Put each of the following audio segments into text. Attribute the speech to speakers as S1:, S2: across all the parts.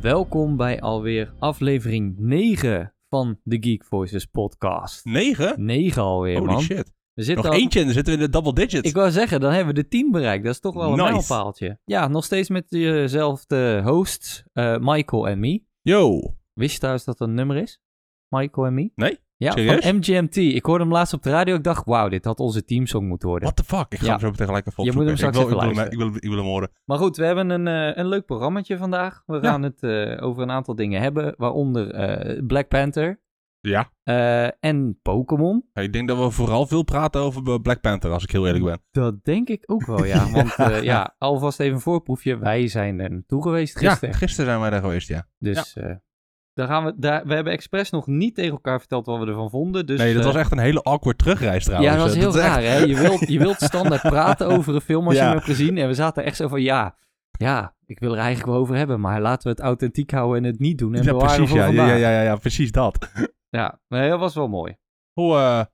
S1: Welkom bij alweer aflevering 9 van de Geek Voices podcast.
S2: 9?
S1: 9 alweer,
S2: Holy
S1: man.
S2: shit.
S1: We zitten
S2: Nog
S1: al-
S2: eentje en dan zitten we in de double digits.
S1: Ik wou zeggen, dan hebben we de 10 bereikt. Dat is toch wel een
S2: Nice.
S1: mijlpaaltje. Ja, nog steeds met dezelfde hosts, eh, Michael en me.
S2: Yo.
S1: Wist je trouwens dat dat een nummer is? Michael en me?
S2: Nee?
S1: Ja,
S2: Serieus?
S1: van MGMT. Ik hoorde hem laatst op de radio. Ik dacht, wauw, dit had onze teamsong moeten worden.
S2: What the fuck? Ik ga
S1: Ja.
S2: hem zo meteen gelijk even
S1: Je moet hem
S2: opzoeken.
S1: straks
S2: ik, wil,
S1: even
S2: ik, wil hem, ik, wil, ik wil hem horen.
S1: Maar goed, we hebben een, eh, een leuk programmaatje vandaag. We gaan het eh, over een aantal dingen hebben, waaronder eh, Black Panther
S2: Ja.
S1: eh, en Pokémon.
S2: Ik denk dat we vooral veel praten over Black Panther, als ik heel eerlijk ben.
S1: Dat denk ik ook wel, ja. Want eh, ja, alvast even een voorproefje. Wij zijn er naartoe geweest gisteren.
S2: Ja, gisteren zijn wij daar geweest, ja.
S1: Dus eh, daar gaan we, daar, we hebben expres nog niet tegen elkaar verteld wat we ervan vonden. Dus,
S2: nee, dat
S1: eh,
S2: was echt een hele awkward terugreis trouwens.
S1: Ja, dat was
S2: Eh,
S1: heel
S2: is echt-
S1: raar, hè? Je wilt, je wilt standaard praten over een film als je
S2: Ja.
S1: hem hebt gezien. En we zaten echt zo van, ja, ja, ik wil er eigenlijk wel over hebben. Maar laten we het authentiek houden en het niet doen. En
S2: Ja,
S1: bewaren
S2: precies,
S1: voor
S2: ja. Ja,
S1: vandaag.
S2: ja, ja, ja, ja, precies dat.
S1: Ja, nee, dat was wel mooi.
S2: Hoe, eh,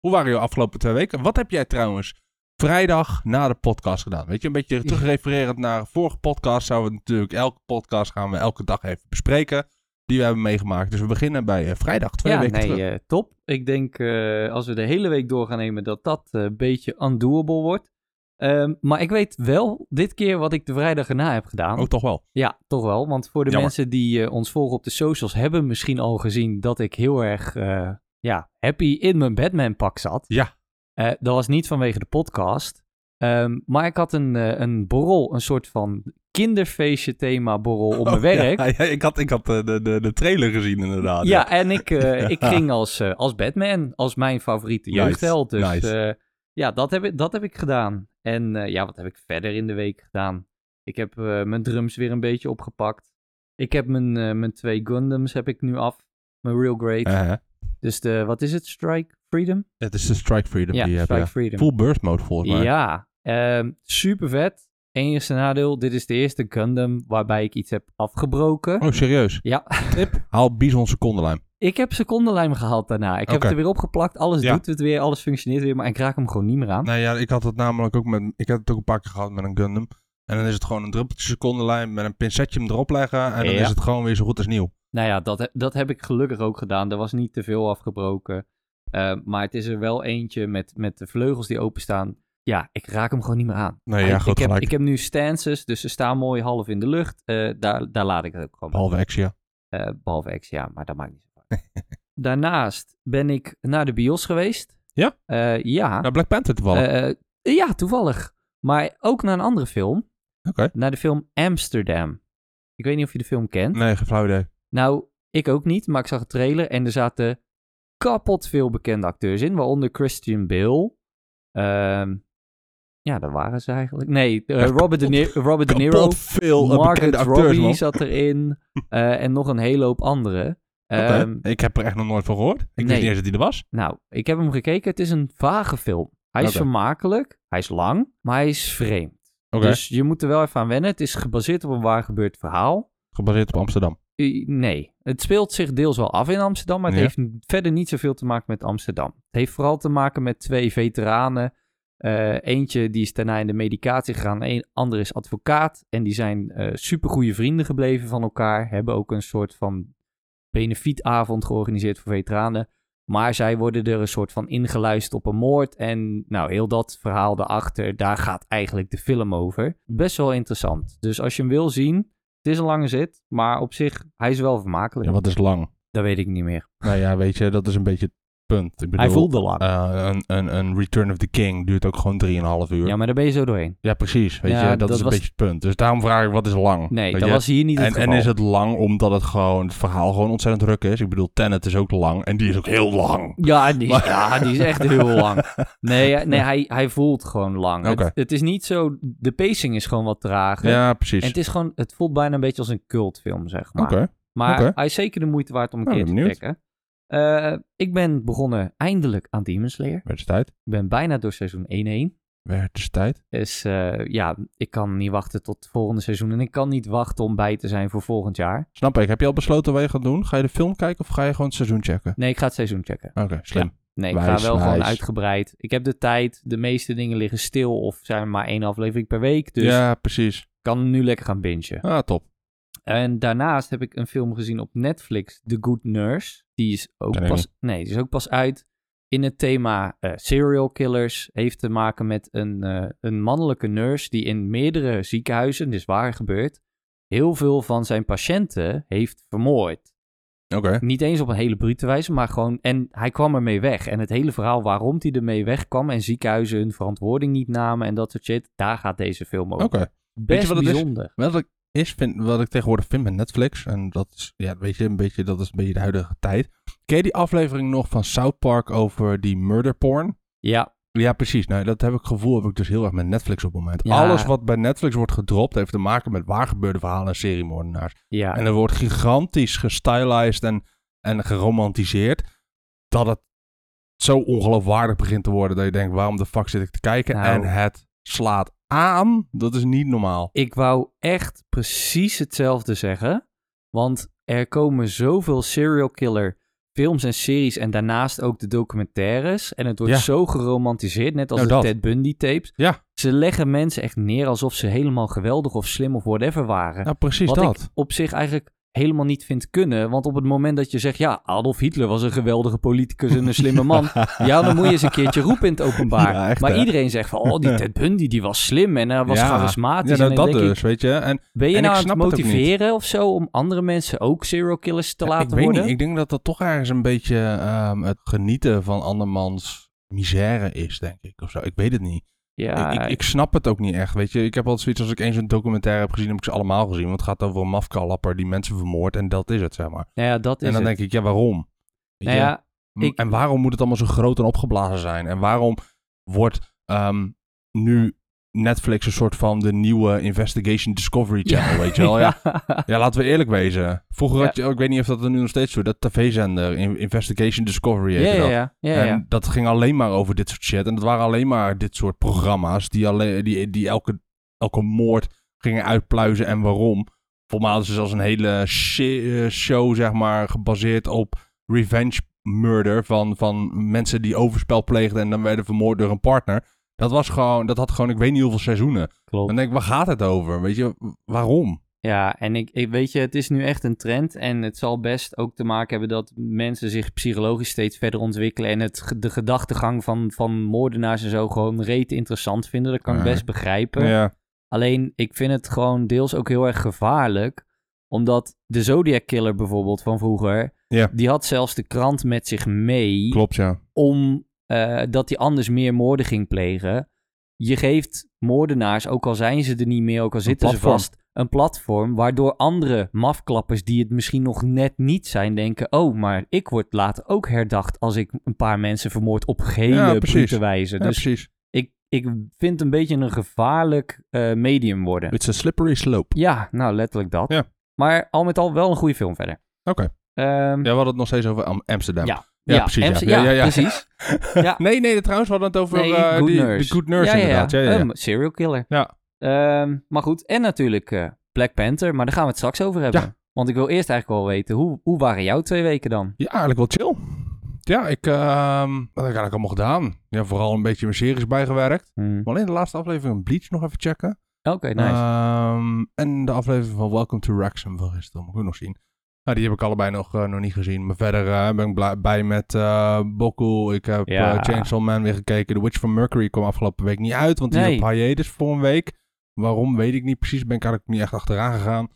S2: hoe waren je afgelopen twee weken? Wat heb jij trouwens vrijdag na de podcast gedaan? Weet je, een beetje terugrefererend naar vorige podcast. Zouden we natuurlijk elke podcast gaan we elke dag even bespreken. Die we hebben meegemaakt. Dus we beginnen bij eh, vrijdag, twee
S1: ja,
S2: weken
S1: nee,
S2: terug.
S1: eh, top. Ik denk eh, als we de hele week door gaan nemen dat dat eh, een beetje undoable wordt. Ehm, maar ik weet wel dit keer wat ik de vrijdag erna heb gedaan.
S2: Ook Oh, toch wel.
S1: Ja, toch wel. Want voor de
S2: Jammer.
S1: mensen die eh, ons volgen op de socials hebben misschien al gezien dat ik heel erg eh, ja, happy in mijn Batman pak zat.
S2: Ja.
S1: Eh, dat was niet vanwege de podcast. Ehm, maar ik had een, eh, een borrel, een soort van kinderfeestje thema borrel op mijn
S2: Oh, Ja,
S1: werk.
S2: ja, ik had, ik had eh, de, de, de trailer gezien inderdaad.
S1: Ja, en ik, eh, ik ging als, eh, als Batman, als mijn favoriete
S2: Nice,
S1: jeugdheld. Dus
S2: nice.
S1: eh, ja, dat heb, ik, dat heb ik gedaan. En eh, ja, wat heb ik verder in de week gedaan? Ik heb eh, mijn drums weer een beetje opgepakt. Ik heb mijn, eh, mijn twee Gundams heb ik nu af. Mijn Real Great.
S2: Eh,
S1: Dus de, wat is het? Strike Freedom?
S2: Het is de Strike Freedom
S1: Ja,
S2: die je hebt.
S1: Strike
S2: ja.
S1: Freedom.
S2: Full burst mode volgens mij.
S1: Ja, ehm, super vet. Enigste nadeel, dit is de eerste Gundam waarbij ik iets heb afgebroken.
S2: Oh, serieus?
S1: Ja.
S2: Tip, haal Bison secondenlijm.
S1: Ik heb secondenlijm gehaald daarna. Ik heb
S2: Oké.
S1: het er weer opgeplakt. Alles
S2: Ja.
S1: doet het weer. Alles functioneert weer. Maar ik raak hem gewoon niet meer aan.
S2: Nou ja, ik had het namelijk ook met. Ik heb het ook een paar keer gehad met een Gundam. En dan is het gewoon een druppeltje secondenlijn met een pincetje hem erop leggen. En dan
S1: Ja.
S2: is het gewoon weer zo goed als nieuw.
S1: Nou ja, dat, he- dat heb ik gelukkig ook gedaan. Er was niet te veel afgebroken. Eh, maar het is er wel eentje met, met de vleugels die openstaan. Ja, ik raak hem gewoon niet meer aan.
S2: Nee,
S1: Ik-
S2: ja,
S1: ik,
S2: goed
S1: heb,
S2: gelijk.
S1: ik heb nu stances, dus ze staan mooi half in de lucht. Eh, daar, daar laat ik het ook gewoon. bij.
S2: Behalve Exia.
S1: Eh, behalve X, ja, maar dat maakt niet zo uit. Daarnaast ben ik naar de bios geweest.
S2: Ja?
S1: Eh, ja.
S2: Nou, Black Panther toevallig.
S1: Eh, eh, ja, toevallig. Maar ook naar een andere film.
S2: Oké.
S1: Naar de film Amsterdam. Ik weet niet of je de film kent.
S2: nee, geen flauw idee.
S1: Nou, ik ook niet, maar ik zag een trailer en er zaten kapot veel bekende acteurs in. Waaronder Christian Bale. Ehm, ja, dat waren ze eigenlijk. Nee, eh,
S2: Echt
S1: Robert, de Ni- Robert De Niro.
S2: Kapot veel eh,
S1: Margaret
S2: bekende acteurs,
S1: Robbie
S2: man.
S1: zat erin. eh, en nog een hele hoop anderen.
S2: Oké.
S1: Ehm,
S2: ik heb er echt nog nooit van gehoord. Ik
S1: nee.
S2: wist niet eens dat hij er was.
S1: nou, ik heb hem gekeken. Het is een vage film. Hij is
S2: Oké.
S1: vermakelijk, hij is lang, maar hij is vreemd.
S2: Oké.
S1: Dus je moet er wel even aan wennen. Het is gebaseerd op een waar gebeurd verhaal.
S2: Gebaseerd op Amsterdam.
S1: Eh, Nee, het speelt zich deels wel af in Amsterdam, maar het
S2: Ja.
S1: heeft verder niet zoveel te maken met Amsterdam. Het heeft vooral te maken met twee veteranen. Eh, eentje die is daarna in de medicatie gegaan, een ander is advocaat. En die zijn eh supergoeie vrienden gebleven van elkaar. Hebben ook een soort van benefietavond georganiseerd voor veteranen. Maar zij worden er een soort van ingeluisterd op een moord. En nou, heel dat verhaal daarachter, daar gaat eigenlijk de film over. Best wel interessant. Dus als je hem wil zien, het is een lange zit. Maar op zich, hij is wel vermakelijk.
S2: Ja, wat is lang?
S1: Dat weet ik niet meer.
S2: Nou ja, weet je, dat is een beetje het punt. Ik bedoel,
S1: hij voelde lang.
S2: eh, een, een, een Return of the King duurt ook gewoon 3,5 uur.
S1: ja,
S2: Ja,
S1: maar daar ben je zo doorheen.
S2: precies. Weet
S1: Ja,
S2: je, dat,
S1: dat
S2: is een
S1: was-
S2: beetje het punt. Dus daarom vraag ik, wat is lang?
S1: Nee,
S2: Weet
S1: dat
S2: je?
S1: was hier niet het
S2: En, en
S1: geval.
S2: is het lang omdat het gewoon het verhaal gewoon ontzettend druk is? Ik bedoel, Tenet is ook lang en die is ook heel lang.
S1: Ja, die is,
S2: Maar-
S1: ja, die is echt heel lang. Nee, eh, nee hij, hij voelt gewoon lang.
S2: Oké.
S1: Het, het is niet zo... De pacing is gewoon wat trager.
S2: Ja, precies.
S1: En het, is gewoon, het voelt bijna een beetje als een cultfilm, zeg maar.
S2: Oké.
S1: Maar
S2: Oké.
S1: hij is zeker de moeite waard om een
S2: Nou,
S1: keer
S2: ben
S1: te
S2: benieuwd.
S1: checken. Eh, ik ben begonnen eindelijk aan Demon Slayer.
S2: Werd is tijd.
S1: Ik ben bijna door seizoen 1-1.
S2: Werd is tijd.
S1: Dus eh, ja, ik kan niet wachten tot het volgende seizoen. En ik kan niet wachten om bij te zijn voor volgend jaar.
S2: Snap ik. Heb je al besloten wat je gaat doen? Ga je de film kijken of ga je gewoon het seizoen checken?
S1: Nee, ik ga het seizoen checken.
S2: Oké, slim.
S1: Nee, ik
S2: Wijs,
S1: ga wel gewoon
S2: wijs.
S1: uitgebreid. Ik heb de tijd. De meeste dingen liggen stil of zijn maar één aflevering per week. Dus
S2: Ja, precies.
S1: ik kan nu lekker gaan bingen.
S2: Ah, top.
S1: En daarnaast heb ik een film gezien op Netflix, The Good Nurse. Die is ook,
S2: Ken ik
S1: pas, nee, die is ook pas uit in het thema eh, serial killers. Heeft te maken met een, eh, een mannelijke nurse die in meerdere ziekenhuizen, dit is waar gebeurd, heel veel van zijn patiënten heeft vermoord.
S2: Oké.
S1: Niet eens op een hele brute wijze, maar gewoon... En hij kwam ermee weg. En het hele verhaal waarom hij ermee wegkwam... en ziekenhuizen hun verantwoording niet namen en dat soort shit... daar gaat deze film over.
S2: Oké.
S1: Best
S2: wat het is?
S1: bijzonder.
S2: Wat ik, is, vind, wat ik tegenwoordig vind met Netflix, en dat is, ja, weet je, een beetje, dat is een beetje de huidige tijd. Ken je die aflevering nog van South Park over die murder porn?
S1: Ja,
S2: Ja, precies. Nou, dat heb ik gevoel, heb ik dus heel erg met Netflix op het moment.
S1: Ja.
S2: Alles wat bij Netflix wordt gedropt, heeft te maken met waar gebeurde verhalen en seriemoordenaars.
S1: ja.
S2: En er wordt gigantisch gestylized en, en geromantiseerd. Dat het zo ongeloofwaardig begint te worden. Dat je denkt, waarom de fuck zit ik te kijken?
S1: Nou.
S2: En het slaat aan. Dat is niet normaal.
S1: Ik wou echt precies hetzelfde zeggen. Want er komen zoveel serial killer films en series en daarnaast ook de documentaires. En het wordt
S2: Ja.
S1: zo geromantiseerd, net als
S2: Nou,
S1: de
S2: dat.
S1: Ted Bundy tapes.
S2: Ja.
S1: Ze leggen mensen echt neer alsof ze helemaal geweldig of slim of whatever waren.
S2: Nou, precies
S1: wat
S2: dat.
S1: ik op zich eigenlijk helemaal niet vind kunnen. Want op het moment dat je zegt, ja, Adolf Hitler was een geweldige politicus en een slimme man. ja, dan moet je eens een keertje roepen in het openbaar.
S2: Ja, echt,
S1: maar
S2: hè?
S1: iedereen zegt van, oh, die Ted Bundy, die was slim en hij was
S2: Ja.
S1: charismatisch.
S2: Ja,
S1: en
S2: nou,
S1: dan
S2: dat
S1: denk ik,
S2: dus, weet je. En
S1: ben je nou
S2: En ik
S1: aan het
S2: snap het ook niet.
S1: motiveren of zo om andere mensen ook serial killers te
S2: Ja,
S1: laten
S2: ik weet
S1: worden?
S2: Niet, ik denk dat dat toch ergens een beetje ehm, het genieten van andermans misère is, denk ik. Of zo. Ik weet het niet.
S1: ja,
S2: Ik, ik, ik snap het ook niet echt, weet je. Ik heb altijd zoiets als ik eens een documentaire heb gezien, heb ik ze allemaal gezien. Want het gaat over een mafkalapper die mensen vermoordt en dat is het, zeg maar.
S1: nou ja, dat is
S2: en dan
S1: het.
S2: denk ik, ja, waarom? Weet
S1: nou
S2: je?
S1: ja,
S2: M-
S1: ik-
S2: En waarom moet het allemaal zo groot en opgeblazen zijn? En waarom wordt ehm, nu Netflix een soort van de nieuwe Investigation Discovery Channel, weet je wel? Ja. Ja, laten we eerlijk wezen. Vroeger
S1: Ja.
S2: had je, oh, ik weet niet of dat er nu nog steeds zo, dat tv-zender, In- Investigation Discovery
S1: ja,
S2: heette
S1: ja,
S2: dat.
S1: ja, ja, ja.
S2: En dat ging alleen maar over dit soort shit. En dat waren alleen maar dit soort programma's die, alleen, die, die elke, elke moord gingen uitpluizen en waarom. Voor mij hadden ze zelfs een hele shi- eh, show, zeg maar, gebaseerd op revenge murder van, van mensen die overspel pleegden en dan werden vermoord door een partner. Dat was gewoon, dat had gewoon, ik weet niet hoeveel seizoenen.
S1: klopt.
S2: Dan denk ik, waar gaat het over? Weet je, waarom?
S1: Ja, en ik, ik weet je, het is nu echt een trend. En het zal best ook te maken hebben dat mensen zich psychologisch steeds verder ontwikkelen. En het, ge- de gedachtegang van, van moordenaars en zo gewoon reet interessant vinden. Dat kan ik
S2: Ja.
S1: best begrijpen.
S2: Ja.
S1: Alleen, ik vind het gewoon deels ook heel erg gevaarlijk. Omdat de Zodiac Killer bijvoorbeeld van vroeger...
S2: Ja.
S1: die had zelfs de krant met zich mee...
S2: Klopt, ja.
S1: om eh, dat hij anders meer moorden ging plegen. Je geeft moordenaars, ook al zijn ze er niet meer... ook al zitten ze
S2: platform.
S1: vast, een platform... waardoor andere mafklappers die het misschien nog net niet zijn... denken, oh, maar ik word later ook herdacht... als ik een paar mensen vermoord op hele
S2: Ja, precies.
S1: brute wijze.
S2: Ja,
S1: Dus
S2: precies.
S1: ik, ik vind het een beetje een gevaarlijk eh, medium worden.
S2: It's a slippery slope.
S1: Ja, nou letterlijk dat.
S2: Ja.
S1: Maar al met al wel een goede film verder.
S2: Oké.
S1: Ehm,
S2: Ja, we hadden het nog steeds over Am- Amsterdam.
S1: Ja.
S2: ja, precies, ja.
S1: Amst-
S2: Ja, ja, ja.
S1: precies. Ja.
S2: Nee, nee, trouwens, we hadden het over
S1: Nee,
S2: eh,
S1: Good
S2: die,
S1: Nurse.
S2: de Good Nurse
S1: ja, Um. ja,
S2: inderdaad. Ja, ja, ja.
S1: Een serial killer.
S2: Ja.
S1: Ehm, maar goed, en natuurlijk eh, Black Panther, maar daar gaan we het straks over hebben.
S2: Ja.
S1: Want ik wil eerst eigenlijk wel weten, hoe, hoe waren jouw twee weken dan?
S2: Ja, eigenlijk wel chill. Ja, ik, ehm, wat heb ik eigenlijk allemaal gedaan? Ja, vooral een beetje mijn series bijgewerkt.
S1: Hmm.
S2: Maar alleen de laatste aflevering Bleach nog even checken.
S1: Oké, nice.
S2: Ehm, en de aflevering van Welcome to Wrexham van gisteren moet ik ook nog zien. Nou, die heb ik allebei nog, eh, nog niet gezien. Maar verder eh, ben ik bla- bij met eh Boku. Ik heb
S1: Ja.
S2: eh, Chainsaw Man weer gekeken. The Witch from Mercury kwam afgelopen week niet uit. Want
S1: Nee.
S2: die op hiatus voor een week. Waarom weet ik niet precies. Ben ik eigenlijk niet echt achteraan gegaan.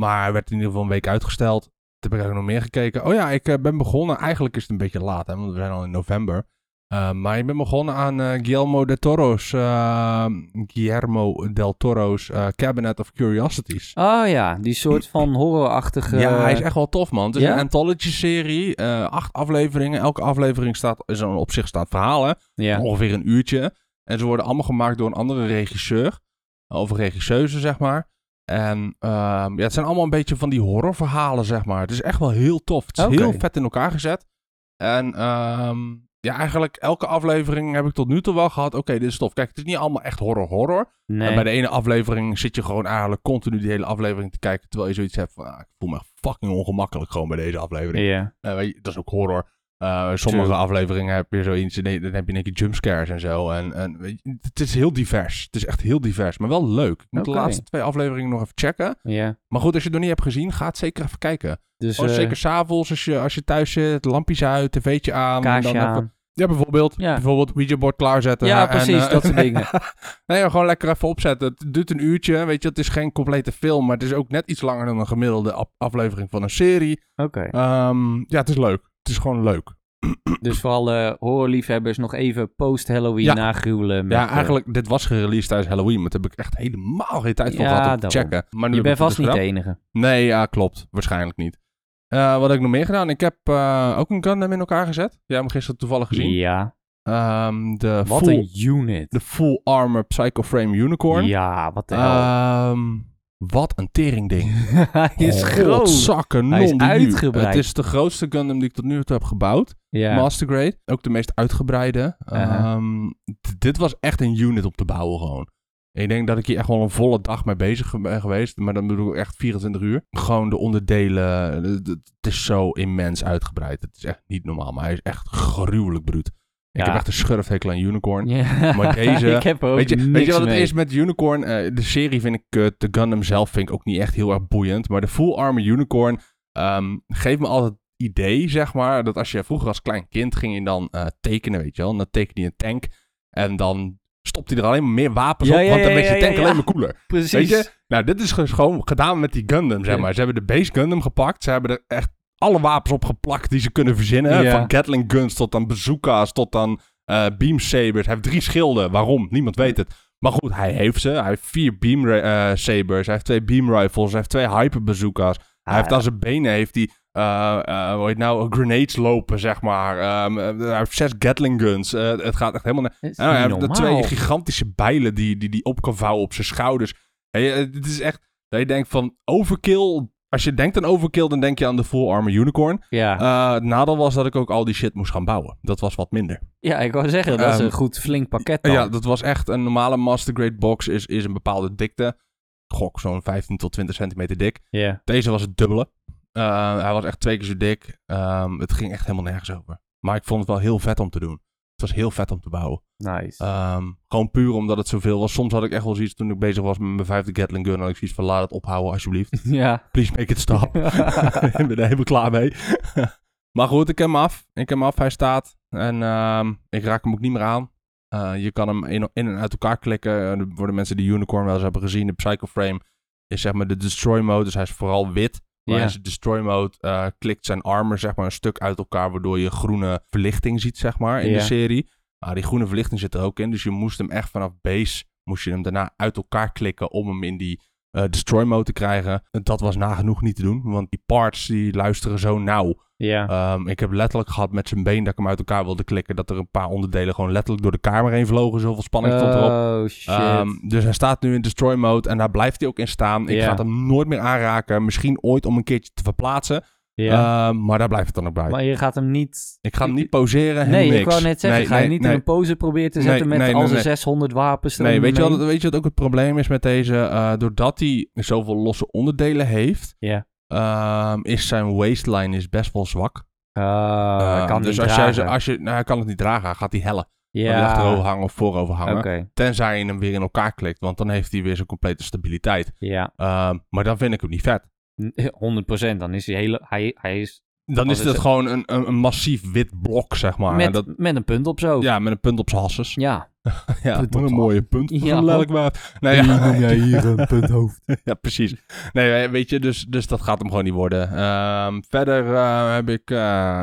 S2: Maar hij werd in ieder geval een week uitgesteld. Toen heb ik eigenlijk nog meer gekeken. Oh ja, ik eh, ben begonnen. Eigenlijk is het een beetje laat, hè, want we zijn al in november. Eh, maar ik ben begonnen aan eh, Guillermo del Toro's, eh, Guillermo del Toro's eh, Cabinet of Curiosities.
S1: Oh ja, die soort van horrorachtige...
S2: Ja, hij is echt wel tof, man. Het is
S1: eh, ja?
S2: een anthology-serie. eh, acht afleveringen. Elke aflevering staat, is een op zich staat verhalen.
S1: Ja.
S2: Ongeveer een uurtje. En ze worden allemaal gemaakt door een andere regisseur. Of een regisseuse, zeg maar. En ehm, ja, het zijn allemaal een beetje van die horrorverhalen, zeg maar. Het is echt wel heel tof. Het is
S1: Oké.
S2: heel vet in elkaar gezet. En ehm, ja, eigenlijk elke aflevering heb ik tot nu toe wel gehad. Oké, dit is tof. Kijk, het is niet allemaal echt horror-horror. En
S1: Nee.
S2: bij de ene aflevering zit je gewoon eigenlijk continu die hele aflevering te kijken. Terwijl je zoiets hebt van, ah, ik voel me echt fucking ongemakkelijk gewoon bij deze aflevering.
S1: Ja.
S2: Eh, weet je, dat is ook horror. Eh, sommige
S1: True.
S2: afleveringen heb je zoiets, nee, dan heb je een keer jumpscares en zo. En, en weet je, het is heel divers. Het is echt heel divers, maar wel leuk. Ik moet
S1: Oké.
S2: de laatste twee afleveringen nog even checken.
S1: Ja.
S2: Maar goed, als je het nog niet hebt gezien, ga het zeker even kijken.
S1: Dus
S2: Gewoon
S1: eh,
S2: Oh, zeker s'avonds, als je, als je thuis zit, lampjes uit, tv'tje aan. en
S1: kaarsje
S2: dan even-
S1: aan.
S2: ja, bijvoorbeeld.
S1: Ja.
S2: Bijvoorbeeld Ouija board klaarzetten.
S1: Ja,
S2: en,
S1: precies,
S2: eh,
S1: dat soort dingen.
S2: nee, maar gewoon lekker even opzetten. Het duurt een uurtje, weet je. Het is geen complete film, maar het is ook net iets langer dan een gemiddelde af- aflevering van een serie.
S1: Oké.
S2: Ehm, ja, het is leuk. Het is gewoon leuk.
S1: Dus voor alle horrorliefhebbers nog even post-Halloween
S2: Ja.
S1: nagruwelen. met,
S2: ja,
S1: eh,
S2: eigenlijk, dit was gereleased tijdens Halloween, maar daar heb ik echt helemaal geen tijd voor
S1: Ja,
S2: gehad om te
S1: daarom.
S2: checken. Maar nu
S1: je
S2: heb
S1: bent
S2: ik
S1: vast
S2: het dus
S1: niet de
S2: gedaan.
S1: enige.
S2: Nee, ja, klopt. Waarschijnlijk niet. Eh, wat heb ik nog meer gedaan? Ik heb eh, ook een Gundam in elkaar gezet. Jij hebt hem gisteren toevallig gezien.
S1: Ja,
S2: Ehm, de,
S1: wat
S2: full,
S1: een unit.
S2: de full armor Psycho Frame Unicorn.
S1: Ja, wat de hel.
S2: Ehm, wat een teringding.
S1: Hij is groot.
S2: Godzakken,
S1: Hij is
S2: non, die nu.
S1: uitgebreid.
S2: Het is de grootste Gundam die ik tot nu toe heb gebouwd.
S1: Ja.
S2: Master Grade. Ook de meest uitgebreide.
S1: Aha.
S2: Ehm, d- dit was echt een unit op te bouwen gewoon. Ik denk dat ik hier echt wel een volle dag mee bezig ge- ben geweest. Maar dan bedoel ik echt 24 uur. Gewoon de onderdelen. d- d- Het is zo immens uitgebreid. Het is echt niet normaal. Maar hij is echt gruwelijk bruut.
S1: Ja.
S2: Ik heb echt een schurfhekel aan Unicorn.
S1: Ja.
S2: Maar deze-
S1: ik heb er ook
S2: Weet je,
S1: niks
S2: weet je wat het
S1: mee.
S2: is met Unicorn? Eh, de serie vind ik kut. De Gundam zelf vind ik ook niet echt heel erg boeiend. Maar de Full Armor Unicorn ehm, geeft me altijd het idee, zeg maar. Dat als je vroeger als klein kind ging je dan eh, tekenen, weet je wel. En dan tekende je een tank. En dan stopt hij er alleen maar meer wapens
S1: Ja,
S2: op.
S1: ja,
S2: want dan
S1: ja,
S2: werd je
S1: ja,
S2: tank
S1: ja,
S2: alleen
S1: ja.
S2: maar cooler.
S1: Precies.
S2: Weet je? Nou, dit is dus gewoon gedaan met die Gundam, zeg
S1: Ja.
S2: maar. Ze hebben de base Gundam gepakt. Ze hebben er echt alle wapens op geplakt die ze kunnen verzinnen.
S1: Ja.
S2: Van Gatling guns tot aan bazooka's, tot aan eh beam sabers. Hij heeft drie schilden. Waarom? Niemand weet het. Maar goed, hij heeft ze. Hij heeft vier beam ra- eh, sabers. Hij heeft twee beam rifles. Hij heeft twee hyper bazooka's.
S1: Ah,
S2: hij heeft aan zijn benen heeft hij, eh, eh, hoe heet het nou, grenades lopen, zeg maar. Ehm, eh, hij heeft zes Gatling guns. Eh, het gaat echt helemaal naar...
S1: dat is
S2: Nou Ja, oh, hij
S1: niet
S2: heeft de
S1: normaal.
S2: twee gigantische bijlen die, die die op kan vouwen op zijn schouders. Hé, eh, Het is echt dat je denkt van overkill. Als je denkt aan overkill, dan denk je aan de full armor unicorn.
S1: Ja.
S2: Eh, het nadeel was dat ik ook al die shit moest gaan bouwen. Dat was wat minder.
S1: ja, ik wou zeggen, dat is
S2: ehm,
S1: een goed flink pakket
S2: Eh,
S1: dan.
S2: Ja, dat was echt een normale master grade box is, is een bepaalde dikte. Gok, zo'n 15 tot 20 centimeter dik.
S1: Ja.
S2: Deze was het dubbele. Eh, hij was echt twee keer zo dik. Ehm, het ging echt helemaal nergens over. Maar ik vond het wel heel vet om te doen. Het was heel vet om te bouwen.
S1: Nice.
S2: Ehm, gewoon puur omdat het zoveel was. Soms had ik echt wel zoiets toen ik bezig was met mijn vijfde Gatling Gun. Had ik zoiets van laat het ophouden alsjeblieft.
S1: ja.
S2: Please make it stop. ik ben er helemaal klaar mee. maar goed, ik heb hem af. Ik heb hem af, hij staat. En ehm, ik raak hem ook niet meer aan. Eh, je kan hem in, in en uit elkaar klikken. En Voor de mensen die Unicorn wel eens hebben gezien. De Psycho Frame is zeg maar de destroy mode. Dus hij is vooral wit. Maar
S1: Ja.
S2: in zijn destroy mode eh, klikt zijn armor zeg maar een stuk uit elkaar. Waardoor je groene verlichting ziet zeg maar in
S1: Ja.
S2: de serie. Ah, die groene verlichting zit er ook in. Dus je moest hem echt vanaf base. Moest je hem daarna uit elkaar klikken om hem in die eh, destroy mode te krijgen. En Dat was nagenoeg niet te doen, want die parts die luisteren zo nauw.
S1: Ja.
S2: Ehm, ik heb letterlijk gehad met zijn been dat ik hem uit elkaar wilde klikken, dat er een paar onderdelen gewoon letterlijk door de kamer heen vlogen. Zoveel spanning stond erop.
S1: Oh, shit.
S2: Ehm, dus hij staat nu in destroy mode en daar blijft hij ook in staan. Ik
S1: Ja.
S2: ga het hem nooit meer aanraken. Misschien ooit om een keertje te verplaatsen,
S1: ja.
S2: Ehm, maar daar blijft het dan ook bij.
S1: maar je gaat hem niet...
S2: Ik ga hem niet poseren. helemaal
S1: Nee,
S2: niks.
S1: ik wou net zeggen,
S2: Nee,
S1: ga je
S2: nee,
S1: niet
S2: nee.
S1: in een pose proberen te
S2: Nee,
S1: zetten met
S2: nee,
S1: al
S2: nee,
S1: zijn
S2: nee.
S1: 600 wapens
S2: Nee, weet je,
S1: eromheen?
S2: wat, weet je wat ook het probleem is met deze? Eh, doordat hij zoveel losse onderdelen heeft,
S1: Ja.
S2: ehm, is zijn waistline is best wel zwak.
S1: Ah, hij
S2: Ehm,
S1: kan
S2: dus
S1: niet
S2: als
S1: dragen.
S2: jij ze- als je, nou, hij kan het niet dragen, hij gaat hij hellen. Ja. Hij
S1: ja,
S2: achterover hangen of voorover hangen.
S1: oké.
S2: Tenzij je hem weer in elkaar klikt, want dan heeft hij weer zijn complete stabiliteit.
S1: Ja,
S2: Ehm, maar dan vind ik hem niet vet.
S1: N- 100%. Dan is hij, hele, hij, hij is
S2: Dan
S1: Wat
S2: is
S1: is
S2: het
S1: het?
S2: gewoon een, een, een massief wit blok, zeg maar.
S1: met,
S2: en dat,
S1: met een punt op zo.
S2: ja, met een punt op zijn hasses.
S1: Ja.
S2: Ja,
S1: Punt op
S2: wat een
S1: de
S2: mooie punt.
S1: Ja.
S2: Ja, lelijk maar. Nee, ja.
S1: noem jij hier een punthoofd.
S2: ja, precies. Nee, weet je, dus, dus dat gaat hem gewoon niet worden. Ehm, verder eh, heb ik eh,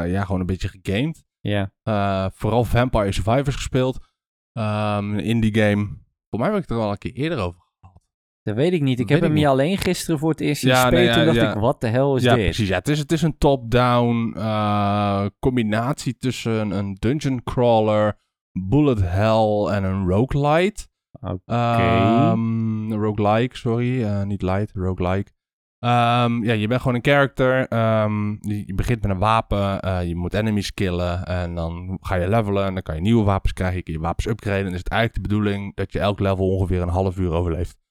S2: ja, gewoon een beetje gegamed.
S1: Ja.
S2: Eh, vooral Vampire Survivors gespeeld. Ehm, een indie game. Voor mij heb ik het er al een keer eerder over.
S1: Dat weet ik niet. Ik
S2: Weet
S1: heb
S2: ik
S1: hem
S2: niet.
S1: hier alleen gisteren voor het eerst zien
S2: Ja,
S1: spelen.
S2: nee, ja,
S1: Toen dacht
S2: ja.
S1: ik, wat de hel is
S2: ja,
S1: dit?
S2: precies. Ja, het is, het is een top-down eh, combinatie tussen een dungeon crawler, bullet hell en een roguelite.
S1: Oké.
S2: Ehm, roguelike, sorry. eh, niet light, roguelike. Ehm, ja, je bent gewoon een character. ehm, je, je begint met een wapen. eh, je moet enemies killen. En dan ga je levelen. En dan kan je nieuwe wapens krijgen. Je kan je wapens upgraden. En dan is het eigenlijk de bedoeling dat je elk level ongeveer een half uur overleeft.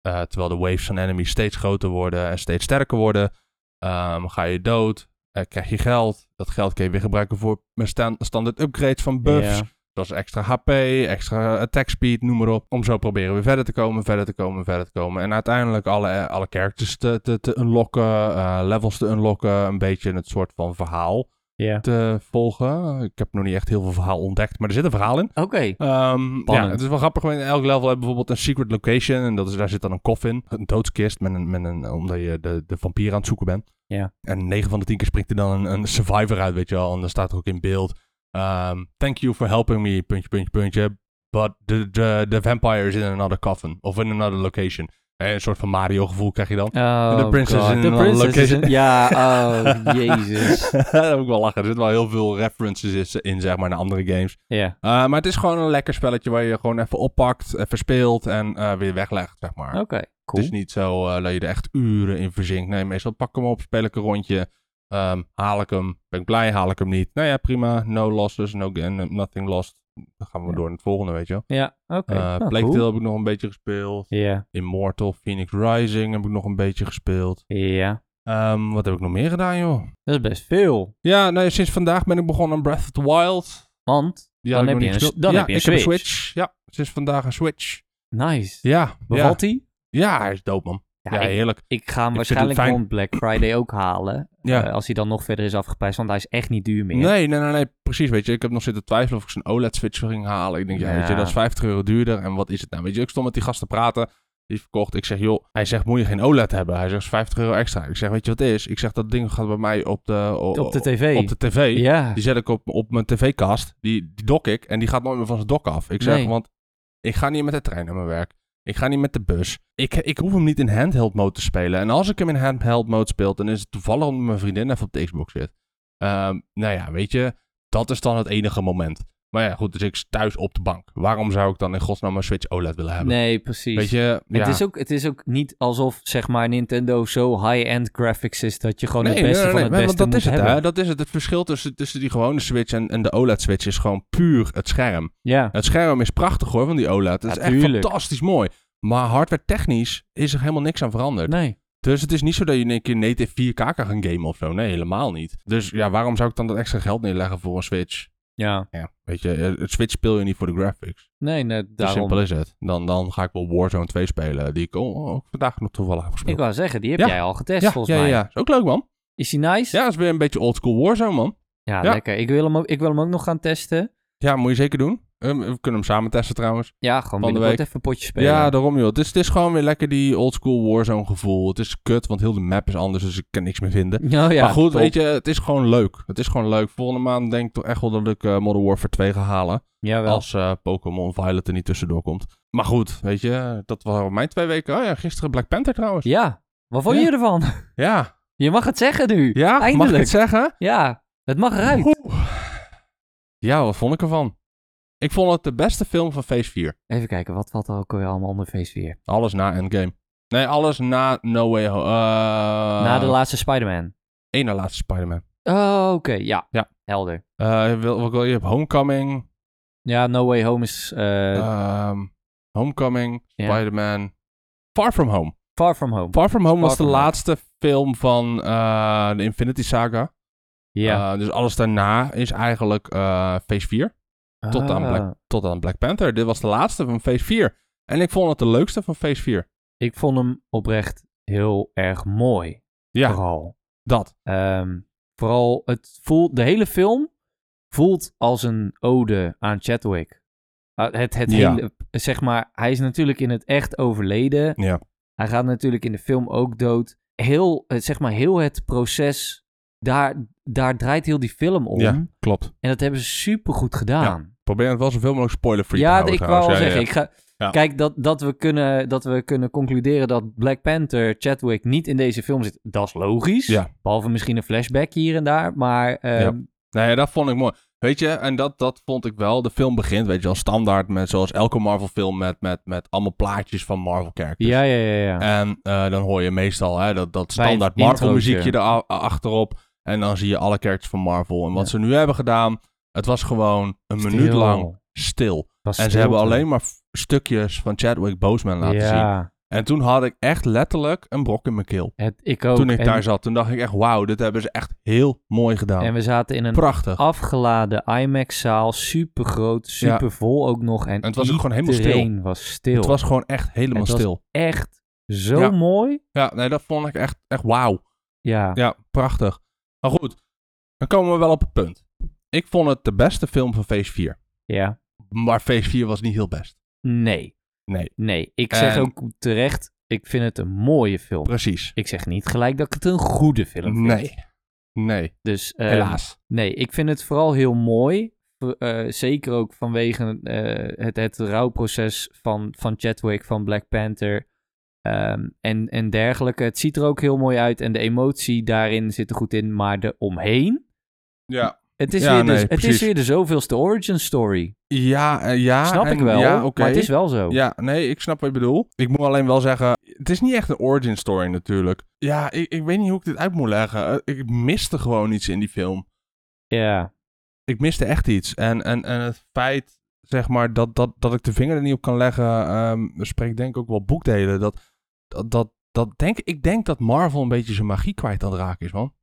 S2: Eh, terwijl de waves van enemies steeds groter worden en steeds sterker worden. Ehm, ga je dood. eh, krijg je geld. Dat geld kun je weer gebruiken voor mijn staan- standaard upgrades van buffs.
S1: Ja.
S2: Dat is extra HP, extra eh, attack speed, noem maar op. Om zo proberen weer verder te komen, verder te komen, verder te komen. En uiteindelijk alle, eh, alle characters te, te, te unlocken, eh, levels te unlocken. Een beetje het soort van verhaal
S1: Ja.
S2: te volgen. Ik heb nog niet echt heel veel verhaal ontdekt, maar er zit een verhaal in.
S3: Oké.
S2: Ehm, ja,
S1: Spannend.
S2: het is wel grappig. want In elk level heb je bijvoorbeeld een secret location. En dat is, daar zit dan een kof in. Een doodskist. Met een, met een, omdat je de, de vampier aan het zoeken bent.
S1: Ja.
S2: En 9 van de 10 keer springt er dan een, een survivor uit, weet je wel. En dan staat er ook in beeld. ehm, Thank you for helping me, puntje, puntje, puntje. But the, the, the vampire is in another coffin. Of in another location. Eh, Een soort van Mario gevoel krijg je dan.
S1: Oh,
S2: De princess
S1: God.
S2: in
S1: De
S2: een
S1: princess is
S2: location.
S1: in-
S3: Ja, oh, jezus.
S2: Daar moet ik wel lachen. Er zitten wel heel veel references in, zeg maar, naar andere games.
S1: Ja,
S2: Uh, maar het is gewoon een lekker spelletje waar je gewoon even oppakt, even speelt en eh, weer weglegt, zeg maar.
S1: oké.
S2: Het
S1: Oh, Cool.
S2: is niet zo eh, dat je er echt uren in verzinkt. Nee, meestal pak ik hem op, speel ik een rondje, ehm, haal ik hem, ben ik blij, haal ik hem niet. Nou ja, prima, no losses, no gain, eh, nothing lost. Dan gaan we
S1: Ja.
S2: door naar het volgende, weet je wel.
S1: Ja, oké.
S2: Eh
S1: Nou,
S2: Plague
S1: cool.
S2: Tale heb ik nog een beetje gespeeld.
S1: Ja,
S2: Immortal, Phoenix Rising heb ik nog een beetje gespeeld.
S1: ja.
S2: Ehm, wat heb ik nog meer gedaan, joh?
S1: Dat is best veel.
S2: Ja, nou, ja, sinds vandaag ben ik begonnen aan Breath of the Wild.
S1: Want,
S2: Die
S1: Dan
S2: had
S1: heb
S2: ik nog
S1: je
S2: niet
S1: een-
S2: gespeeld.
S1: dan
S2: ja,
S1: heb je een
S2: ik heb een
S1: Switch.
S2: Switch. Ja, sinds vandaag een Switch.
S1: nice.
S2: Ja, ja.
S1: Bevalt die?
S2: ja, hij is dood, man.
S1: Ja,
S2: Ja,
S1: ik, eh,
S2: heerlijk.
S1: ik ga hem
S2: Ik vind
S1: waarschijnlijk
S2: het fijn.
S1: rond Black Friday ook halen.
S2: Ja.
S1: Eh, als hij dan nog verder is afgeprijsd, want hij is echt niet duur meer.
S2: Nee, nee, nee, nee, precies. Weet je, ik heb nog zitten twijfelen of ik zo'n OLED-switch ging halen. Ik denk, ja,
S1: Ja.
S2: weet je, dat is 50 euro duurder. En wat is het nou? Weet je, ik stond met die gasten te praten. Die is verkocht. Ik zeg, joh, hij zegt, moet je geen OLED hebben? Hij zegt, is 50 euro extra. Ik zeg, weet je wat het is? Ik zeg, dat ding gaat bij mij op de, o-
S1: Op de tv.
S2: Op de tv.
S1: Ja,
S2: Die zet ik op, op mijn tv-kast. Die, die dok ik. En die gaat nooit meer van zijn dok af. Ik zeg,
S1: Nee.
S2: want ik ga niet met de trein naar mijn werk. Ik ga niet met de bus. Ik, ik hoef hem niet in handheld mode te spelen. En als ik hem in handheld mode speel, dan is het toevallig omdat mijn vriendin even op de Xbox zit. Ehm, nou ja, weet je, dat is dan het enige moment. Maar ja, goed, dus ik thuis op de bank. Waarom zou ik dan in godsnaam mijn Switch OLED willen hebben?
S1: nee, precies.
S2: Weet je, ja.
S1: het, is ook, het is ook niet alsof, zeg maar, Nintendo zo high-end graphics is dat je gewoon
S2: Nee,
S1: het beste
S2: nee, nee,
S1: van
S2: nee,
S1: het
S2: maar
S1: beste
S2: want dat
S1: moet
S2: is het,
S1: hebben.
S2: hè? Dat is het. Het verschil tussen, tussen die gewone Switch en, en de OLED-Switch is gewoon puur het scherm.
S1: Ja,
S2: Het scherm is prachtig hoor, van die OLED. Het is echt
S1: Natuurlijk.
S2: fantastisch mooi. Maar hardware technisch is er helemaal niks aan veranderd.
S1: nee.
S2: Dus het is niet zo dat je in één keer native 4K kan gaan gamen of zo. Nee, helemaal niet. Dus ja, waarom zou ik dan dat extra geld neerleggen voor een Switch?
S1: Ja,
S2: Ja, weet je, eh, het Switch speel je niet voor de graphics.
S1: nee, nee,
S2: Zo
S1: daarom.
S2: simpel is het. Dan, dan ga ik wel Warzone 2 spelen, die ik oh, ook vandaag nog toevallig heb
S1: Ik
S2: gespeeld.
S1: wou zeggen, die heb
S2: Ja.
S1: jij al getest,
S2: ja,
S1: volgens
S2: ja,
S1: mij.
S2: ja, ja. Is ook leuk man.
S1: Is die nice?
S2: Ja, dat is weer een beetje oldschool Warzone man.
S1: Ja,
S2: Ja.
S1: lekker. Ik wil, hem ook, ik wil hem ook nog gaan testen.
S2: Ja, moet je zeker doen. Eh, we kunnen hem samen testen trouwens.
S1: Ja, gewoon
S2: Van de
S1: binnenkort
S2: week.
S1: even een potje spelen.
S2: Ja, daarom joh. Het is, het is gewoon weer lekker die oldschool Warzone gevoel. Het is kut, want heel de map is anders, dus ik kan niks meer vinden.
S1: Nou ja,
S2: maar goed,
S1: top.
S2: weet je, het is gewoon leuk. Het is gewoon leuk. Volgende maand denk ik toch echt wel dat ik eh, Modern Warfare 2 ga halen.
S1: Jawel.
S2: Als eh, Pokémon Violet er niet tussendoor komt. Maar goed, weet je, dat waren mijn twee weken. Oh ja, gisteren Black Panther trouwens.
S1: Ja, wat vond je
S2: Ja.
S1: ervan?
S2: Ja,
S1: Je mag het zeggen nu.
S2: ja mag ik
S1: Eindelijk.
S2: het zeggen?
S1: Ja, het mag eruit.
S2: Oeh. Ja, wat vond ik ervan? Ik vond het de beste film van Phase 4.
S1: Even kijken, wat valt er ook weer allemaal onder feest weer?
S2: Alles na Endgame. Nee, alles na No Way Home. Eh,
S1: Na de laatste Spider-Man.
S2: één na laatste Spider-Man.
S1: Oh, oké, ja.
S2: Ja.
S1: Helder.
S2: Eh, je wil- wat wil je? je hebt Homecoming,
S1: Ja, No Way Home is eh,
S2: ehm, Homecoming,
S1: ja.
S2: Spider-Man, Far From Home.
S1: Far From Home.
S2: Far From Home was de
S1: From Home.
S2: laatste film van eh, de Infinity Saga.
S1: ja.
S2: Eh, dus alles daarna is eigenlijk eh Phase 4 eh, tot aan
S1: Ah,
S2: Black- tot aan Black Panther. Dit was de laatste van Phase 4. En ik vond het de leukste van Phase 4.
S1: Ik vond hem oprecht heel erg mooi.
S2: Ja,
S1: Vooral.
S2: dat.
S1: Ehm, vooral, het voelt, de hele film voelt als een ode aan Chadwick. Ah, het, het
S2: Ja.
S1: hele, zeg maar, hij is natuurlijk in het echt overleden.
S2: Ja.
S1: Hij gaat natuurlijk in de film ook dood. Heel, eh, zeg maar, heel het proces, daar, daar draait heel die film om.
S2: Ja. Klopt.
S1: En dat hebben ze supergoed gedaan.
S2: Probeer het wel zoveel mogelijk spoiler-free
S1: ja,
S2: te
S1: d-
S2: houden
S1: ik wou al
S2: trouwens.
S1: zeggen.
S2: Ja,
S1: Ik ga,
S2: Ja.
S1: Kijk, dat, dat, we kunnen, dat we kunnen concluderen dat Black Panther, Chadwick niet in deze film zit, dat is logisch.
S2: Ja.
S1: Behalve misschien een flashback hier en daar, maar... ehm,
S2: Ja. Nou ja, dat vond ik mooi. Weet je, en dat, dat vond ik wel. De film begint, weet je wel, standaard met zoals elke Marvel film met, met, met allemaal plaatjes van Marvel characters.
S1: Ja, ja, ja, ja.
S2: En eh, dan hoor je meestal hè, dat, dat
S1: Bij het
S2: standaard Marvel muziekje
S1: introotje.
S2: erachterop. En dan zie je alle characters van Marvel. En wat
S1: Ja.
S2: ze nu hebben gedaan, het was gewoon een
S1: Stil.
S2: minuut lang stil.
S1: Was
S2: En ze
S1: stil,
S2: hebben
S1: toch?
S2: alleen maar f- stukjes van Chadwick Boseman laten zien.
S1: ja.
S2: En toen had ik echt letterlijk een brok in mijn keel.
S1: Het, ik ook.
S2: Toen ik
S1: en,
S2: daar zat, toen dacht ik echt, wauw, dit hebben ze echt heel mooi gedaan.
S1: en we zaten in een
S2: Prachtig.
S1: afgeladen IMAX-zaal. Super groot, super vol ook nog. En,
S2: En het was ook gewoon helemaal stil.
S1: iedereen was stil.
S2: Het was gewoon echt helemaal
S1: Het was-
S2: stil.
S1: echt zo
S2: Ja.
S1: mooi.
S2: Ja, nee, dat vond ik echt, echt wauw.
S1: Ja.
S2: Ja, prachtig. Maar goed, dan komen we wel op het punt. Ik vond het de beste film van Phase 4.
S1: ja.
S2: Maar Phase 4 was niet heel best.
S1: Nee.
S2: Nee.
S1: Nee. Ik zeg
S2: En-
S1: ook terecht, ik vind het een mooie film.
S2: Precies.
S1: Ik zeg niet gelijk dat ik het een goede film vind.
S2: Nee. Nee,
S1: Dus, eh,
S2: helaas.
S1: Nee, ik vind het vooral heel mooi. V- eh, zeker ook vanwege eh, het, het rouwproces van, van Chadwick, van Black Panther ehm, en, en dergelijke. Het ziet er ook heel mooi uit en de emotie daarin zit er goed in, maar de omheen.
S2: Ja.
S1: Het is,
S2: Ja,
S1: weer, de,
S2: nee,
S1: het is
S2: precies.
S1: weer de zoveelste origin story.
S2: Ja, eh, ja.
S1: Snap
S2: en-
S1: ik wel,
S2: Ja, oké.
S1: maar het is wel zo.
S2: Ja, nee, ik snap wat je bedoelt. Ik moet alleen wel zeggen, het is niet echt een origin story natuurlijk. Ja, ik, ik weet niet hoe ik dit uit moet leggen. Eh, Ik miste gewoon iets in die film.
S1: Ja.
S2: Ik miste echt iets. En, en, en het feit, zeg maar, dat, dat, dat ik de vinger er niet op kan leggen, ehm spreekt denk ik ook wel boekdelen. Dat, dat, dat, dat denk, ik denk dat Marvel een beetje zijn magie kwijt aan het raken is, man.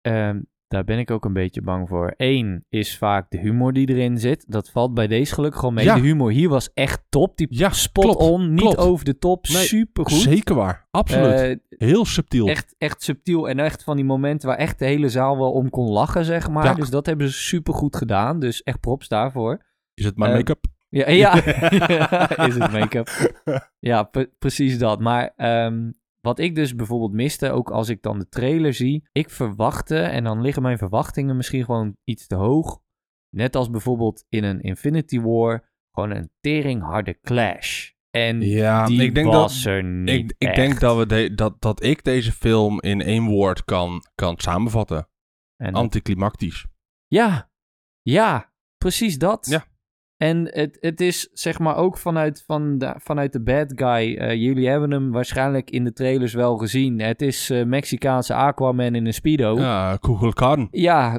S1: Ehm, daar ben ik ook een beetje bang voor. Eén is vaak de humor die erin zit. Dat valt bij deze gelukkig gewoon mee.
S2: Ja.
S1: De humor hier was echt top. Die
S2: Ja,
S1: spot
S2: klopt,
S1: on, niet
S2: klopt.
S1: over de top,
S2: Nee,
S1: supergoed.
S2: Zeker waar. Absoluut.
S1: Eh,
S2: Heel subtiel.
S1: echt, echt subtiel en echt van die momenten waar echt de hele zaal wel om kon lachen, zeg maar.
S2: Ja.
S1: Dus dat hebben ze super goed gedaan. Dus echt props daarvoor.
S2: is het maar
S1: eh,
S2: make-up?
S1: Ja, ja. is het make-up. Ja, pre- precies dat. Maar ehm, wat ik dus bijvoorbeeld miste, ook als ik dan de trailer zie, ik verwachtte, en dan liggen mijn verwachtingen misschien gewoon iets te hoog. Net als bijvoorbeeld in een Infinity War, gewoon een teringharde clash. En
S2: Ja,
S1: mm, die
S2: ik denk dat,
S1: was er niet
S2: Ik, ik denk
S1: echt.
S2: dat, we de- dat, dat ik deze film in één woord kan, kan samenvatten.
S1: En dat-
S2: Anticlimactisch.
S1: Ja, ja, precies dat.
S2: Ja.
S1: En het, het is zeg maar ook vanuit, van de, vanuit de bad guy. eh, jullie hebben hem waarschijnlijk in de trailers wel gezien. Het is eh, Mexicaanse Aquaman in een speedo. Ja,
S2: Ja, Kugelkan.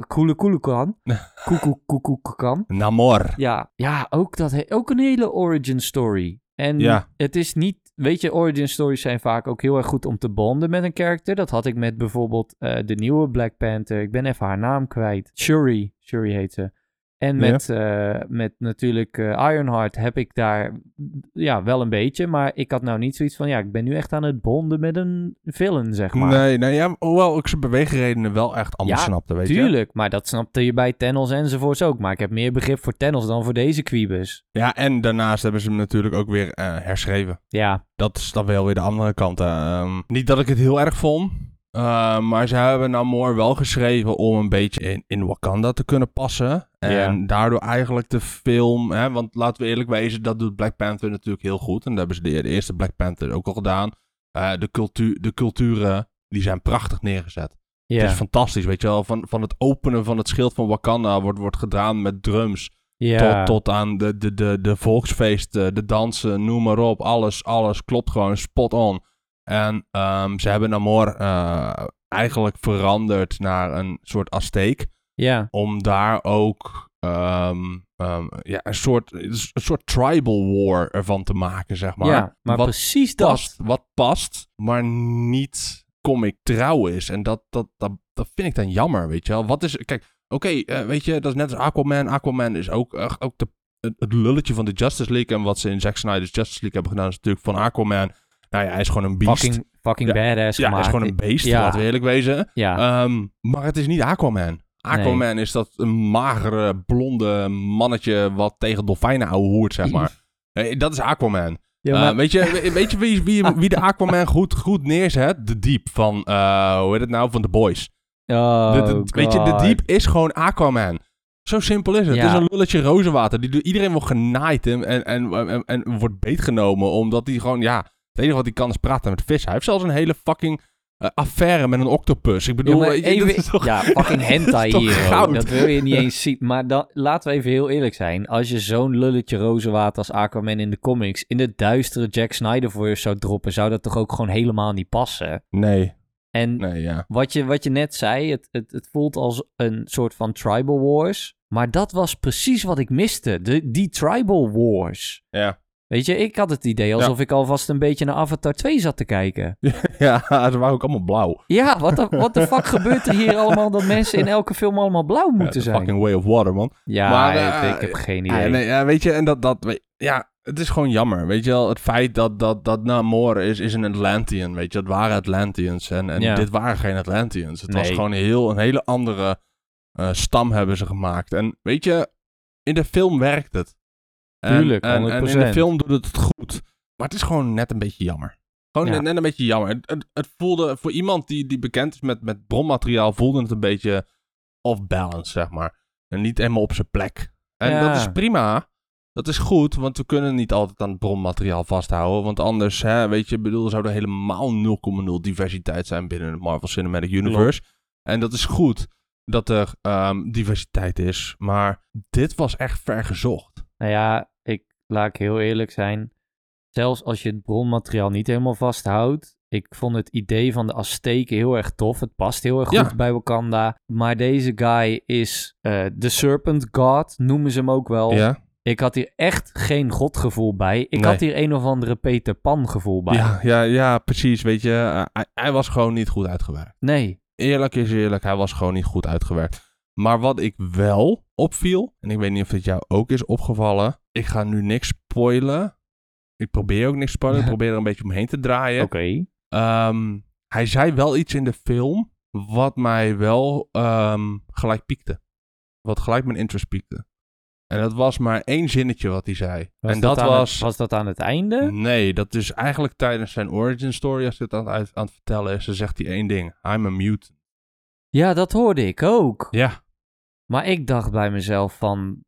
S1: koele koele kan. Koekoe koekoe kan.
S2: Namor.
S1: Ja, ja ook, dat, he- ook een hele origin story. En
S2: Ja.
S1: het is niet... Weet je, origin stories zijn vaak ook heel erg goed om te bonden met een karakter. Dat had ik met bijvoorbeeld eh, de nieuwe Black Panther. Ik ben even haar naam kwijt. Shuri. Shuri heet ze. En
S2: Ja.
S1: met, eh, met natuurlijk eh, Ironheart heb ik daar mm, ja, wel een beetje. Maar ik had nou niet zoiets van... Ja, ik ben nu echt aan het bonden met een villain, zeg maar.
S2: Nee, nee ja, hoewel ik zijn beweegredenen wel echt anders
S1: Ja,
S2: snapte, weet je.
S1: Tuurlijk, maar dat snapte je bij Tennels enzovoorts ook. Maar ik heb meer begrip voor Tennels dan voor deze kwiebus.
S2: Ja, en daarnaast hebben ze hem natuurlijk ook weer eh, herschreven.
S1: Ja,
S2: Dat is dan wel weer de andere kant. eh, ehm. niet dat ik het heel erg vond. eh, maar ze hebben Namor wel geschreven om een beetje in, in Wakanda te kunnen passen. En
S1: Ja.
S2: daardoor eigenlijk de film... Hè, want laten we eerlijk wezen, dat doet Black Panther natuurlijk heel goed. En dat hebben ze de, de eerste Black Panther ook al gedaan. Eh, de, cultuur, de culturen, die zijn prachtig neergezet.
S1: ja,
S2: Het is fantastisch, weet je wel. Van, van het openen van het schild van Wakanda wordt, wordt gedaan met drums.
S1: ja.
S2: Tot, tot aan de, de, de, de volksfeesten, de dansen, noem maar op. Alles, alles klopt gewoon spot on. En ehm, ze hebben Namor eh, eigenlijk veranderd naar een soort Azteek.
S1: ja.
S2: Om daar ook ehm, ehm, ja, een, soort, een soort tribal war ervan te maken, zeg maar.
S1: ja, maar
S2: wat
S1: precies dat.
S2: past, wat past, maar niet comic trouw is. En dat, dat, dat, dat vind ik dan jammer, weet je wel. Wat is, kijk, oké, eh, weet je, dat is net als Aquaman. Aquaman is ook, eh, ook de, het, het lulletje van de Justice League. En wat ze in Zack Snyder's Justice League hebben gedaan is natuurlijk van Aquaman. Nou ja, hij is gewoon een beest.
S1: Fucking, fucking
S2: Ja,
S1: badass
S2: ja, hij
S1: gemaakt.
S2: is gewoon een beest,
S1: Ja.
S2: laten we eerlijk wezen.
S1: Ja,
S2: Ehm, maar het is niet Aquaman. Aquaman is dat een magere, blonde mannetje wat tegen dolfijnen ouwehoert, zeg maar. Eh, Dat is Aquaman.
S1: Ja,
S2: Eh,
S1: maar-
S2: weet je, we- weet je wie, wie, wie de Aquaman goed, goed neerzet? De Diep van, eh, hoe heet het nou, van The Boys.
S1: Oh,
S2: De- de- weet je, de
S1: God.
S2: Diep is gewoon Aquaman. Zo simpel is het.
S1: Ja.
S2: Het is een lulletje rozenwater. Die, door iedereen wordt genaaid en, en, en, en, en wordt beetgenomen. Omdat hij gewoon, ja, het enige wat hij kan is praten met vissen. Hij heeft zelfs een hele fucking eh, affaire met een octopus. Ik
S1: Ja,
S2: bedoel,
S1: maar
S2: weet je, dat
S1: even-
S2: is toch-
S1: ja, fucking
S2: dat is
S1: hentai
S2: toch
S1: hier. hoor.
S2: goud?
S1: Dat wil je niet eens zien. Maar dan, laten we even heel eerlijk zijn. Als je zo'n lulletje rozenwater als Aquaman in de comics... in de duistere Jack Snyder voor je zou droppen... zou dat toch ook gewoon helemaal niet passen?
S2: Nee,
S1: En
S2: nee, ja.
S1: wat, je, wat je net zei, het, het, het voelt als een soort van tribal wars. Maar dat was precies wat ik miste. De, die tribal wars.
S2: Ja.
S1: Weet je, ik had het idee alsof ik alvast een beetje naar Avatar 2 zat te kijken.
S2: Ja, ze waren ook allemaal blauw.
S1: Ja, wat de, what the fuck gebeurt er hier allemaal dat mensen in elke film allemaal blauw
S2: Ja,
S1: moeten
S2: the
S1: zijn?
S2: Eh, fucking way of water, man.
S1: Ja,
S2: Maar,
S1: ik,
S2: eh,
S1: ik heb geen idee.
S2: Ja, nee, ja, weet je, en dat, dat, we- ja, het is gewoon jammer. Weet je wel, het feit dat, dat, dat Namor is, is een Atlantean, weet je, dat waren Atlanteans. En, en
S1: Ja.
S2: dit waren geen Atlanteans. Het was
S1: Nee.
S2: gewoon heel, een hele andere eh, stam hebben ze gemaakt. En weet je, in de film werkt het. En,
S1: Tuurlijk,
S2: en, en in de
S1: 100%.
S2: film doet het het goed. Maar het is gewoon net een beetje jammer. Gewoon
S1: Ja.
S2: net, net een beetje jammer. Het, het, het voelde, voor iemand die, die bekend is met, met bronmateriaal, voelde het een beetje off-balance, zeg maar. En niet helemaal op zijn plek. En
S1: Ja.
S2: dat is prima. Dat is goed, want we kunnen niet altijd aan het bronmateriaal vasthouden. Want anders, hè, weet je, ik bedoel, zou er helemaal 0,0 diversiteit zijn binnen het Marvel Cinematic Universe. En dat is goed dat er ehm, diversiteit is. Maar dit was echt vergezocht.
S1: Nou ja, ik laat ik heel eerlijk zijn. Zelfs als je het bronmateriaal niet helemaal vasthoudt. Ik vond het idee van de Azteken heel erg tof. Het past heel erg
S2: Ja.
S1: goed bij Wakanda. Maar deze guy is eh, de Serpent God, noemen ze hem ook wel.
S2: Ja?
S1: Ik had hier echt geen godgevoel bij. Ik
S2: Nee.
S1: had hier een of andere Peter Pan gevoel bij.
S2: Ja, ja, ja, precies. Weet je, eh, hij, hij was gewoon niet goed uitgewerkt.
S1: Nee.
S2: Eerlijk is eerlijk, hij was gewoon niet goed uitgewerkt. Maar wat ik wel opviel, en ik weet niet of het jou ook is opgevallen. Ik ga nu niks spoilen. Ik probeer ook niks te spoilen. Ik probeer er een beetje omheen te draaien.
S1: Oké.
S2: Ehm, hij zei wel iets in de film wat mij wel ehm, gelijk piekte. Wat gelijk mijn interest piekte. En dat was maar één zinnetje wat hij zei.
S1: Was
S2: en dat,
S1: aan het-
S2: was... Mm.
S1: was dat aan het einde?
S2: Nee, dat is eigenlijk tijdens zijn origin story, als dit aan het, uit- aan het vertellen is, dan zegt hij één ding. I'm a mutant.
S1: Ja, dat hoorde ik ook.
S2: Ja.
S1: Maar ik dacht bij mezelf van,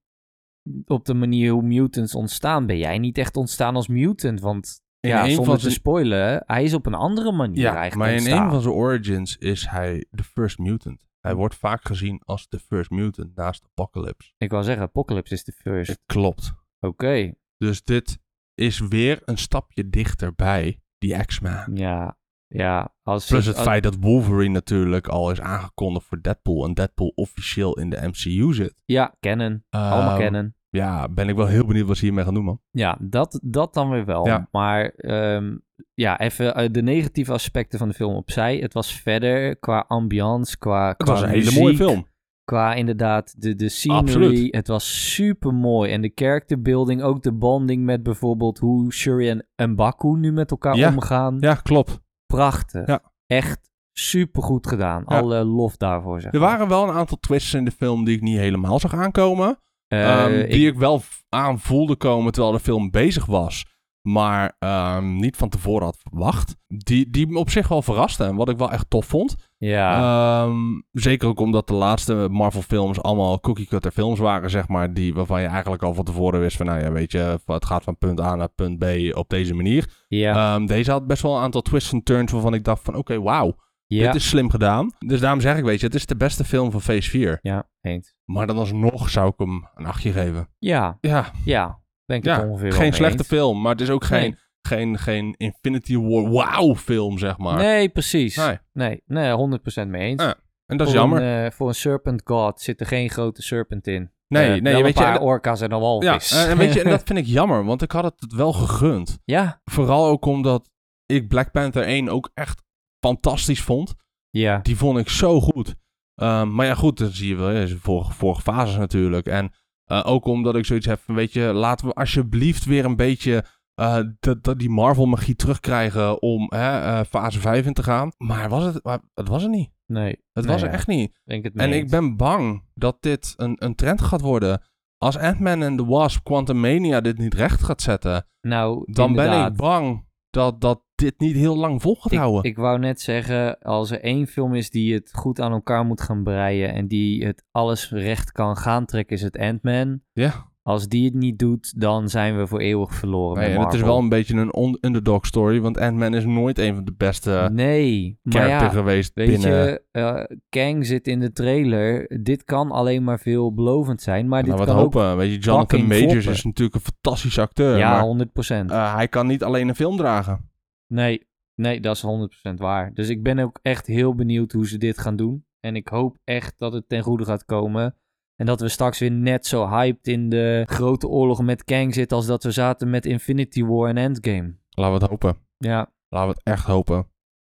S1: op de manier hoe mutants ontstaan, ben jij niet echt ontstaan als mutant? Want
S2: In
S1: ja,
S2: één
S1: zonder
S2: van
S1: te
S2: zijn-
S1: spoilen, hij is op een andere manier
S2: ja
S1: eigenlijk
S2: maar in
S1: ontstaan.
S2: één van zijn origins is hij de first mutant. Hij wordt vaak gezien als de first mutant naast Apocalypse.
S1: Ik wou zeggen, Apocalypse is de first.
S2: Dus Klopt.
S1: Oké,
S2: Dus dit is weer een stapje dichterbij die X-Men.
S1: ja. Ja, als
S2: Plus
S1: het-
S2: het feit dat Wolverine natuurlijk al is aangekondigd voor Deadpool. En Deadpool officieel in de MCU zit.
S1: Ja, kennen. Allemaal
S2: Ehm,
S1: kennen.
S2: Ja, ben ik wel heel benieuwd wat ze hiermee gaan doen, man.
S1: Ja, dat, dat dan weer wel.
S2: Ja.
S1: Maar ehm, ja, even eh, de negatieve aspecten van de film opzij. Het was verder qua ambiance, qua
S2: Het was
S1: qua
S2: een hele
S1: muziek,
S2: mooie film.
S1: Qua inderdaad de, de scenery.
S2: Absoluut.
S1: Het was super mooi. En de character building, ook de bonding met bijvoorbeeld hoe Shuri en, en Baku nu met elkaar
S2: Ja.
S1: omgaan.
S2: Ja, klopt.
S1: Prachtig.
S2: Ja.
S1: Echt super goed gedaan.
S2: Ja.
S1: Alle lof daarvoor. Zeg
S2: Er
S1: maar.
S2: waren wel een aantal twists in de film die ik niet helemaal zag aankomen.
S1: Eh,
S2: ehm,
S1: ik-
S2: die ik wel v- aan voelde komen terwijl de film bezig was. Maar ehm, niet van tevoren had verwacht. Die, die me op zich wel verraste en wat ik wel echt tof vond.
S1: ja.
S2: Ehm, zeker ook omdat de laatste Marvel films allemaal cookie cutter films waren, zeg maar. Die, waarvan je eigenlijk al van tevoren wist van, nou ja, weet je, het gaat van punt A naar punt B op deze manier.
S1: ja.
S2: Ehm, deze had best wel een aantal twists en turns waarvan ik dacht van, oké, wauw,
S1: ja.
S2: dit is slim gedaan. Dus daarom zeg ik, weet je, het is de beste film van Phase 4.
S1: Ja. Eens.
S2: Maar dan alsnog zou ik hem een achtje geven.
S1: Ja.
S2: Ja,
S1: Ja. Ben ik het
S2: ja
S1: ongeveer wel mee
S2: geen slechte
S1: eens.
S2: film, maar het is ook geen,
S1: Nee.
S2: geen, geen Infinity War wow film, zeg maar.
S1: Nee, precies.
S2: Nee.
S1: Nee, nee, 100% mee eens.
S2: Ja, En dat is
S1: Voor
S2: jammer.
S1: Een, eh, voor een Serpent God zit er geen grote serpent in.
S2: Nee,
S1: Eh, wel
S2: nee, weet
S1: een
S2: je,
S1: paar
S2: en dat-
S1: orka's en een
S2: Ja, eh,
S1: walvis.
S2: en en weet je, en dat vind ik jammer, want ik had het het wel gegund.
S1: ja.
S2: Vooral ook omdat ik Black Panther 1 ook echt fantastisch vond.
S1: Ja.
S2: Die vond ik zo goed. Ehm, maar ja, goed, dan zie je wel, ja, vorige, vorige fases natuurlijk. En eh, ook omdat ik zoiets heb van, weet je, laten we alsjeblieft weer een beetje eh, dat, dat die Marvel-magie terugkrijgen om hè, eh, fase 5 in te gaan. Maar was het, maar het was het niet.
S1: Nee.
S2: Het
S1: Nee,
S2: was
S1: ja.
S2: er echt niet.
S1: Denk het mee
S2: En ik
S1: eens.
S2: ben bang dat dit een, een trend gaat worden. Als Ant-Man en the Wasp Quantumania dit niet recht gaat zetten,
S1: nou,
S2: dan ben
S1: inderdaad.
S2: ik bang dat, dat dit niet heel lang vol gaat houden.
S1: Ik, ik wou net zeggen, als er één film is die het goed aan elkaar moet gaan breien en die het alles recht kan gaan trekken, is het Ant-Man.
S2: Ja.
S1: Als die het niet doet, dan zijn we voor eeuwig verloren.
S2: Nee,
S1: met
S2: en het is wel
S1: Marvel.
S2: een beetje een on- underdog story, want Ant-Man is nooit een van de beste
S1: nee, maar
S2: character
S1: ja,
S2: geweest
S1: Weet
S2: binnen...
S1: je, eh, Kang zit in de trailer. Dit kan alleen maar veelbelovend zijn, maar dit
S2: nou, wat
S1: kan ook...
S2: hopen. Weet je, Jonathan
S1: fucking
S2: Majors
S1: floppen.
S2: is natuurlijk een fantastisch acteur,
S1: Ja,
S2: maar
S1: 100%.
S2: eh, hij kan niet alleen een film dragen.
S1: nee, nee, dat is 100% waar. Dus ik ben ook echt heel benieuwd hoe ze dit gaan doen. En ik hoop echt dat het ten goede gaat komen. En dat we straks weer net zo hyped in de grote oorlog met Kang zitten als dat we zaten met Infinity War en Endgame.
S2: Laten we het hopen.
S1: Ja.
S2: Laten we het echt hopen.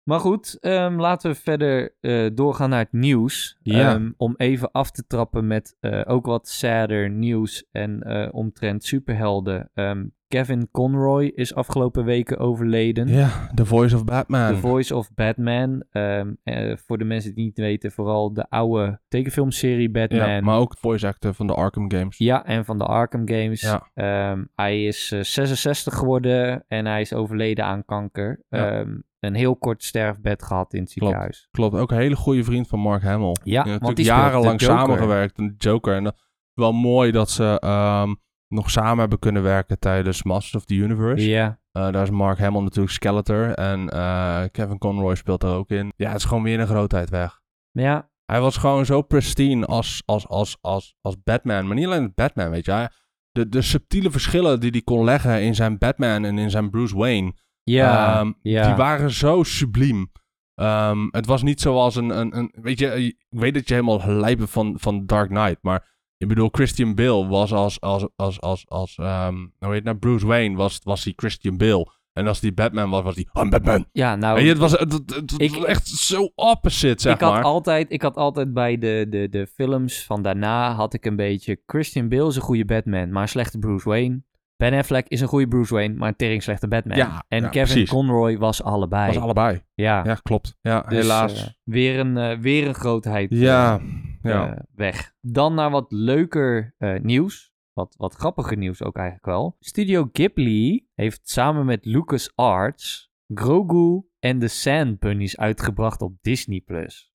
S1: Maar goed, ehm, laten we verder eh, doorgaan naar het nieuws.
S2: Ja.
S1: Ehm, om even af te trappen met eh, ook wat sadder nieuws en eh, omtrent superhelden. Ehm, Kevin Conroy is afgelopen weken overleden.
S2: Ja, The Voice of Batman.
S1: The Voice of Batman. Ehm, eh, voor de mensen die het niet weten, vooral de oude tekenfilmserie Batman.
S2: ja, maar ook voice actor van de Arkham Games.
S1: Ja, en van de Arkham Games.
S2: Ja.
S1: Ehm, hij is eh, 66 geworden en hij is overleden aan kanker.
S2: Ja.
S1: Ehm, een heel kort sterfbed gehad in het
S2: Klopt.
S1: ziekenhuis.
S2: Klopt, ook een hele goede vriend van Mark Hamill.
S1: Ja,
S2: Die heeft
S1: want die
S2: natuurlijk
S1: speelt
S2: jarenlang
S1: de Joker.
S2: samengewerkt aan de Joker. En dat is wel mooi dat ze ehm, nog samen hebben kunnen werken tijdens Masters of the Universe.
S1: Ja,
S2: Eh, daar is Mark Hamill natuurlijk Skeletor. En eh, Kevin Conroy speelt er ook in. Ja, het is gewoon weer een grootheid weg.
S1: ja,
S2: Hij was gewoon zo pristine als, als, als, als, als Batman. Maar niet alleen als Batman, weet je. Hij- de, de subtiele verschillen die hij kon leggen in zijn Batman en in zijn Bruce Wayne.
S1: ja,
S2: Ehm,
S1: ja.
S2: Die waren zo subliem. Ehm, het was niet zoals een, een, een... Weet je, eh, ik weet dat je helemaal lijpen van, van Dark Knight, maar... Ik bedoel, Christian Bale was als... als, als, als, als ehm, hoe heet het nou? Bruce Wayne was, was hij Christian Bale. En als die Batman was, was hij... I'm Batman.
S1: ja, nou,
S2: Weet je, het was, het, het- het- het
S1: Ik-
S2: was echt zo opposite, zeg
S1: ik, had
S2: maar.
S1: altijd, ik had altijd bij de, de, de films van daarna had ik een beetje... Christian Bale is een goede Batman, maar een slechte Bruce Wayne. Ben Affleck is een goede Bruce Wayne, maar een tering slechte Batman.
S2: Ja,
S1: en
S2: ja,
S1: Kevin
S2: precies.
S1: Conroy was allebei.
S2: was allebei.
S1: Ja,
S2: Ja, klopt. Ja,
S1: dus,
S2: helaas.
S1: eh, weer, een, eh, weer een grootheid. eh,
S2: ja, ja.
S1: eh, weg. Dan naar wat leuker eh, nieuws. Wat, wat grappiger nieuws ook eigenlijk wel. Studio Ghibli heeft samen met LucasArts Grogu en de Sand Bunnies uitgebracht op Disney+.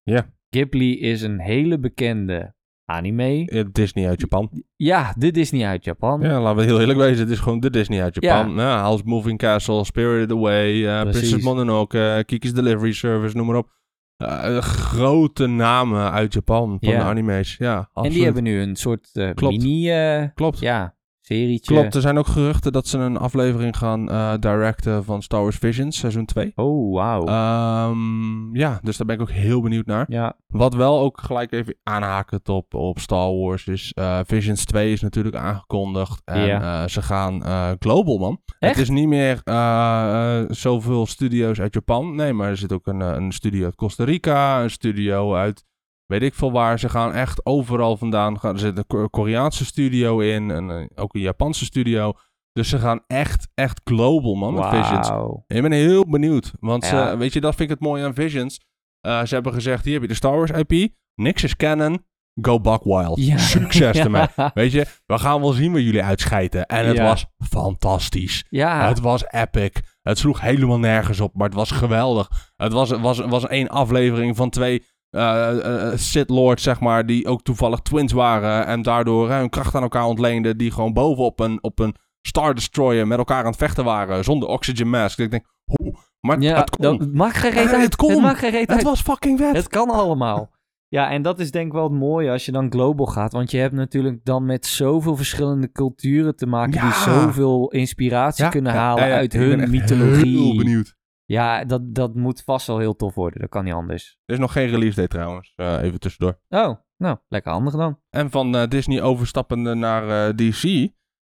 S2: Ja.
S1: Ghibli is een hele bekende anime.
S2: Eh, Disney uit Japan.
S1: Ja, de Disney uit Japan.
S2: Ja, laten we heel eerlijk wezen. Het is gewoon de Disney uit Japan.
S1: Ja.
S2: Nou, House Moving Castle, Spirited Away, eh,
S1: Precies.
S2: Princess Mononoke, eh, Kiki's Delivery Service, noem maar op. Eh, grote namen uit Japan van
S1: Ja.
S2: de animes. Ja, absoluut.
S1: en die hebben nu een soort eh,
S2: Klopt.
S1: mini eh
S2: Klopt.
S1: ja, serietje.
S2: Klopt, er zijn ook geruchten dat ze een aflevering gaan eh, directen van Star Wars Visions, seizoen 2.
S1: Oh, wauw.
S2: Eh, Ehm, ja, dus daar ben ik ook heel benieuwd naar.
S1: ja,
S2: Wat wel ook gelijk even aanhakend op, op Star Wars is... eh, Visions 2 is natuurlijk aangekondigd. En
S1: Ja.
S2: eh, ze gaan eh, global, man.
S1: Echt?
S2: Het is niet meer eh, eh, zoveel studio's uit Japan. Nee, maar er zit ook een, eh, een studio uit Costa Rica. Een studio uit weet ik veel waar. Ze gaan echt overal vandaan. Gaan, er zit een Ko- Koreaanse studio in. En eh, ook een Japanse studio. Dus ze gaan echt, echt global, man, met Visions.
S1: wauw.
S2: Ik ben heel benieuwd. Want
S1: Ja.
S2: ze- weet je, dat vind ik het mooie aan Visions. Eh, ze hebben gezegd, hier heb je de Star Wars IP. Niks is canon. Go buck wild.
S1: Ja.
S2: Succes ermee.
S1: Ja,
S2: Weet je, we gaan wel zien waar jullie uitscheiden. En het
S1: Ja.
S2: was fantastisch.
S1: Ah.
S2: Het was epic. Het sloeg helemaal nergens op, maar het was geweldig. Het was, was, was één aflevering van twee eh eh Sith Lords, zeg maar, die ook toevallig twins waren. En daardoor eh, hun kracht aan elkaar ontleenden. Die gewoon bovenop een, op een Star Destroyer met elkaar aan het vechten waren. Zonder oxygen mask. Ik denk, hoe? Maar
S1: ja,
S2: het kon.
S1: dat- het maakt geen reet
S2: Het
S1: uit.
S2: kon.
S1: Het maakt geen reet
S2: Het
S1: uit.
S2: was fucking vet.
S1: Het kan allemaal. Ja, en dat is denk ik wel het mooie als je dan global gaat. Want je hebt natuurlijk dan met zoveel verschillende culturen te maken...
S2: Ja.
S1: die zoveel inspiratie
S2: Ja,
S1: kunnen
S2: ja,
S1: halen
S2: ja, ja.
S1: uit
S2: Ik ben
S1: hun
S2: echt
S1: mythologie.
S2: heel benieuwd.
S1: Ja, dat, dat moet vast wel heel tof worden. Dat kan niet anders.
S2: Er is nog geen release date trouwens. Eh, even tussendoor.
S1: Oh, nou, lekker handig dan.
S2: En van eh, Disney overstappende naar eh, DC.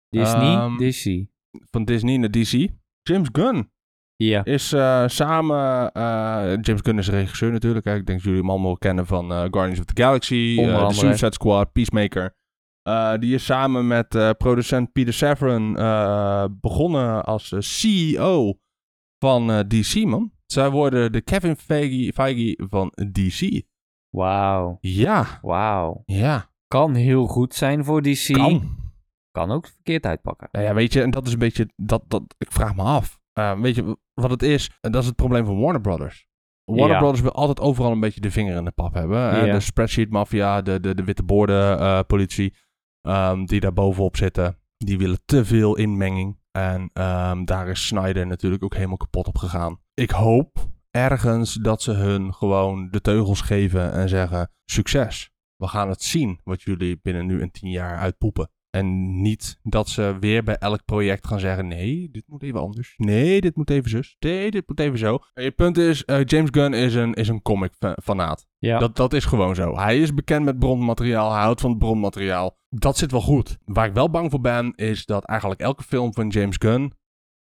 S1: Disney,
S2: Ehm.
S1: Disney.
S2: Van Disney naar DC. James Gunn.
S1: Ja,
S2: is eh, samen. eh, James Gunn is regisseur natuurlijk. Hè? Ik denk dat jullie hem allemaal wel kennen van eh, Guardians of the Galaxy,
S1: Onder
S2: eh,
S1: andere.
S2: The Suicide Squad, Peacemaker. Eh, die is samen met eh, producent Peter Safran eh, begonnen als eh, CEO van eh, DC, man. Zij worden de Kevin Feige, Feige van DC.
S1: wauw,
S2: Ja,
S1: wauw.
S2: ja,
S1: Kan heel goed zijn voor DC.
S2: kan.
S1: Kan ook verkeerd uitpakken.
S2: Nou ja, weet je, en dat is een beetje, dat, dat, ik vraag me af. Eh, weet je wat het is? En dat is het probleem van Warner Brothers. Warner
S1: Ja.
S2: Brothers wil altijd overal een beetje de vinger in de pap hebben. Eh,
S1: Ja.
S2: De spreadsheet mafia, de, de, de witte borden eh, politie, ehm, die daar bovenop zitten. Die willen te veel inmenging. En ehm, daar is Snyder natuurlijk ook helemaal kapot op gegaan. Ik hoop ergens dat ze hun gewoon de teugels geven en zeggen: succes. We gaan het zien wat jullie binnen nu en tien jaar uitpoepen. En niet dat ze weer bij elk project gaan zeggen: nee, dit moet even anders. Nee, dit moet even zus. Nee, dit moet even zo. En je punt is: eh, James Gunn is een, is een comic-fanaat.
S1: Ja.
S2: Dat, dat is gewoon zo. Hij is bekend met bronmateriaal. Hij houdt van het bronmateriaal. Dat zit wel goed. Waar ik wel bang voor ben, is dat eigenlijk elke film van James Gunn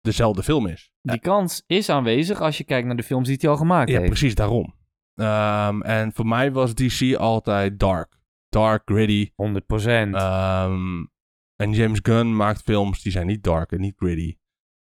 S2: dezelfde film is.
S1: Die kans is aanwezig als je kijkt naar de films die hij al gemaakt
S2: Ja,
S1: heeft.
S2: precies daarom. Ehm, en voor mij was DC altijd dark. Dark, gritty.
S1: 100
S2: Ehm, en James Gunn maakt films die zijn niet dark en niet gritty.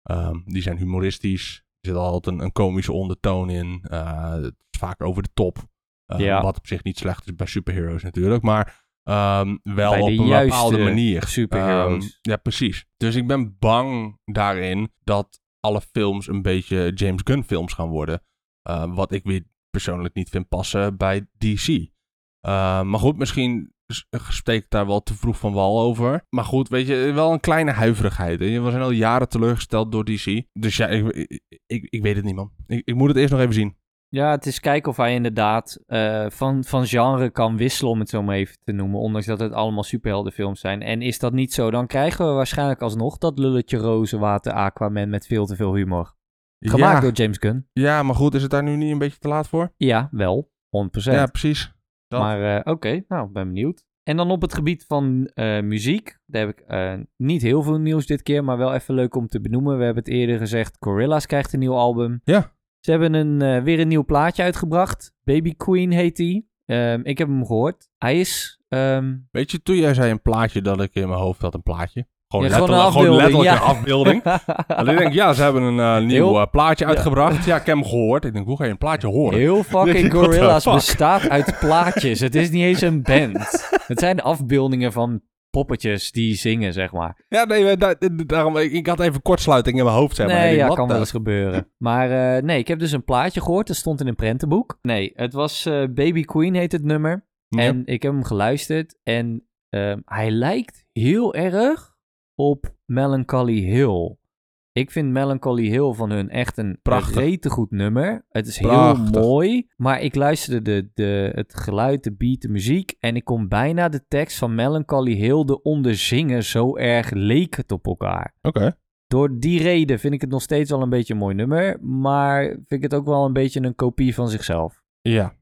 S2: Ehm, die zijn humoristisch. Er zit altijd een, een komische ondertoon in. Eh, het is vaak over de top. Ehm,
S1: Ja.
S2: Wat op zich niet slecht is bij superheroes natuurlijk. Maar ehm, wel
S1: Bij de
S2: op een
S1: juiste
S2: bepaalde manier.
S1: superheroes.
S2: Ehm, ja, precies. Dus ik ben bang daarin dat alle films een beetje James Gunn films gaan worden. Eh, wat ik weer persoonlijk niet vind passen bij DC. Eh, maar goed, misschien s- steek ik daar wel te vroeg van wal over. Maar goed, weet je, wel een kleine huiverigheid. hè. We zijn al jaren teleurgesteld door DC. Dus ja, ik, ik, ik, ik weet het niet, man. Ik, ik moet het eerst nog even zien.
S1: Ja, het is kijken of hij inderdaad eh, van, van genre kan wisselen, om het zo maar even te noemen. Ondanks dat het allemaal superheldenfilms zijn. En is dat niet zo, dan krijgen we waarschijnlijk alsnog dat lulletje rozenwater Aquaman met veel te veel humor. Gemaakt
S2: ja,
S1: door James Gunn.
S2: ja, maar goed, is het daar nu niet een beetje te laat voor?
S1: Ja, wel. 100%.
S2: Ja, precies. dat.
S1: Maar eh, oké, nou, ben benieuwd. En dan op het gebied van eh, muziek. Daar heb ik eh, niet heel veel nieuws dit keer, maar wel even leuk om te benoemen. We hebben het eerder gezegd, Gorillaz krijgt een nieuw album.
S2: Ja.
S1: Ze hebben een, eh, weer een nieuw plaatje uitgebracht. Baby Queen heet die. Ehm, ik heb hem gehoord. Hij is... ehm,
S2: Weet je, toen jij zei een plaatje dat ik in mijn hoofd had, een plaatje. Gewoon,
S1: Ja, gewoon
S2: letterlijk,
S1: een
S2: gewoon
S1: afbeelding,
S2: letterlijk een afbeelding. Alleen denk ik, ja, ze hebben een eh, nieuw
S1: Heel-
S2: eh, plaatje uitgebracht. Ja, ik heb hem gehoord. Ik denk, hoe ga je een plaatje horen?
S1: heel fucking
S2: Denk ik, what the
S1: Gorillaz
S2: fuck?
S1: bestaat uit plaatjes. het is niet eens een band. het zijn afbeeldingen van poppetjes die zingen, zeg maar.
S2: Ja, nee, maar da- daarom, ik, ik had even kortsluiting in mijn hoofd, zeg maar. Ik
S1: Nee,
S2: denk,
S1: ja,
S2: what
S1: kan
S2: the-
S1: wel eens gebeuren. Maar eh, nee, ik heb dus een plaatje gehoord. Dat stond in een prentenboek. Nee, het was eh, Baby Queen heet het nummer.
S2: Ja.
S1: En ik heb hem geluisterd. En ehm, hij lijkt heel erg op Melancholy Hill. Ik vind Melancholy Hill van hun echt een
S2: Prachtig.
S1: rete goed nummer. Het is
S2: Prachtig.
S1: heel mooi. Maar ik luisterde de, de, het geluid, de beat, de muziek. En ik kon bijna de tekst van Melancholy Hill eronder zingen. Zo erg leek het op elkaar.
S2: Oké.
S1: Door die reden vind ik het nog steeds wel een beetje een mooi nummer. Maar vind ik het ook wel een beetje een kopie van zichzelf.
S2: Ja.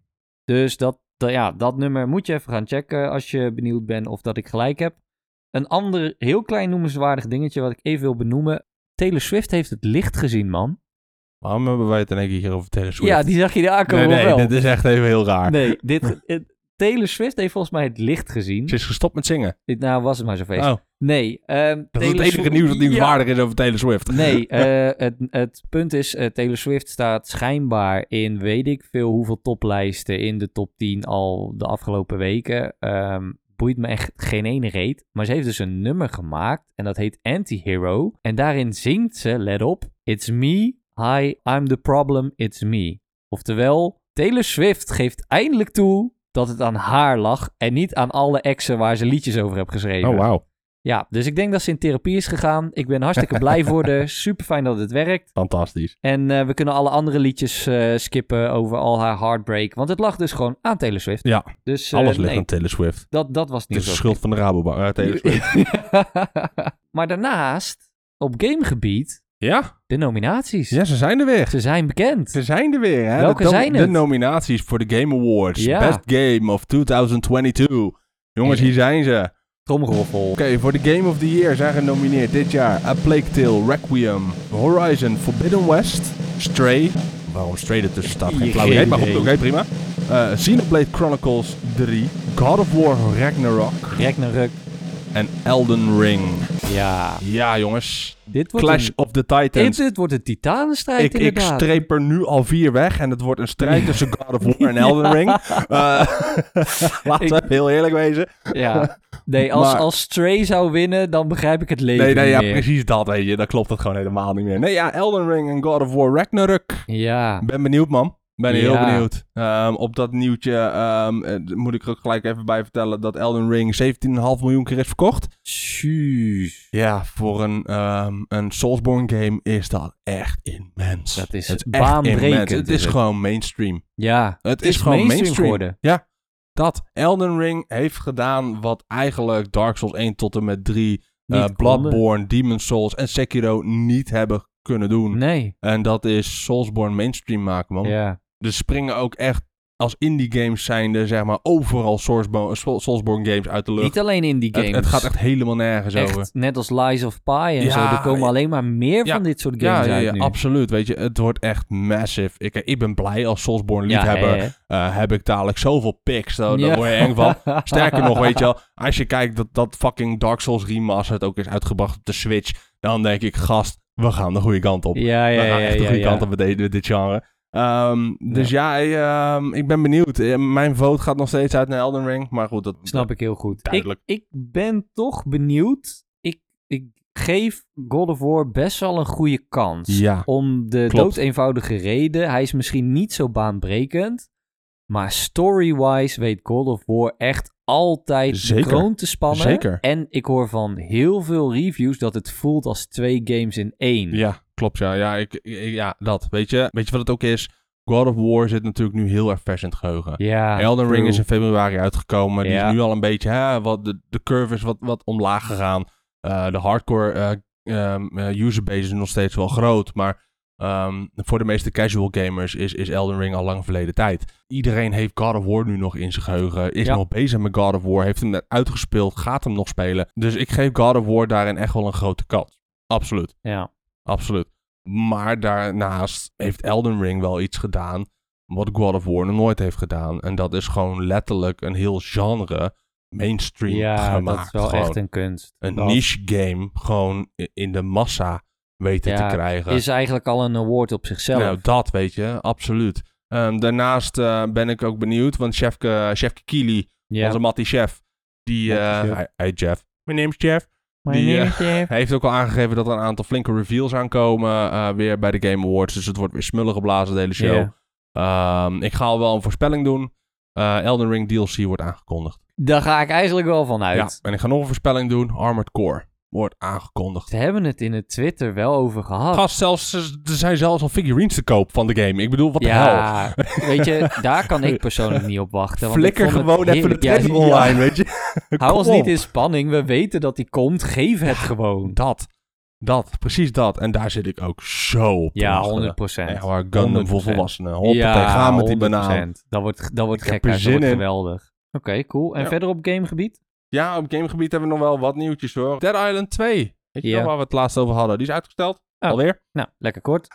S1: Dus dat, dat- ja, dat nummer moet je even gaan checken als je benieuwd bent of dat ik gelijk heb. Een ander heel klein noemenswaardig dingetje wat ik even wil benoemen. Taylor Swift heeft het licht gezien, man.
S2: Waarom hebben wij het in één keer hier over Taylor Swift?
S1: Ja, die zag je daar
S2: nee,
S1: aankomen
S2: nee,
S1: wel.
S2: dit is echt even heel raar.
S1: Nee, dit, het- Taylor Swift heeft volgens mij het licht gezien.
S2: Ze is gestopt met zingen.
S1: Dit- Nou, was het maar zo'n feest.
S2: Oh,
S1: Nee. ehm
S2: dat is het enige nieuws dat nieuwswaardig is over Taylor Swift.
S1: Nee, eh, het, het punt is, eh, Taylor Swift staat schijnbaar in weet ik veel hoeveel toplijsten in de top 10 al de afgelopen weken. Ehm, boeit me echt geen ene reet. Maar ze heeft dus een nummer gemaakt en dat heet Anti-Hero. En daarin zingt ze, let op, It's me, hi, I'm the problem, it's me. Oftewel, Taylor Swift geeft eindelijk toe dat het aan haar lag en niet aan alle exen waar ze liedjes over heeft geschreven.
S2: Oh, wauw.
S1: Ja, dus ik denk dat ze in therapie is gegaan. Ik ben hartstikke blij voor haar. Super fijn dat het werkt.
S2: Fantastisch.
S1: En eh, we kunnen alle andere liedjes eh, skippen over al haar heartbreak. Want het lag dus gewoon aan Taylor Swift.
S2: Ja,
S1: Dus eh,
S2: alles ligt
S1: nee,
S2: aan Taylor Swift.
S1: dat, dat was
S2: Het
S1: niet
S2: is de schuld van de Rabobank. eh, Taylor Swift.
S1: maar daarnaast, op gamegebied,
S2: Ja?
S1: de nominaties.
S2: Ja, ze zijn er weer.
S1: Ze zijn bekend.
S2: Ze zijn er weer, hè?
S1: Welke
S2: de, nom-
S1: zijn
S2: De
S1: het?
S2: nominaties voor de Game Awards.
S1: Ja.
S2: Best Game of 2022. Jongens, hier zijn ze. Oké,
S1: Tromgeroffel.
S2: voor de Game of the Year zijn genomineerd dit jaar... A Plague Tale, Requiem, Horizon, Forbidden West, Stray... Waarom Stray ertussen staat, geen
S1: Geen
S2: flauw idee, maar goed, oké,
S1: idee.
S2: prima. Eh Xenoblade Chronicles 3, God of War Ragnarok
S1: Rek naar ruk.
S2: en Elden Ring.
S1: Ja,
S2: Ja, jongens.
S1: dit wordt
S2: Clash
S1: een...
S2: of the Titans.
S1: Dit, dit wordt een titanenstrijd
S2: Ik, ik
S1: inderdaad.
S2: streep er nu al vier weg en het wordt een strijd tussen God of War en Elden Ring. Eh, laten we
S1: Ik-
S2: heel eerlijk wezen.
S1: Ja. Nee, als,
S2: Maar-
S1: als Stray zou winnen, dan begrijp ik het leven
S2: Nee, nee, ja,
S1: niet meer.
S2: precies dat, weet je. Dan klopt het gewoon helemaal niet meer. Nee, ja, Elden Ring en God of War Ragnarok.
S1: Ja.
S2: Ben benieuwd, man. Ben heel
S1: Ja.
S2: benieuwd. Ehm, op dat nieuwtje ehm, eh, moet ik er ook gelijk even bij vertellen dat Elden Ring 17,5 miljoen keer is verkocht.
S1: Tjuus.
S2: Ja, voor een, ehm, een Soulsborne game is dat echt immens.
S1: Dat is
S2: Het echt
S1: baanbrekend,
S2: immens. Het
S1: is
S2: is
S1: het.
S2: gewoon mainstream.
S1: Ja.
S2: Het is,
S1: is
S2: gewoon mainstream.
S1: mainstream geworden.
S2: Ja. dat Elden Ring heeft gedaan wat eigenlijk Dark Souls 1 tot en met 3, eh,
S1: Niet
S2: Bloodborne, Demon's Souls en Sekiro niet hebben kunnen doen.
S1: Nee.
S2: En dat is Soulsborne mainstream maken, man.
S1: Ja.
S2: Er springen ook echt als indie games zijnde, zeg maar, overal Soulsborne, Soulsborne games uit de lucht.
S1: Niet alleen indie
S2: Het-
S1: games.
S2: Het, gaat echt helemaal nergens
S1: Echt,
S2: over.
S1: net als Lies of Pie en
S2: Ja,
S1: zo. Er komen
S2: ja.
S1: alleen maar meer
S2: Ja.
S1: van dit soort
S2: Ja,
S1: games
S2: ja,
S1: uit
S2: ja,
S1: nu.
S2: absoluut. Weet je, het wordt echt massive. Ik, ik ben blij als Soulsborne
S1: Ja,
S2: liefhebber.
S1: hè, hè.
S2: eh, heb ik dadelijk zoveel picks. Oh, Daar, daar
S1: Ja.
S2: word je eng van. Sterker nog, weet je wel, als je kijkt dat, dat fucking Dark Souls Remastered ook is uitgebracht op de Switch, dan denk ik, gast, we gaan de goede kant op.
S1: Ja, ja,
S2: we
S1: ja.
S2: gaan echt de
S1: ja,
S2: goede
S1: ja.
S2: kant op met, deze- met dit genre. Ehm, dus ja, eh, ehm, ik ben benieuwd. Eh, Mijn vote gaat nog steeds uit naar Elden Ring, maar goed, dat
S1: Snap ik heel goed. Ik,
S2: Duidelijk.
S1: ik ben toch benieuwd. Ik, ik geef God of War best wel een goede kans.
S2: Ja.
S1: Om de
S2: Klopt.
S1: doodeenvoudige reden. Hij is misschien niet zo baanbrekend. Maar story-wise weet God of War echt altijd
S2: Zeker.
S1: de kroon te spannen.
S2: Zeker.
S1: En ik hoor van heel veel reviews dat het voelt als twee games in één.
S2: Ja, klopt. Ja, ja, ik, ik- ja dat. Weet je, weet je wat het ook is? God of War zit natuurlijk nu heel erg vers in het geheugen.
S1: Ja,
S2: Elden Ring
S1: true.
S2: is in februari uitgekomen. Die
S1: Ja.
S2: is nu al een beetje, hè, wat, de, de curve is wat, wat omlaag gegaan. Eh, de hardcore eh, ehm, eh, userbase is nog steeds wel groot. Maar ehm, voor de meeste casual gamers is, is Elden Ring al lang verleden tijd. Iedereen heeft God of War nu nog in zijn geheugen. Is
S1: Ja.
S2: nog bezig met God of War. Heeft hem net uitgespeeld. Gaat hem nog spelen. Dus ik geef God of War daarin echt wel een grote kans. Absoluut.
S1: Ja.
S2: Absoluut. Maar daarnaast heeft Elden Ring wel iets gedaan wat God of War nog nooit heeft gedaan. En dat is gewoon letterlijk een heel genre mainstream
S1: ja,
S2: gemaakt.
S1: dat is wel
S2: Gewoon
S1: echt een kunst.
S2: een
S1: Dat
S2: niche game gewoon i- in de massa weten
S1: Ja,
S2: te krijgen.
S1: Is eigenlijk al een award op zichzelf.
S2: nou, dat weet je, absoluut. Ehm, daarnaast eh, ben ik ook benieuwd, want Chefke, Chefke Kili,
S1: ja.
S2: onze Mattie Chef, die...
S1: Mattie
S2: eh,
S1: Chef.
S2: hij, hij Jeff. Mijn name's Jeff.
S1: Maar
S2: die, eh,
S1: nee, Jeff.
S2: Hij heeft ook al aangegeven dat er een aantal flinke reveals aankomen eh, weer bij de Game Awards. Dus het wordt weer smullen geblazen, de hele show.
S1: Ja.
S2: Ehm, ik ga al wel een voorspelling doen. Eh, Elden Ring DLC wordt aangekondigd.
S1: Daar ga ik eigenlijk wel van uit.
S2: Ja, en ik ga nog een voorspelling doen. Armored Core wordt aangekondigd.
S1: Ze hebben het in het Twitter wel over gehad.
S2: Gast, zelfs, er zijn zelfs al figurines te koop van de game. Ik bedoel, wat de hel.
S1: ja, weet je, daar kan ik persoonlijk niet op wachten. want
S2: Flikker
S1: ik vond het
S2: gewoon even de
S1: heerlijk.
S2: trailer
S1: Ja, ja.
S2: online, weet je.
S1: Hou
S2: Kom
S1: ons
S2: op.
S1: niet in spanning. We weten dat die komt. Geef het gewoon.
S2: Dat, dat, precies dat. En daar zit ik ook zo op te
S1: Ja,
S2: wachten.
S1: 100
S2: Echt waar, Gundam voor
S1: 100%.
S2: volwassenen. Hoppatee, ga met die
S1: 100%.
S2: banaan.
S1: Dat wordt, dat wordt
S2: Ik heb
S1: gek. uit, Dat
S2: er zin
S1: wordt
S2: in.
S1: geweldig. Oké, cool. En
S2: Ja.
S1: verder op gamegebied?
S2: Ja, op gamegebied hebben we nog wel wat nieuwtjes hoor. Dead Island 2. Weet je
S1: Ja.
S2: nog waar we het laatst over hadden? Die is uitgesteld.
S1: Oh.
S2: Alweer.
S1: Nou, lekker kort.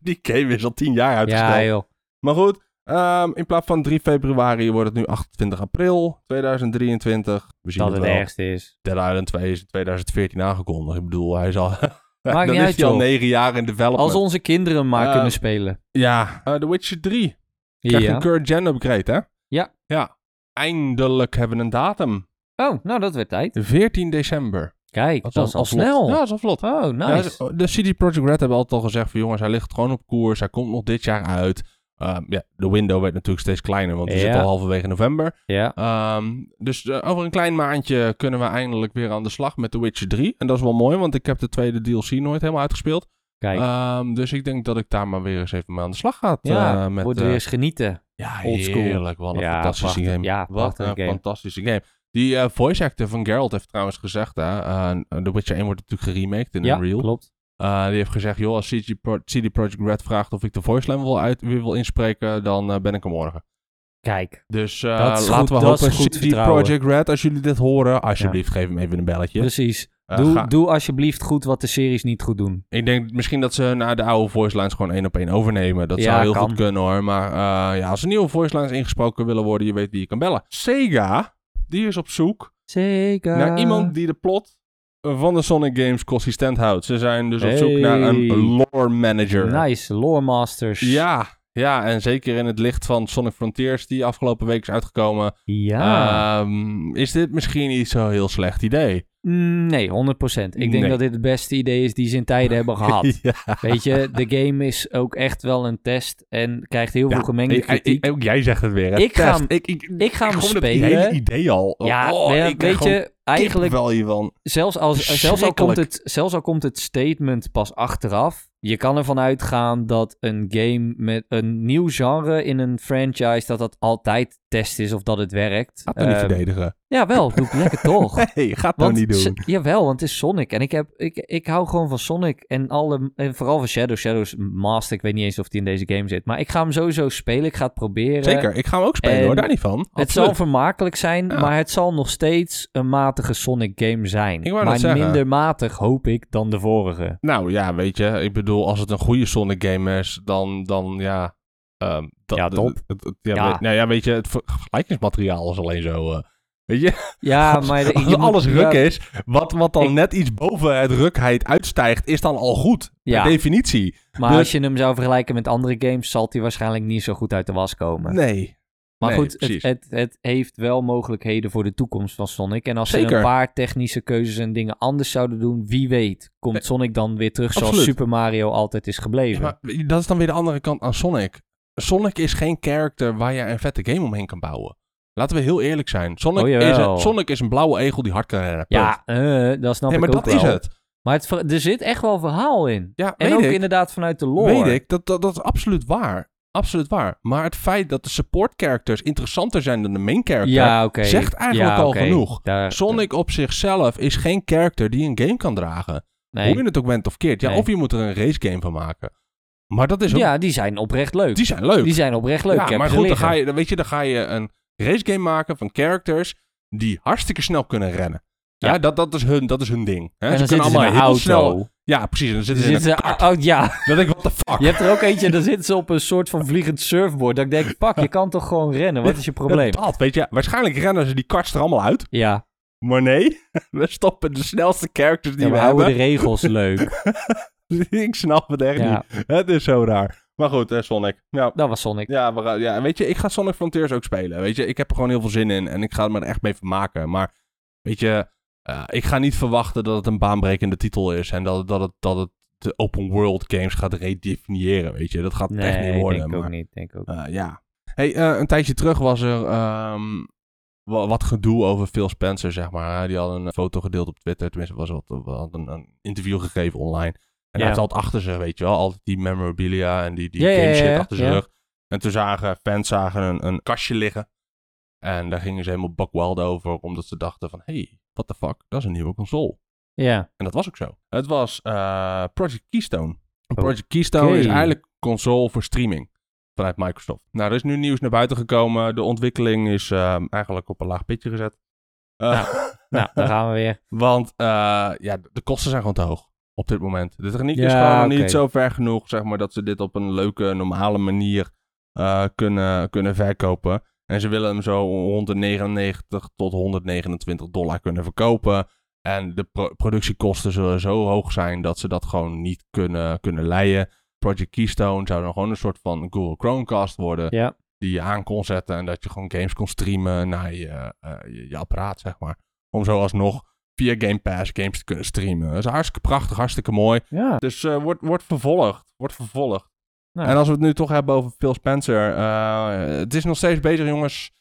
S2: Die game is al 10 jaar uitgesteld.
S1: Ja, joh.
S2: maar goed, ehm, in plaats van 3 februari wordt het nu 28 april 2023. We zien
S1: Dat het
S2: wel.
S1: ergste is.
S2: Dead Island 2 is in 2014 aangekondigd. Ik bedoel, hij is al...
S1: Maakt
S2: Dan
S1: niet
S2: is
S1: uit,
S2: hij al
S1: joh.
S2: 9 jaar in development.
S1: Als onze kinderen maar
S2: Eh,
S1: kunnen spelen.
S2: Ja, eh, The Witcher 3 krijgt
S1: Ja.
S2: een current gen upgrade, hè?
S1: Ja.
S2: Ja. Eindelijk hebben we een datum.
S1: Oh, nou, dat werd tijd.
S2: 14 december.
S1: Kijk,
S2: Dat
S1: dat
S2: was
S1: is al snel.
S2: Ja, dat is al vlot.
S1: Oh,
S2: Ja, dus,
S1: nice.
S2: de CD Projekt Red hebben altijd al gezegd van jongens, hij ligt gewoon op koers. Hij komt nog dit jaar uit. Ehm, ja, de window werd natuurlijk steeds kleiner, want we
S1: Ja.
S2: zitten al halverwege november.
S1: Ja,
S2: Ehm, dus eh, over een klein maandje kunnen we eindelijk weer aan de slag met The Witcher 3. En dat is wel mooi, want ik heb de tweede DLC nooit helemaal uitgespeeld.
S1: kijk.
S2: Ehm, dus ik denk dat ik daar maar weer eens even mee aan de slag ga.
S1: ja,
S2: eh, met,
S1: wordt
S2: eh,
S1: weer eens genieten.
S2: ja,
S1: oldschool.
S2: heerlijk. Wat een
S1: Ja,
S2: fantastische
S1: prachtig.
S2: game.
S1: Ja,
S2: Wat
S1: prachtige
S2: een
S1: game.
S2: fantastische game. Die eh, voice actor van Geralt heeft trouwens gezegd, hè, eh, The Witcher 1 wordt natuurlijk geremaked in
S1: Ja,
S2: Unreal.
S1: klopt.
S2: Eh, die heeft gezegd, joh, als CG Pro- CD Projekt Red vraagt of ik de voice line wil uit, weer wil inspreken, dan eh, ben ik er morgen.
S1: Kijk,
S2: Dus eh,
S1: Dat is
S2: laten
S1: goed,
S2: we
S1: dat is
S2: hopen,
S1: goed
S2: CD
S1: vertrouwen.
S2: Projekt Red, als jullie dit horen, alsjeblieft geef hem even een belletje.
S1: precies.
S2: Eh,
S1: doe,
S2: ga-
S1: doe alsjeblieft goed wat de series niet goed doen.
S2: Ik denk misschien dat ze naar de oude voice lines gewoon één op één overnemen. Dat
S1: Ja,
S2: zou heel
S1: kan.
S2: goed kunnen hoor. Maar eh, ja, als er nieuwe voice lines ingesproken willen worden, je weet wie je kan bellen. Sega, die is op zoek
S1: Zeker.
S2: naar iemand die de plot van de Sonic Games consistent houdt. Ze zijn dus op
S1: Hey. Nou,
S2: zoek naar een lore manager.
S1: Nice, lore masters.
S2: Ja, ja, en zeker in het licht van Sonic Frontiers, die afgelopen week is uitgekomen.
S1: Ja.
S2: Ehm, is dit misschien niet zo'n heel slecht idee?
S1: Mm, nee, 100%. Ik denk
S2: Nee.
S1: dat dit het beste idee is die ze in tijden hebben gehad.
S2: Ja.
S1: Weet je, de game is ook echt wel een test en krijgt heel veel gemengde
S2: Hey, hey,
S1: kritiek.
S2: hey, ook jij zegt het weer. hè?
S1: Ik ga
S2: Test.
S1: hem-
S2: ik, ik,
S1: ik ga hem
S2: gewoon Het hele
S1: spelen.
S2: idee al.
S1: Ja,
S2: oh,
S1: nee,
S2: ik
S1: weet je, eigenlijk
S2: wel hiervan.
S1: Zelfs, als, zelfs, al komt
S2: Verschrikkelijk.
S1: het, zelfs al komt het statement pas achteraf, je kan ervan uitgaan dat een game met een nieuw genre in een franchise, dat dat altijd test is of dat het werkt.
S2: Gaat toch niet
S1: Ehm,
S2: verdedigen?
S1: ja, wel, doe ik lekker toch.
S2: Nee, gaat
S1: Want
S2: dat niet doen.
S1: s- jawel, want het is Sonic. En ik, heb, ik, ik hou gewoon van Sonic. En, alle, en vooral van Shadow. Shadow's Master. Ik weet niet eens of die in deze game zit. Maar ik ga hem sowieso spelen. Ik ga het proberen.
S2: Zeker, ik ga hem ook spelen
S1: en
S2: hoor, daar niet van.
S1: Het
S2: Absoluut.
S1: zal vermakelijk zijn,
S2: Ja.
S1: maar het zal nog steeds een matige Sonic game zijn.
S2: Ik wou
S1: maar
S2: net zeggen.
S1: minder matig, hoop ik, dan de vorige.
S2: Nou ja, weet je, ik bedoel, als het een goede Sonic game is, dan, dan ja... ehm, dat-
S1: Ja, top.
S2: het- het- het- ja,
S1: Ja.
S2: Weet, nou ja, weet je, het ver- vergelijkingsmateriaal is alleen zo... eh, weet je,
S1: Ja, maar... je
S2: als
S1: moet-
S2: alles ruk
S1: ja,
S2: is, wat, wat dan
S1: Ik-
S2: net iets boven het rukheid uitstijgt, is dan al goed.
S1: Ja.
S2: Per definitie.
S1: Maar
S2: dus-
S1: als je hem zou vergelijken met andere games, zal die waarschijnlijk niet zo goed uit de was komen.
S2: Nee.
S1: Maar
S2: Nee,
S1: goed, het,
S2: precies.
S1: het, het heeft wel mogelijkheden voor de toekomst van Sonic. En als ze
S2: Zeker.
S1: een paar technische keuzes en dingen anders zouden doen, wie weet, komt
S2: Nee.
S1: Sonic dan weer terug zoals
S2: Absoluut.
S1: Super Mario altijd is
S2: Ja,
S1: gebleven.
S2: maar dat is dan weer de andere kant aan Sonic. Sonic is geen character waar je een vette game omheen kan bouwen. Laten we heel eerlijk zijn. Sonic,
S1: Oh, jawel.
S2: is, een, Sonic is een blauwe egel die hard kan rennen. Punt.
S1: ja, eh, dat snap
S2: nee,
S1: ik
S2: maar
S1: ook
S2: dat
S1: wel.
S2: is het.
S1: Maar het, ver- er zit echt wel verhaal in.
S2: Ja,
S1: En
S2: weet
S1: ook
S2: ik.
S1: inderdaad vanuit de lore.
S2: Weet ik, dat, dat, dat is absoluut waar. Absoluut waar. Maar het feit dat de support characters interessanter zijn dan de main character,
S1: Ja, oké.
S2: zegt eigenlijk
S1: Ja,
S2: al
S1: oké.
S2: genoeg.
S1: Daar-
S2: Sonic op zichzelf is geen character die een game kan dragen.
S1: nee.
S2: Hoe je het ook bent of keert. Ja,
S1: Nee.
S2: of je moet er een race game van maken. Maar dat is ook...
S1: Ja, die zijn oprecht leuk.
S2: Die zijn leuk.
S1: Die zijn oprecht leuk. Ik
S2: Ja,
S1: heb
S2: maar
S1: ze
S2: goed, dan
S1: liggen.
S2: ga, je, dan, weet je, dan ga je een race game maken van characters die hartstikke snel kunnen rennen. Ja,
S1: Ja.
S2: Dat, dat, is hun, dat is hun ding. Hè?
S1: En dan
S2: kunnen
S1: zitten ze in een
S2: heel
S1: auto.
S2: snel- Ja, precies. en
S1: Dan
S2: Dan zitten ze in
S1: zitten
S2: een
S1: ze,
S2: kart.
S1: oh, ja,
S2: Dan denk ik, what the fuck?
S1: Je hebt er ook eentje, dan zitten ze op een soort van vliegend surfboard. Dat ik denk, pak, je kan toch gewoon rennen? Wat is je probleem?
S2: Dat, weet je, waarschijnlijk rennen ze die karts er allemaal uit.
S1: Ja,
S2: Maar nee, we stoppen de snelste characters die
S1: ja, we
S2: we
S1: houden de
S2: hebben.
S1: regels leuk.
S2: ik snap het echt
S1: Ja,
S2: niet. Het is zo raar. Maar goed, eh, Sonic. Ja,
S1: dat was Sonic.
S2: Ja, maar, eh, ja, en weet je, ik ga Sonic Frontiers ook spelen. Weet je, ik heb er gewoon heel veel zin in en ik ga me er echt mee vermaken. Maar weet je, eh, ik ga niet verwachten dat het een baanbrekende titel is en dat, dat, het, dat het de open world games gaat redefiniëren. Weet je, dat gaat het echt
S1: Nee,
S2: niet worden.
S1: denk ik ook
S2: maar,
S1: niet. Denk ik ook.
S2: eh, ja. Hey, eh, een tijdje terug was er ehm, wa- wat gedoe over Phil Spencer, zeg maar. hè. Die had een eh, foto gedeeld op Twitter, tenminste was wat, had een, een interview gegeven online. En
S1: Ja.
S2: hij had altijd achter zich, weet je wel, altijd die memorabilia en die, die
S1: Ja, ja,
S2: game shit
S1: ja, ja,
S2: achter zijn
S1: ja.
S2: rug. En toen zagen fans zagen een, een kastje liggen. En daar gingen ze helemaal buckwild over, omdat ze dachten van, hey, what the fuck, dat is een nieuwe console.
S1: Ja,
S2: En dat was ook zo. Het was eh, Project Keystone.
S1: Oké.
S2: Project Keystone is eigenlijk een console voor streaming vanuit Microsoft. Nou, er is nu nieuws naar buiten gekomen. De ontwikkeling is ehm, eigenlijk op een laag pitje gezet. Eh,
S1: nou, daar gaan we weer.
S2: Want eh, ja, de kosten zijn gewoon te hoog op dit moment. De techniek is
S1: Ja,
S2: gewoon nog
S1: oké.
S2: niet zo ver genoeg, zeg maar, dat ze dit op een leuke, normale manier eh, kunnen, kunnen verkopen. En ze willen hem zo rond de 99 tot 129 dollar kunnen verkopen. En de pro- productiekosten zullen zo hoog zijn dat ze dat gewoon niet kunnen, kunnen leiden. Project Keystone zou dan gewoon een soort van Google Chromecast worden.
S1: Ja.
S2: Die je aan kon zetten en dat je gewoon games kon streamen naar je, eh, je, je apparaat, zeg maar. Om zo alsnog via Game Pass games te kunnen streamen. Dat is hartstikke prachtig, hartstikke mooi.
S1: Ja,
S2: Dus eh wordt wordt vervolgd. Wordt vervolgd.
S1: Nou.
S2: En als we het nu toch hebben over Phil Spencer. eh, het is nog steeds bezig, jongens.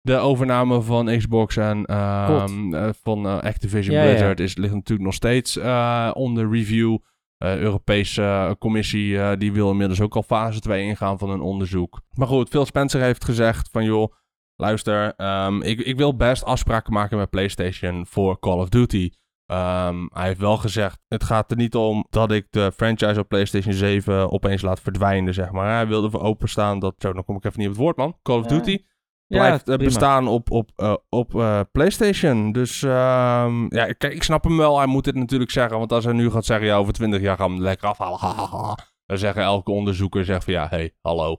S2: De overname van Xbox en eh,
S1: Klopt.
S2: eh, van eh, Activision
S1: Ja, ja.
S2: Blizzard is, ligt natuurlijk nog steeds eh, onder review. Eh Europese eh, commissie eh, die wil inmiddels ook al fase 2 ingaan van een onderzoek. Maar goed, Phil Spencer heeft gezegd van joh, luister, ehm, ik, ik wil best afspraken maken met PlayStation voor Call of Duty. Ehm, hij heeft wel gezegd, het gaat er niet om dat ik de franchise op PlayStation 7 opeens laat verdwijnen, zeg maar. Hij wilde voor openstaan dat, zo, dan kom ik even niet op het woord, man. Call of
S1: Ja.
S2: Duty
S1: ja
S2: blijft eh, bestaan op, op, eh, op eh, PlayStation. Dus ehm, ja, kijk, ik snap hem wel. Hij moet dit natuurlijk zeggen. Want als hij nu gaat zeggen, ja, over 20 jaar gaan we hem lekker afhalen. ha, ha, ha, Dan zeggen elke onderzoeker zegt van ja, hé, hey, hallo.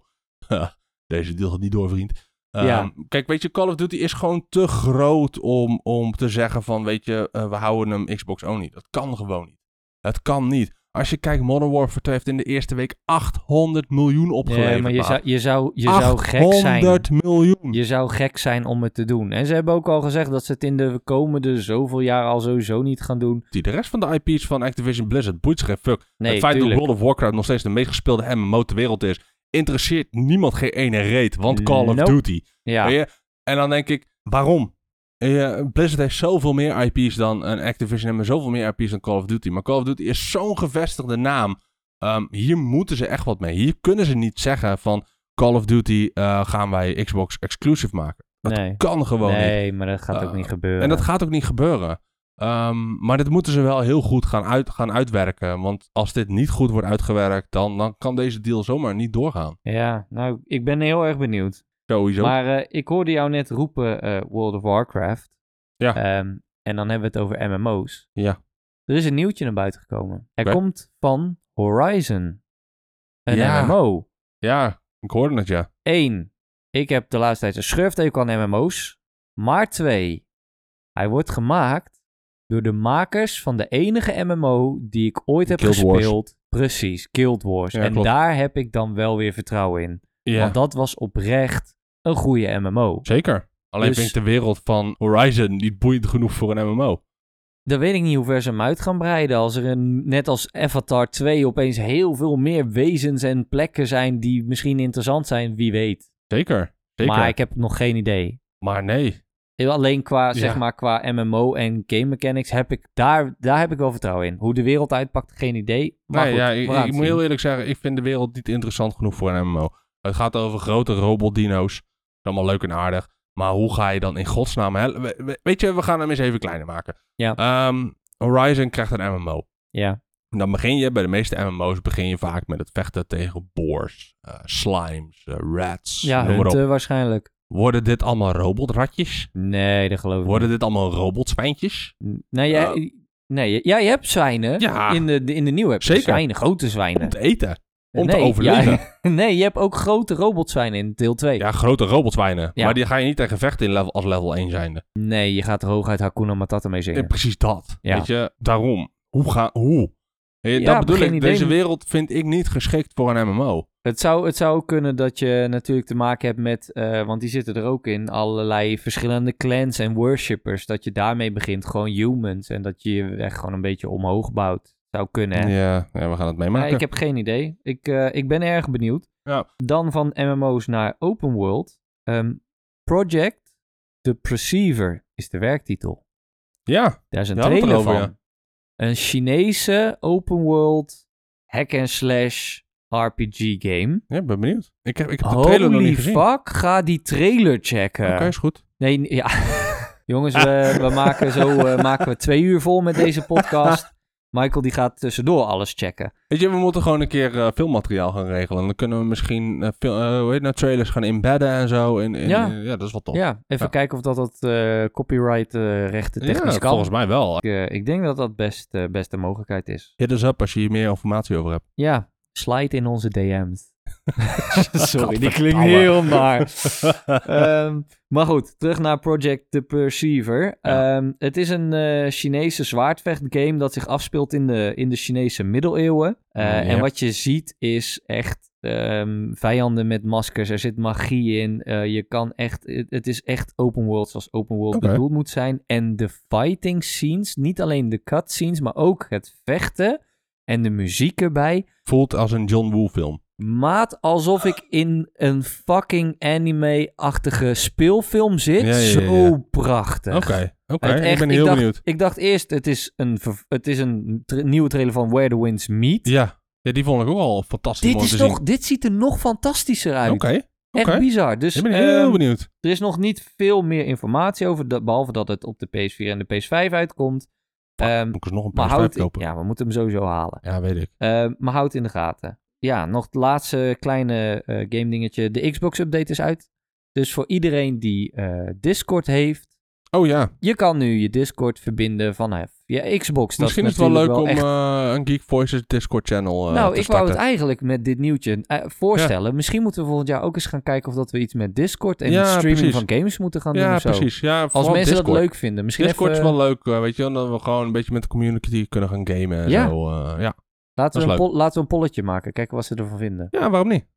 S2: Deze deal gaat niet door, vriend. Ehm,
S1: Ja.
S2: Kijk, weet je, Call of Duty is gewoon te groot om, om te zeggen van, weet je, eh, we houden hem Xbox only. Dat kan gewoon niet. Het kan niet. Als je kijkt, Modern Warfare 2 heeft in de eerste week 800 miljoen opgeleverd.
S1: Nee, maar je
S2: maat.
S1: zou, je zou, je zou gek zijn.
S2: 800 miljoen.
S1: Je zou gek zijn om het te doen. En ze hebben ook al gezegd dat ze het in de komende zoveel jaar al sowieso niet gaan doen.
S2: Die de rest van de IP's van Activision Blizzard boeit zich geen fuck.
S1: Nee,
S2: het feit
S1: tuurlijk.
S2: dat World of Warcraft nog steeds de meest gespeelde MMO ter wereld is, interesseert niemand geen ene reet. Want Call of
S1: Nope.
S2: Duty.
S1: Ja,
S2: Weet je? En dan denk ik, waarom? Eh, Blizzard heeft zoveel meer eh, IP's dan en Activision hebben zoveel meer IP's dan Call of Duty. Maar Call of Duty is zo'n gevestigde naam. Ehm, hier moeten ze echt wat mee. Hier kunnen ze niet zeggen van Call of Duty eh, gaan wij Xbox exclusive maken. Dat
S1: nee,
S2: kan gewoon niet.
S1: nee maar dat gaat ook
S2: Eh,
S1: niet gebeuren.
S2: En dat gaat ook niet gebeuren. Ehm, maar dat moeten ze wel heel goed gaan, uit, gaan uitwerken. Want als dit niet goed wordt uitgewerkt, dan, dan kan deze deal zomaar niet doorgaan.
S1: Ja, nou, ik ben heel erg benieuwd.
S2: Sowieso.
S1: Maar eh, ik hoorde jou net roepen eh, World of Warcraft.
S2: Ja.
S1: Ehm, en dan hebben we het over MMO's.
S2: Ja.
S1: Er is een nieuwtje naar buiten gekomen. Er
S2: Oké.
S1: komt van Horizon een
S2: Ja.
S1: MMO.
S2: Ja, ik hoorde het ja.
S1: Eén, ik heb de laatste tijd een schurftekel aan MMO's. Maar twee, hij wordt gemaakt door de makers van de enige MMO die ik ooit heb
S2: Guild Wars.
S1: gespeeld. Precies, Guild Wars.
S2: Ja,
S1: en
S2: klopt.
S1: daar heb ik dan wel weer vertrouwen in.
S2: ja.
S1: Want dat was oprecht een goede MMO.
S2: Zeker. Alleen
S1: Dus-
S2: vind ik de wereld van Horizon niet boeiend genoeg voor een MMO.
S1: Dan weet ik niet hoe ver ze hem uit gaan breiden. Als er een, net als Avatar 2 opeens heel veel meer wezens en plekken zijn die misschien interessant zijn, wie weet.
S2: Zeker. Zeker.
S1: Maar ik heb nog geen idee.
S2: Maar nee.
S1: Alleen qua, zeg
S2: Ja.
S1: maar, qua MMO en game mechanics heb ik daar, daar heb ik wel vertrouwen in. Hoe de wereld uitpakt, geen idee. Maar
S2: nee
S1: goed,
S2: ja,
S1: we
S2: ik,
S1: gaan
S2: ik
S1: het
S2: moet
S1: zien.
S2: heel eerlijk zeggen, ik vind de wereld niet interessant genoeg voor een MMO. Het gaat over grote robotdino's. Dat is allemaal leuk en aardig. Maar hoe ga je dan in godsnaam... Hè? We- we- Weet je, we gaan hem eens even kleiner maken.
S1: Ja.
S2: Ehm, Horizon krijgt een MMO.
S1: Ja,
S2: Dan begin je bij de meeste MMO's begin je vaak met het vechten tegen boars, eh, slimes, eh, rats.
S1: ja
S2: noem maar op.
S1: hunten waarschijnlijk.
S2: Worden dit allemaal robotratjes?
S1: Nee, dat geloof ik
S2: Worden dit allemaal robotspijntjes?
S1: niet. Nee, jij, nee, jij- jij hebt zwijnen.
S2: Nou. Ja.
S1: In, de, de- in de nieuwe heb je
S2: Zeker.
S1: zwijnen, grote
S2: Om
S1: zwijnen.
S2: te eten. Om te
S1: Nee, ja.
S2: overleven.
S1: nee, je hebt ook grote robotzwijnen in deel 2.
S2: Ja, grote robotwijnen.
S1: Ja.
S2: Maar die ga je niet tegen vechten in level, als level 1 zijnde.
S1: Nee, je gaat er hooguit Hakuna Matata mee
S2: Eh,
S1: zingen.
S2: precies dat.
S1: Ja.
S2: Weet je, daarom. Hoe ga... Hoe? Eh,
S1: Ja,
S2: dat bedoel
S1: geen
S2: ik.
S1: idee.
S2: Deze wereld vind ik niet geschikt voor een MMO.
S1: Het zou, het zou kunnen dat je natuurlijk te maken hebt met, eh, want die zitten er ook in, allerlei verschillende clans en worshippers. Dat je daarmee begint, gewoon humans. En dat je je echt gewoon een beetje omhoog bouwt. Zou kunnen. hè?
S2: Ja, ja, we gaan het
S1: Maar
S2: meemaken.
S1: ik heb geen idee. Ik, eh, ik ben erg benieuwd.
S2: Ja.
S1: Dan van MMO's naar open world. Ehm, Project The Perceiver is de werktitel.
S2: Ja,
S1: Daar is een
S2: Je had het
S1: trailer van.
S2: erover,
S1: Een Chinese open world hack and slash RPG game.
S2: ja, ik ben benieuwd. Ik heb, ik heb de trailer nog
S1: Holy
S2: niet gezien.
S1: fuck, ga die trailer checken.
S2: Oké, is goed.
S1: Nee, n- ja. Jongens, we, we maken zo eh, maken we twee uur vol met deze podcast. Michael die gaat tussendoor alles checken.
S2: Weet je, we moeten gewoon een keer eh, filmmateriaal gaan regelen. Dan kunnen we misschien eh, fil- eh, hoe heet het nou, trailers gaan inbedden en zo. In, in-
S1: Ja.
S2: in- ja, dat is wel tof.
S1: Ja, even
S2: Ja.
S1: kijken of dat, dat eh, copyright eh, rechten technisch
S2: Ja,
S1: kan.
S2: volgens mij wel.
S1: Ik, eh, ik denk dat dat best, eh, best een mogelijkheid is.
S2: Hit us up als je hier meer informatie over hebt.
S1: Ja, slide in onze DM's. Sorry, die klinkt
S2: Gadverdamme.
S1: heel maar. Ehm, maar goed, terug naar Project The Perceiver.
S2: Ja.
S1: Ehm, het is een eh, Chinese zwaardvechtgame dat zich afspeelt in de, in de Chinese middeleeuwen. Eh,
S2: Ja.
S1: En wat je ziet is echt ehm, vijanden met maskers. Er zit magie in. Eh, je kan echt, het, het is echt open world zoals open world
S2: Oké.
S1: bedoeld moet zijn. En de fighting scenes, niet alleen de cutscenes, maar ook het vechten en de muziek erbij
S2: Voelt als een John Woo film.
S1: maat alsof ik in een fucking anime-achtige speelfilm zit.
S2: Ja, ja, ja, ja.
S1: Zo prachtig.
S2: Oké, oké.
S1: Het
S2: ik
S1: echt-
S2: ben heel
S1: dacht,
S2: benieuwd.
S1: Ik dacht eerst, het is een, ver- het is een tra- nieuwe trailer van Where the Winds Meet.
S2: Ja. ja, die vond ik ook al fantastisch
S1: dit,
S2: om
S1: is
S2: te
S1: nog,
S2: zien.
S1: dit ziet er nog fantastischer uit.
S2: Oké, oké.
S1: Echt bizar. Dus
S2: Ik ben heel
S1: ehm,
S2: benieuwd.
S1: er is nog niet veel meer informatie over, dat- behalve dat het op de PS4 en de PS5 uitkomt. Ehm,
S2: Moet ik eens nog een
S1: maar
S2: paar
S1: houd,
S2: kopen? Ja.
S1: ja, we moeten hem sowieso halen.
S2: weet ik.
S1: Eh, maar houd het in de gaten. Ja, nog het laatste kleine eh game dingetje. De Xbox update is uit. Dus voor iedereen die eh, Discord heeft,
S2: Oh ja,
S1: je kan nu je Discord verbinden vanaf je Xbox. Dat
S2: misschien is het wel leuk
S1: natuurlijk
S2: om
S1: echt-
S2: eh, een Geek Voices Discord channel eh,
S1: nou,
S2: te
S1: ik wou het
S2: starten.
S1: eigenlijk met dit nieuwtje eh, voorstellen. Misschien moeten we volgend jaar ook eens gaan kijken of dat we iets met Discord en
S2: Ja,
S1: het streaming
S2: precies.
S1: van games moeten gaan doen
S2: ja,
S1: of zo.
S2: precies. Ja,
S1: Als
S2: vooral
S1: mensen dat
S2: Discord.
S1: leuk vinden. Misschien
S2: Discord
S1: even,
S2: is wel leuk, eh, weet je wel. Dat we gewoon een beetje met de community kunnen gaan gamen en
S1: Ja.
S2: zo. eh, ja.
S1: laten,
S2: dat
S1: we
S2: is
S1: een pol- laten we een polletje maken. Kijken wat ze ervan vinden.
S2: ja, waarom niet?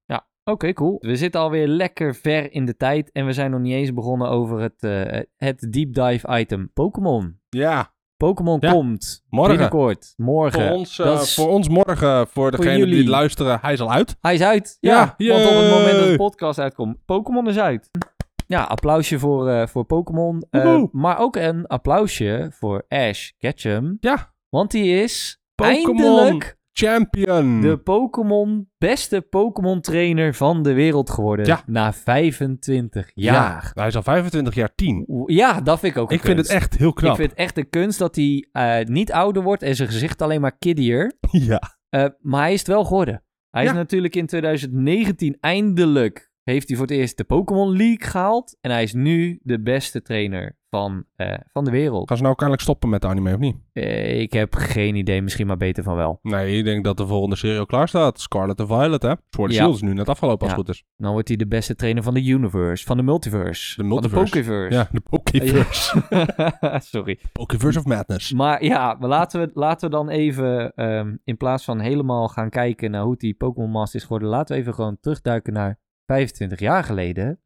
S1: Oké, cool. We zitten alweer lekker ver in de tijd en we zijn nog niet eens begonnen over het, eh, het deep dive item Pokémon.
S2: Ja,
S1: Pokémon
S2: Ja,
S1: komt
S2: morgen.
S1: binnenkort, morgen.
S2: Voor ons, eh,
S1: Dat is-
S2: voor ons morgen, voor degenen die
S1: jullie.
S2: het luisteren, hij is al uit.
S1: Hij is uit. Ja,
S2: Ja,
S1: want op het moment dat de
S2: yay.
S1: podcast uitkomt, Pokémon is uit. Ja, applausje voor, eh, voor Pokémon. Eh,
S2: Woehoe.
S1: maar ook een applausje voor Ash Ketchum.
S2: Ja.
S1: Want die is
S2: Pokémon
S1: eindelijk
S2: Champion.
S1: De Pokémon, beste Pokémon trainer van de wereld geworden.
S2: Ja.
S1: Na 25 jaar.
S2: Hij is al 25 jaar 10.
S1: Ja, dat vind ik ook een
S2: Ik vind het
S1: kunst.
S2: echt heel knap.
S1: Ik vind het echt een kunst dat hij eh, niet ouder wordt en zijn gezicht alleen maar kiddier.
S2: Ja.
S1: Eh, maar hij is het wel geworden. Hij
S2: Ja.
S1: is natuurlijk in 2019 eindelijk. Heeft hij voor het eerst de Pokémon League gehaald. En hij is nu de beste trainer van, eh, van de wereld.
S2: Gaan ze nou ook eindelijk stoppen met de anime of niet?
S1: Eh, ik heb geen idee, misschien maar beter van wel.
S2: Nee, ik denk dat de volgende serie al klaar staat. Scarlet en Violet, hè? Sword
S1: Ja.
S2: Shield is nu net afgelopen als
S1: Ja.
S2: het goed is.
S1: Dan wordt hij de beste trainer van de universe, van de multiverse, van
S2: De multiverse.
S1: de Pokéverse.
S2: Ja, de Pokéverse.
S1: Sorry.
S2: Pokéverse of Madness.
S1: Maar ja, maar laten, we, laten we dan even, ehm, in plaats van helemaal gaan kijken naar hoe die Pokémon Master is geworden, laten we even gewoon terugduiken naar 25 jaar geleden.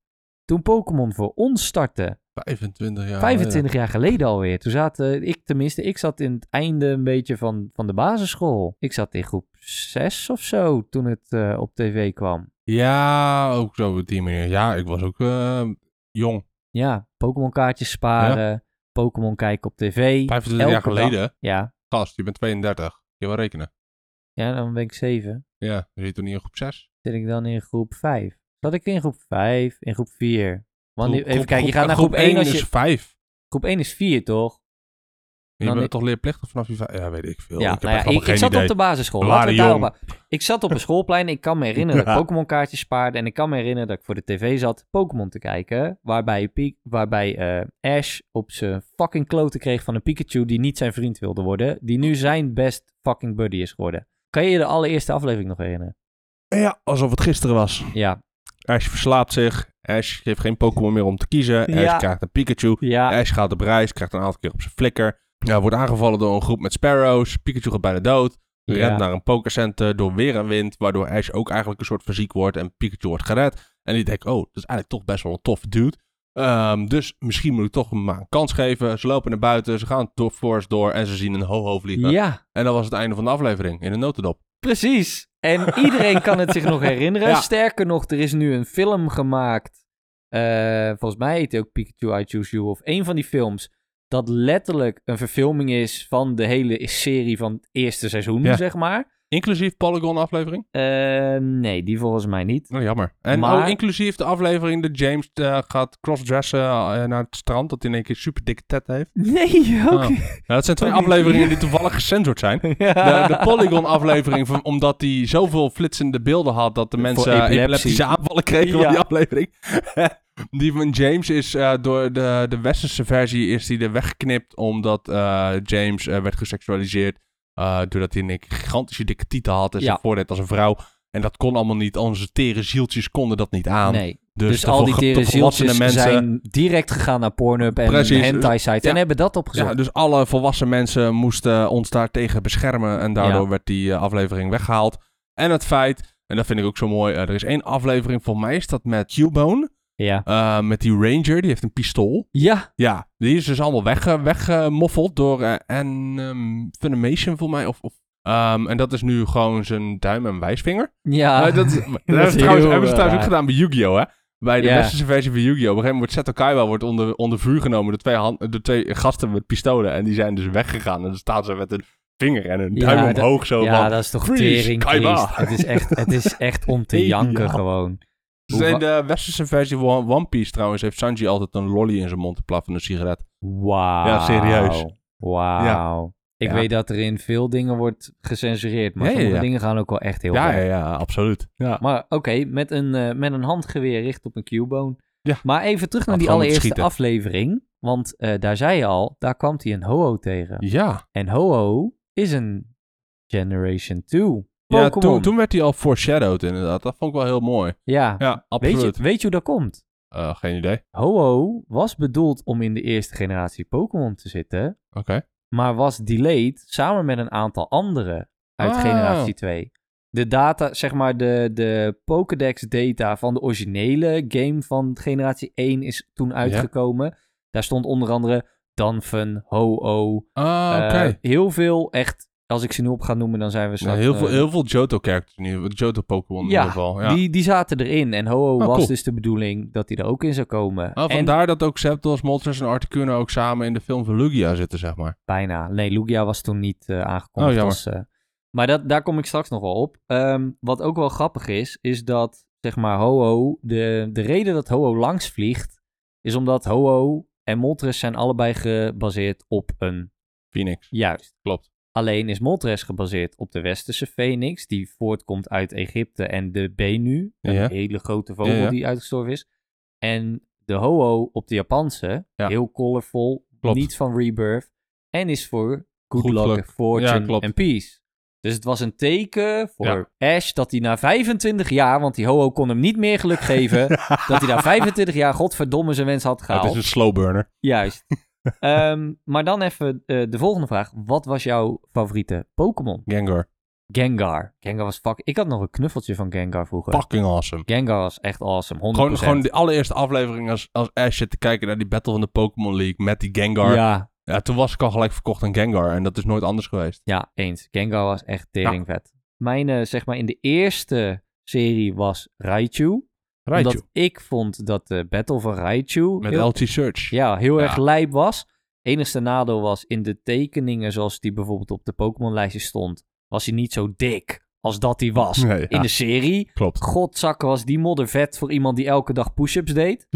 S1: Toen Pokémon voor ons startte,
S2: 25 jaar.
S1: 25 jaar geleden alweer. Toen zaten, ik tenminste, ik zat in het einde een beetje van, van de basisschool. Ik zat in groep 6 of zo toen het eh, op tv kwam.
S2: Ja, ook zo op die manier. Ja, ik was ook eh, jong.
S1: Ja, Pokémon kaartjes sparen, Pokémon kijken op tv.
S2: 25 jaar
S1: Elke dag.
S2: geleden.
S1: Ja,
S2: Gast, je bent 32. Je wil rekenen.
S1: ja, dan ben ik 7.
S2: Ja, dan zit je toen niet in groep 6.
S1: Zit ik dan in groep 5? Zat ik in groep 5, in groep 4? Want nu,
S2: Groep-
S1: even
S2: groep-
S1: kijken, je gaat naar groep, 1 als
S2: is
S1: je...
S2: 5.
S1: Groep 1 is 4, toch?
S2: Je
S1: Dan
S2: bent
S1: ik-
S2: toch leerplichtig vanaf je 5? Ja, weet ik veel.
S1: ja,
S2: ik
S1: nou
S2: heb echt
S1: ja, ik,
S2: allemaal
S1: ik
S2: geen
S1: zat
S2: idee.
S1: op de basisschool.
S2: We
S1: Laten we
S2: waren
S1: het
S2: jong.
S1: daarop- Ik zat op een schoolplein. Ik kan me herinneren dat
S2: Ja.
S1: ik Pokémon kaartjes spaarde. En ik kan me herinneren dat ik voor de tv zat Pokémon te kijken. Waarbij, Pi- waarbij eh, Ash op zijn fucking kloten kreeg van een Pikachu die niet zijn vriend wilde worden. Die nu zijn best fucking buddy is geworden. Kan je je de allereerste aflevering nog herinneren?
S2: Ja, alsof het gisteren was.
S1: Ja.
S2: Ash verslaapt zich. Ash heeft geen Pokémon meer om te kiezen. Ash
S1: Ja.
S2: krijgt een Pikachu.
S1: Ja.
S2: Ash gaat op reis, krijgt een aantal keer op zijn flikker. Ja, wordt aangevallen door een groep met Sparrows. Pikachu gaat bijna dood. Rent
S1: Ja.
S2: naar een pokercenter door weer en wind. Waardoor Ash ook eigenlijk een soort van ziek wordt. En Pikachu wordt gered. En die denkt, oh, dat is eigenlijk toch best wel een tof dude. Ehm, dus misschien moet ik toch hem maar een kans geven. Ze lopen naar buiten, ze gaan door Forest door en ze zien een ho-ho vliegen.
S1: Ja,
S2: En dat was het einde van de aflevering, in een notendop.
S1: precies. En iedereen kan het zich nog herinneren.
S2: Ja.
S1: Sterker nog, er is nu een film gemaakt. Eh, volgens mij heet hij ook Pikachu I Choose You of een van die films. Dat letterlijk een verfilming is van de hele serie van het eerste seizoen,
S2: Ja.
S1: zeg maar.
S2: Inclusief Polygon aflevering?
S1: Eh, nee, die volgens mij niet.
S2: Nou, jammer. En
S1: Maar-
S2: oh, inclusief de aflevering dat James eh, gaat crossdressen eh, naar het strand. Dat hij in één keer super dikke tet heeft.
S1: Nee, ook
S2: Ah. Nou, dat zijn twee afleveringen die toevallig gecensord zijn. De,
S1: Ja.
S2: de Polygon-aflevering, van- omdat hij zoveel flitsende beelden had dat de mensen eh,
S1: epilepsie.
S2: epileptische aanvallen kregen van
S1: Ja.
S2: die aflevering. die van James is eh, door de, de westerse versie is die er weggeknipt omdat eh, James eh, werd geseksualiseerd. eh, doordat hij een gigantische dikke titel had en
S1: Ja.
S2: zich voordeed als een vrouw. En dat kon allemaal niet, onze tere zieltjes konden dat niet aan.
S1: Nee.
S2: Dus,
S1: Dus,
S2: de
S1: al die
S2: volge-
S1: tere
S2: de volwassene
S1: zieltjes zijn direct gegaan naar Pornhub en
S2: Precies.
S1: hentai sites
S2: Ja.
S1: en hebben dat opgezocht.
S2: Ja, dus alle volwassen mensen moesten ons daar tegen beschermen. En daardoor
S1: Ja.
S2: werd die eh, aflevering weggehaald. En het feit, en dat vind ik ook zo mooi. eh, er is één aflevering, voor mij is dat met Cubone.
S1: ja.
S2: eh, met die ranger, die heeft een pistool.
S1: ja.
S2: Ja, die is dus allemaal wegge- weggemoffeld door eh, en, ehm, Funimation voor mij. Of, of, ehm, en dat is nu gewoon zijn duim en wijsvinger.
S1: Ja.
S2: Eh, dat, is- dat
S1: Ah. is
S2: hebben, ze trouwens,
S1: heel
S2: hebben ze trouwens ook
S1: raar.
S2: gedaan bij Yu-Gi-Oh! hè? Bij de
S1: Ja.
S2: westerse versie van Yu-Gi-Oh! Op een gegeven moment wordt Seto Kaiba wordt onder, onder vuur genomen door twee, hand, door twee gasten met pistolen. En die zijn dus weggegaan. En dan staan ze met een vinger en een
S1: Ja,
S2: duim
S1: dat-
S2: omhoog zo
S1: ja,
S2: van...
S1: dat is toch
S2: Oh, "Freeze,
S1: tering
S2: Kaiba."
S1: triest. Het is echt, het is echt om te janken
S2: Geniaal.
S1: gewoon.
S2: Dus in de westerse versie van One Piece trouwens heeft Sanji altijd een lolly in zijn mond te plaffen, een sigaret.
S1: Wauw.
S2: Ja, serieus.
S1: Wauw. Ik
S2: Ja.
S1: weet dat er in veel dingen wordt gecensureerd, maar
S2: Ja, ja,
S1: sommige
S2: ja.
S1: dingen gaan ook wel echt heel
S2: Ja,
S1: ver.
S2: ja, ja, absoluut. Ja.
S1: Maar oké, met, een eh, met een handgeweer richt op een Q-bone.
S2: Ja.
S1: Maar even terug naar
S2: Had
S1: die
S2: gewoon moeten
S1: allereerste
S2: schieten.
S1: aflevering. Want eh, daar zei je al, daar kwam hij een Ho-Oh tegen.
S2: Ja,
S1: En Ho-Oh is een Generation 2
S2: ja
S1: Pokémon.
S2: toen, toen werd hij al foreshadowed inderdaad. Dat vond ik wel heel mooi.
S1: Ja.
S2: Ja, absoluut.
S1: weet, je, weet je hoe dat komt?
S2: Eh, geen idee. Oké.
S1: Ho-Oh was bedoeld om in de eerste generatie Pokémon te zitten, maar was delayed samen met een aantal anderen uit
S2: Ah.
S1: generatie 2. De data, zeg maar de, de Pokédex data van de originele game van generatie 1 is toen uitgekomen. Daar stond onder andere Danfun, Ho-Oh,
S2: Ah, oké.
S1: eh, heel veel echt, als ik ze nu op ga noemen dan zijn we
S2: Nou,
S1: straks...
S2: heel, veel,
S1: eh,
S2: heel veel Johto-characters in ieder geval. Johto-Pokémon in
S1: Ja,
S2: ieder geval. Ja.
S1: Die, die zaten erin en Ho-Oh
S2: Oh,
S1: was
S2: cool.
S1: dus de bedoeling dat die er ook in zou komen.
S2: Oh,
S1: en
S2: vandaar dat ook Zapdos, Moltres en Articuno ook samen in de film van Lugia zitten, zeg maar.
S1: Bijna. Nee, Lugia was toen niet eh, aangekondigd
S2: Oh, jammer.
S1: als, eh, Maar dat, daar kom ik straks nog wel op. Ehm, wat ook wel grappig is, is dat zeg maar Ho-Oh, de, de reden dat Ho-Oh langs vliegt, is omdat Ho-Oh en Moltres zijn allebei gebaseerd op een
S2: Phoenix.
S1: juist.
S2: Klopt.
S1: Alleen is Moltres gebaseerd op de westerse phoenix, die voortkomt uit Egypte en de Benu, een
S2: Ja.
S1: hele grote vogel
S2: Ja, ja.
S1: die uitgestorven is. En de Ho-Oh op de Japanse,
S2: Ja.
S1: heel colorful,
S2: Klopt.
S1: niet van Rebirth, en is voor good,
S2: Goed
S1: luck,
S2: luck. Ja,
S1: fortune
S2: klopt.
S1: en peace. Dus het was een teken voor
S2: Ja.
S1: Ash dat hij na 25 jaar, want die Ho-Oh kon hem niet meer geluk geven, dat hij na 25 jaar godverdomme zijn wens had
S2: Ja,
S1: gehaald.
S2: het is dus- een slow burner.
S1: Juist. Ehm, maar dan even eh, de volgende vraag. Wat was jouw favoriete Pokémon?
S2: Gengar.
S1: Gengar. Gengar was fuck. Ik had nog een knuffeltje van Gengar vroeger.
S2: Fucking awesome.
S1: Gengar was echt awesome. 100%.
S2: Gewoon, gewoon de allereerste aflevering als, als Ash zit te kijken naar die Battle van de Pokémon League met die Gengar. Ja.
S1: Ja,
S2: toen was ik al gelijk verkocht aan Gengar en dat is nooit anders geweest.
S1: ja, eens. Gengar was echt
S2: Nou.
S1: teringvet. Mijn, eh, zeg maar, in de eerste serie was Raichu.
S2: Raichu.
S1: Omdat ik vond dat de battle van Raichu
S2: Met
S1: heel,
S2: LT Search.
S1: ja, heel
S2: Ja.
S1: erg lijp was. Enigste nadeel was in de tekeningen zoals die bijvoorbeeld op de Pokémon-lijstje stond, was hij niet zo dik als dat hij was.
S2: Nee, ja.
S1: In de serie
S2: Klopt.
S1: Godzakken was die modder vet voor iemand die elke dag push-ups deed.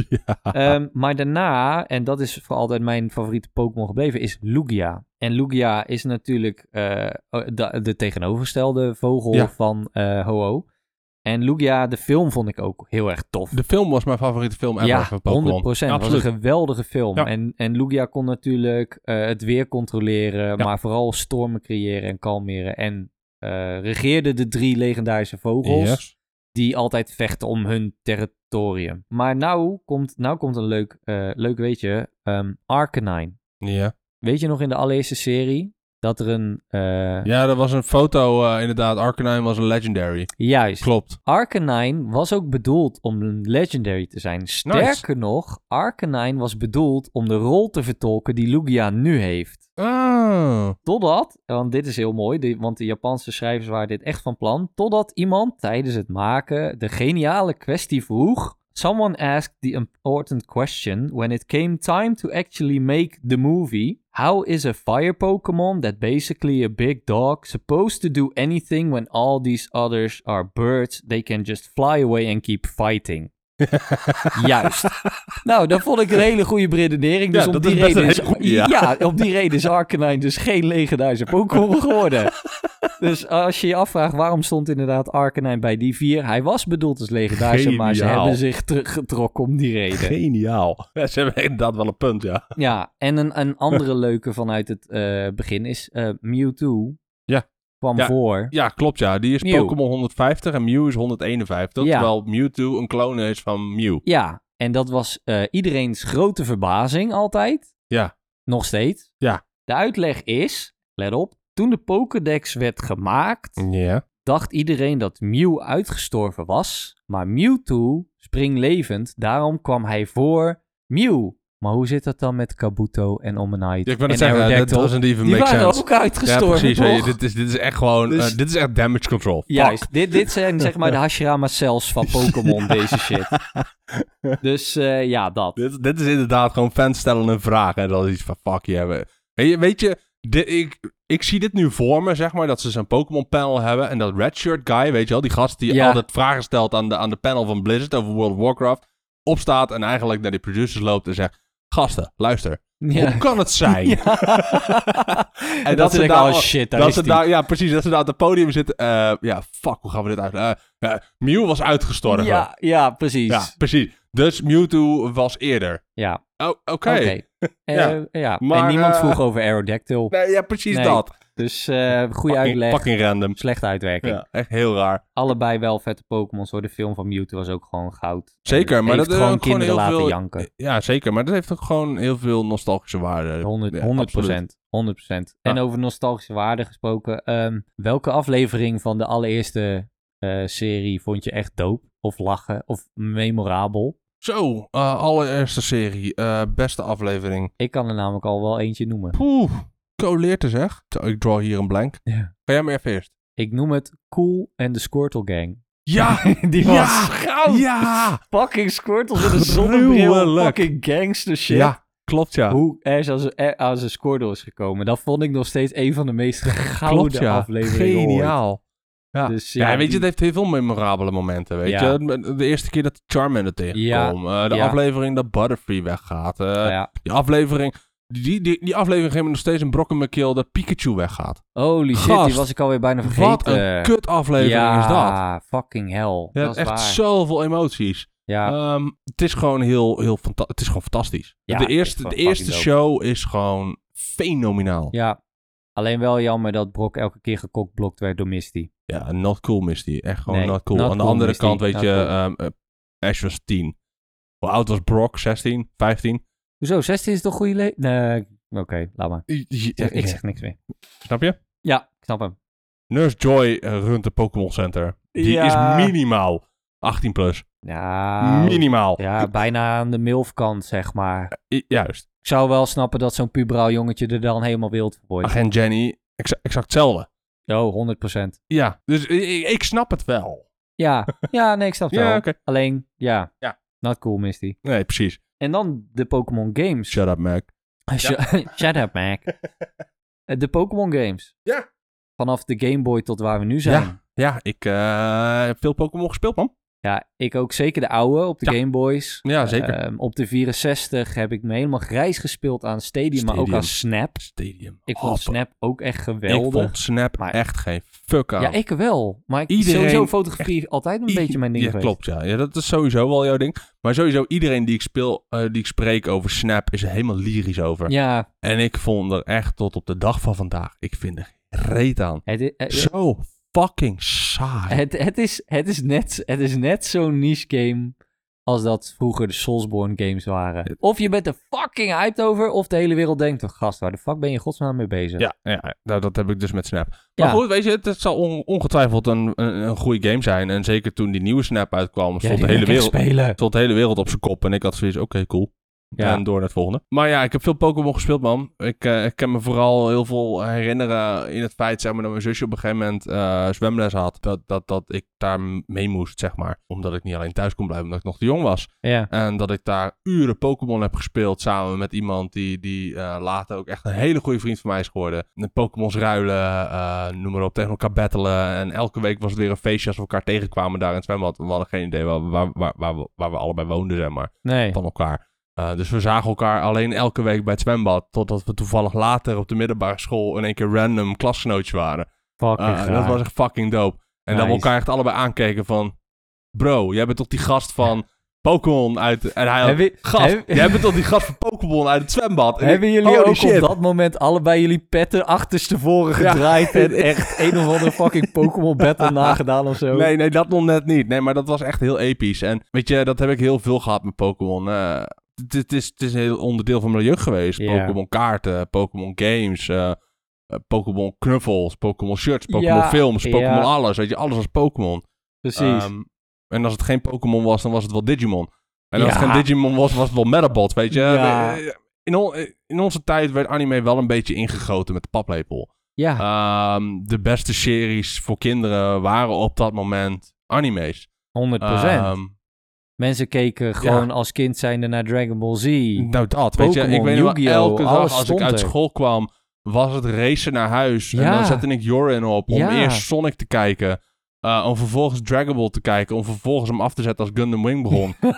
S1: Ehm, maar daarna, en dat is voor altijd mijn favoriete Pokémon gebleven, is Lugia. En Lugia is natuurlijk eh, de, de tegenovergestelde vogel
S2: Ja.
S1: van eh Ho-Oh. En Lugia, de film vond ik ook heel erg tof.
S2: De film was mijn favoriete film ever
S1: ja,
S2: van
S1: 100
S2: Pokémon.
S1: procent. Het was een
S2: Absoluut.
S1: geweldige film.
S2: Ja.
S1: En, en Lugia kon natuurlijk eh, het weer controleren, maar vooral stormen creëren en kalmeren. En eh, regeerde de drie legendarische vogels
S2: Yes.
S1: die altijd vechten om hun territorium. Maar nou komt, nou komt een leuk, eh, leuk weetje. Ehm Arcanine.
S2: Ja.
S1: Weet je nog in de allereerste serie dat er een... eh,
S2: ja, dat was een foto eh, inderdaad. Arcanine was een legendary.
S1: Juist.
S2: Klopt.
S1: Arcanine was ook bedoeld om een legendary te zijn. Sterker nog, Arcanine was bedoeld om de rol te vertolken die Lugia nu heeft.
S2: Oh.
S1: Totdat, want dit is heel mooi, die- want de Japanse schrijvers waren dit echt van plan. Totdat iemand tijdens het maken de geniale kwestie vroeg. Someone asked the important question when it came time to actually make the movie. How is a fire Pokemon that basically a big dog supposed to do anything when all these others are birds? They can just fly away and keep fighting. Juist. Nou, dat vond ik een hele goede redenering. Dus
S2: Ja,
S1: om
S2: dat
S1: die
S2: is best
S1: reden
S2: een
S1: is,
S2: hele goeie, ja.
S1: ja, op die reden is Arcanine dus geen legendarische Pokémon geworden. Dus als je je afvraagt waarom stond inderdaad Arcanine bij die vier, hij was bedoeld als legendarische, maar ze
S2: Geniaal.
S1: hebben zich teruggetrokken om die reden.
S2: Geniaal. Ja, ze hebben inderdaad wel een punt, ja.
S1: Ja, en een, een andere leuke vanuit het eh, begin is eh, Mewtwo.
S2: Ja.
S1: Kwam
S2: Ja.
S1: voor.
S2: Ja, klopt ja. Die is
S1: Mew.
S2: Pokémon 150 en Mew is 151.
S1: Ja.
S2: Terwijl Mewtwo een clone is van Mew.
S1: Ja, en dat was eh, iedereen's grote verbazing altijd.
S2: Ja.
S1: Nog steeds.
S2: Ja.
S1: De uitleg is, let op, toen de Pokédex werd gemaakt,
S2: Ja.
S1: dacht iedereen dat Mew uitgestorven was. Maar Mewtwo springlevend, daarom kwam hij voor Mew. Maar hoe zit dat dan met Kabuto en Omanyte
S2: Ik wil het
S1: en
S2: zeggen, dat
S1: Aerodactyl?
S2: doesn't even
S1: Die
S2: make
S1: waren
S2: sense.
S1: ook uitgestorven,
S2: ja, precies. weet je,
S1: toch?
S2: Dit is, dit is echt gewoon,
S1: Dus-
S2: eh, dit is echt damage control. Fuck.
S1: Juist, dit, dit zijn zeg maar de Hashirama cells van Pokémon, deze shit. Dus eh, ja, dat.
S2: Dit, dit is inderdaad gewoon fans stellen een vraag en dat is iets van fuck je hebben. Weet je, weet je di- ik, ik zie dit nu voor me, zeg maar, dat ze zo'n Pokémon panel hebben en dat Redshirt guy, weet je wel, die gast die
S1: Ja.
S2: altijd vragen stelt aan de, aan de panel van Blizzard over World of Warcraft, opstaat en eigenlijk naar die producers loopt en zegt, gasten, luister, hoe kan het zijn?
S1: En,
S2: dat
S1: dat,
S2: ze
S1: is ik
S2: daar
S1: al
S2: al-
S1: shit, daar
S2: Dat
S1: is
S2: ze
S1: die.
S2: daar, ja, precies, dat ze daar op het podium zitten. eh, ja, fuck, hoe gaan we dit uitleggen? Eh, eh, Mew was uitgestorven.
S1: ja, ja, precies.
S2: Ja,
S1: Ja,
S2: precies. Dus Mewtwo was eerder. Oh, oké.
S1: oké. Eh,
S2: Ja.
S1: ja. en
S2: Maar,
S1: niemand
S2: eh,
S1: vroeg over Aerodactyl.
S2: Nee, ja, precies
S1: Nee.
S2: dat.
S1: Dus eh goede
S2: Fucking-
S1: uitleg,
S2: Fucking random.
S1: slechte uitwerking.
S2: Ja, echt heel raar.
S1: Allebei wel vette Pokémon. Hoor. De film van Mewtwo was ook gewoon goud.
S2: Zeker,
S1: En
S2: maar
S1: heeft
S2: dat is
S1: gewoon
S2: ook gewoon
S1: kinderen
S2: heel
S1: laten
S2: veel-
S1: janken.
S2: Eh, Ja, zeker. Maar dat heeft ook gewoon heel veel nostalgische waarde.
S1: 100,
S2: Ja,
S1: 100
S2: absoluut.
S1: procent. 100 procent. En
S2: Ja.
S1: over nostalgische waarde gesproken. ehm, welke aflevering van de allereerste eh, serie vond je echt dope? Of lachen? Of memorabel?
S2: Zo, eh, allereerste serie. eh, beste aflevering.
S1: Ik kan er namelijk al wel eentje noemen.
S2: Poeh, coleer te zeg. Zo, Ik draw hier een blank.
S1: Ja.
S2: Ga jij maar even eerst.
S1: Ik noem het Cool en de Squirtle Gang.
S2: Ja!
S1: Die
S2: Ja!
S1: goud.
S2: ja!
S1: Fucking Squirtles in een
S2: Gruwelijk.
S1: Fucking gangster shit.
S2: Ja, Klopt ja.
S1: Hoe er eh, als, er aan zijn score is gekomen. Dat vond ik nog steeds een van de meest gouden
S2: Klopt ja.
S1: afleveringen ooit.
S2: Geniaal. Ja.
S1: Dus,
S2: Ja, weet je,
S1: die-
S2: het heeft heel veel memorabele momenten, weet
S1: Ja.
S2: je. De eerste keer dat Charmander tegenkomt. eh, de
S1: Ja.
S2: aflevering dat Butterfree weggaat. eh,
S1: ja.
S2: Die aflevering... Die, die, die aflevering geeft me nog steeds een brok in mijn keel dat Pikachu weggaat.
S1: Holy shit,
S2: Gast,
S1: die was ik alweer bijna vergeten.
S2: Wat een kut aflevering
S1: ja,
S2: is dat.
S1: fucking hell.
S2: Ja,
S1: dat is
S2: echt
S1: waar.
S2: zoveel emoties.
S1: Ja,
S2: Ehm, het is gewoon heel, heel fanta- Het is gewoon fantastisch.
S1: Ja,
S2: de
S1: het is
S2: eerste,
S1: gewoon
S2: de eerste
S1: fucking
S2: show is gewoon fenomenaal. Ja.
S1: ja. Alleen wel jammer dat Brock elke keer gekokblokt werd door Misty.
S2: not cool Misty. Echt gewoon
S1: Nee,
S2: not cool.
S1: not
S2: Aan de
S1: cool,
S2: andere
S1: Misty.
S2: kant weet
S1: Not
S2: je,
S1: cool.
S2: ehm, eh, Ash was 10. Hoe oud was Brock? 16? 15?
S1: Hoezo, 16 is toch goede le... Nee, oké, laat maar. Zeg- ik zeg niks meer.
S2: Snap je?
S1: Ja, ik snap hem.
S2: Nurse Joy eh, runt de Pokémon Center. Die
S1: Ja.
S2: is minimaal 18 plus.
S1: Nou,
S2: minimaal.
S1: ja, bijna aan de milfkant, zeg maar.
S2: I- juist.
S1: Ik zou wel snappen dat zo'n puberaal jongetje er dan helemaal wild voor wordt.
S2: Agent Jenny, exa- exact hetzelfde.
S1: Oh, 100%.
S2: Ja, dus ik, ik snap het wel.
S1: Ja, ja, nee, ik snap het
S2: Ja,
S1: wel.
S2: oké.
S1: Alleen, ja,
S2: Ja.
S1: not cool, Misty.
S2: Nee, precies.
S1: En dan de Pokémon Games.
S2: Shut up, Mac.
S1: Shut, shut up, Mac. Eh, De Pokémon Games.
S2: Ja.
S1: Vanaf de Game Boy tot waar we nu zijn. Ja,
S2: Ja, ik eh, heb veel Pokémon gespeeld, man.
S1: ik ook zeker de oude op de
S2: Ja.
S1: Game Boys.
S2: Ja, zeker.
S1: Ehm, op de 64 heb ik me helemaal grijs gespeeld aan Stadium, maar ook
S2: Stadium.
S1: aan Snap.
S2: Stadium.
S1: Ik vond
S2: Hoppa.
S1: Snap ook echt geweldig.
S2: Ik vond Snap
S1: maar-
S2: echt geen fuck aan.
S1: Ja, ik wel. Maar ik
S2: Iedereen-
S1: sowieso fotografie altijd een beetje mijn ding
S2: Ja,
S1: geweest.
S2: klopt, ja. ja. Dat is sowieso wel jouw ding. Maar sowieso, iedereen die ik speel, eh, die ik spreek over Snap, is er helemaal lyrisch over.
S1: Ja,
S2: En ik vond er echt tot op de dag van vandaag, ik vind er geen reet aan.
S1: het, i- eh,
S2: Zo fucking saai.
S1: het, het, is, het is net, het is net zo'n niche game als dat vroeger de Soulsborne games waren. Of je bent er fucking hyped over, of de hele wereld denkt, "Oh, gast, waar de fuck ben je in godsnaam mee bezig?
S2: Ja, ja, ja. Nou, dat heb ik dus met Snap.
S1: Ja.
S2: Maar goed, weet je, het, het zal on- ongetwijfeld een, een, een goede game zijn. En zeker toen die nieuwe Snap uitkwam,
S1: Jij
S2: stond de
S1: die
S2: hele
S1: wil ik
S2: wereld...
S1: echt spelen.
S2: stond de hele wereld op zijn kop. En ik had zoiets, oké, cool.
S1: Ja.
S2: En door naar het volgende. Maar ja, ik heb veel Pokémon gespeeld, man. Ik, eh, ik kan me vooral heel veel herinneren in het feit, zeg maar, dat mijn zusje op een gegeven moment eh, zwemles had. Dat, dat, dat ik daar mee moest, zeg maar. Omdat ik niet alleen thuis kon blijven, omdat ik nog te jong was.
S1: Ja.
S2: En dat ik daar uren Pokémon heb gespeeld samen met iemand die, die eh, later ook echt een hele goede vriend van mij is geworden. De Pokémon's ruilen, eh, noem maar op, tegen elkaar battelen. En elke week was het weer een feestje als we elkaar tegenkwamen daar in het zwembad. We hadden geen idee waar, waar, waar, waar, we, waar we allebei woonden, zeg maar,
S1: Nee.
S2: van elkaar. Eh, dus we zagen elkaar alleen elke week bij het zwembad. Totdat we toevallig later op de middelbare school in één keer random klasgenootjes waren.
S1: Fucking
S2: Ah, dat
S1: gaaf.
S2: was echt fucking dope. En dat we
S1: Nice.
S2: elkaar echt allebei aankeken van... Bro, jij bent toch die gast van Pokémon uit... En hij had,
S1: Heb je-
S2: gast,
S1: heb-
S2: jij bent toch die gast van Pokémon uit het zwembad? En
S1: Hebben
S2: ik,
S1: jullie
S2: holy
S1: ook
S2: shit.
S1: op dat moment allebei jullie petten achterstevoren
S2: Ja.
S1: gedraaid en echt een of andere fucking Pokémon battle nagedaan of zo?
S2: Nee, nee, dat nog net niet. Nee, maar dat was echt heel episch. En weet je, dat heb ik heel veel gehad met Pokémon. Eh, Het het is, het is een heel onderdeel van mijn jeugd geweest.
S1: Ja.
S2: Pokémon kaarten, Pokémon games, eh, eh, Pokémon knuffels, Pokémon shirts, Pokémon
S1: Ja,
S2: films, Pokémon
S1: ja.
S2: alles. Weet je, alles was Pokémon.
S1: Precies.
S2: Ehm, en als het geen Pokémon was, dan was het wel Digimon. En als het
S1: Ja.
S2: geen Digimon was, was het wel Metabot, weet je. Eh,
S1: Ja.
S2: In, on- in onze tijd werd anime wel een beetje ingegoten met de paplepel.
S1: ja.
S2: Ehm, de beste series voor kinderen waren op dat moment anime's.
S1: 100%.
S2: Ehm,
S1: Mensen keken gewoon als kind zijnde naar Dragon Ball Z.
S2: nou dat, weet je.
S1: Pokémon,
S2: Ik weet nog wel,
S1: Yu-Gi-Oh,
S2: elke dag
S1: alles
S2: als ik
S1: stond
S2: uit
S1: er.
S2: school kwam, was het racen naar huis. En
S1: Ja.
S2: dan zette ik Jorin op om
S1: Ja.
S2: eerst Sonic te kijken. eh, om vervolgens Dragon Ball te kijken. Om vervolgens hem af te zetten als Gundam Wing begon.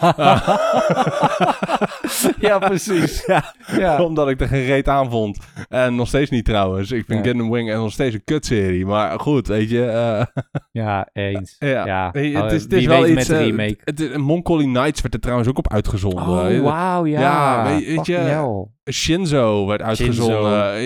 S1: ja, precies.
S2: Ja.
S1: Ja.
S2: Omdat ik er geen reet aan vond. En nog steeds niet trouwens. Ik vind
S1: Ja.
S2: Gundam Wing en nog steeds een kutserie. Maar goed, weet je. eh,
S1: ja, eens.
S2: ja.
S1: Ja,
S2: Hey,
S1: Nou,
S2: het is, het
S1: wie
S2: is wel
S1: weet
S2: iets...
S1: met de
S2: eh,
S1: remake.
S2: het is- Mongolie Knights werd er trouwens ook op uitgezonden.
S1: Oh, wauw, ja.
S2: ja, weet- weet je-
S1: Fucking hell.
S2: Shinzo werd uitgezonden.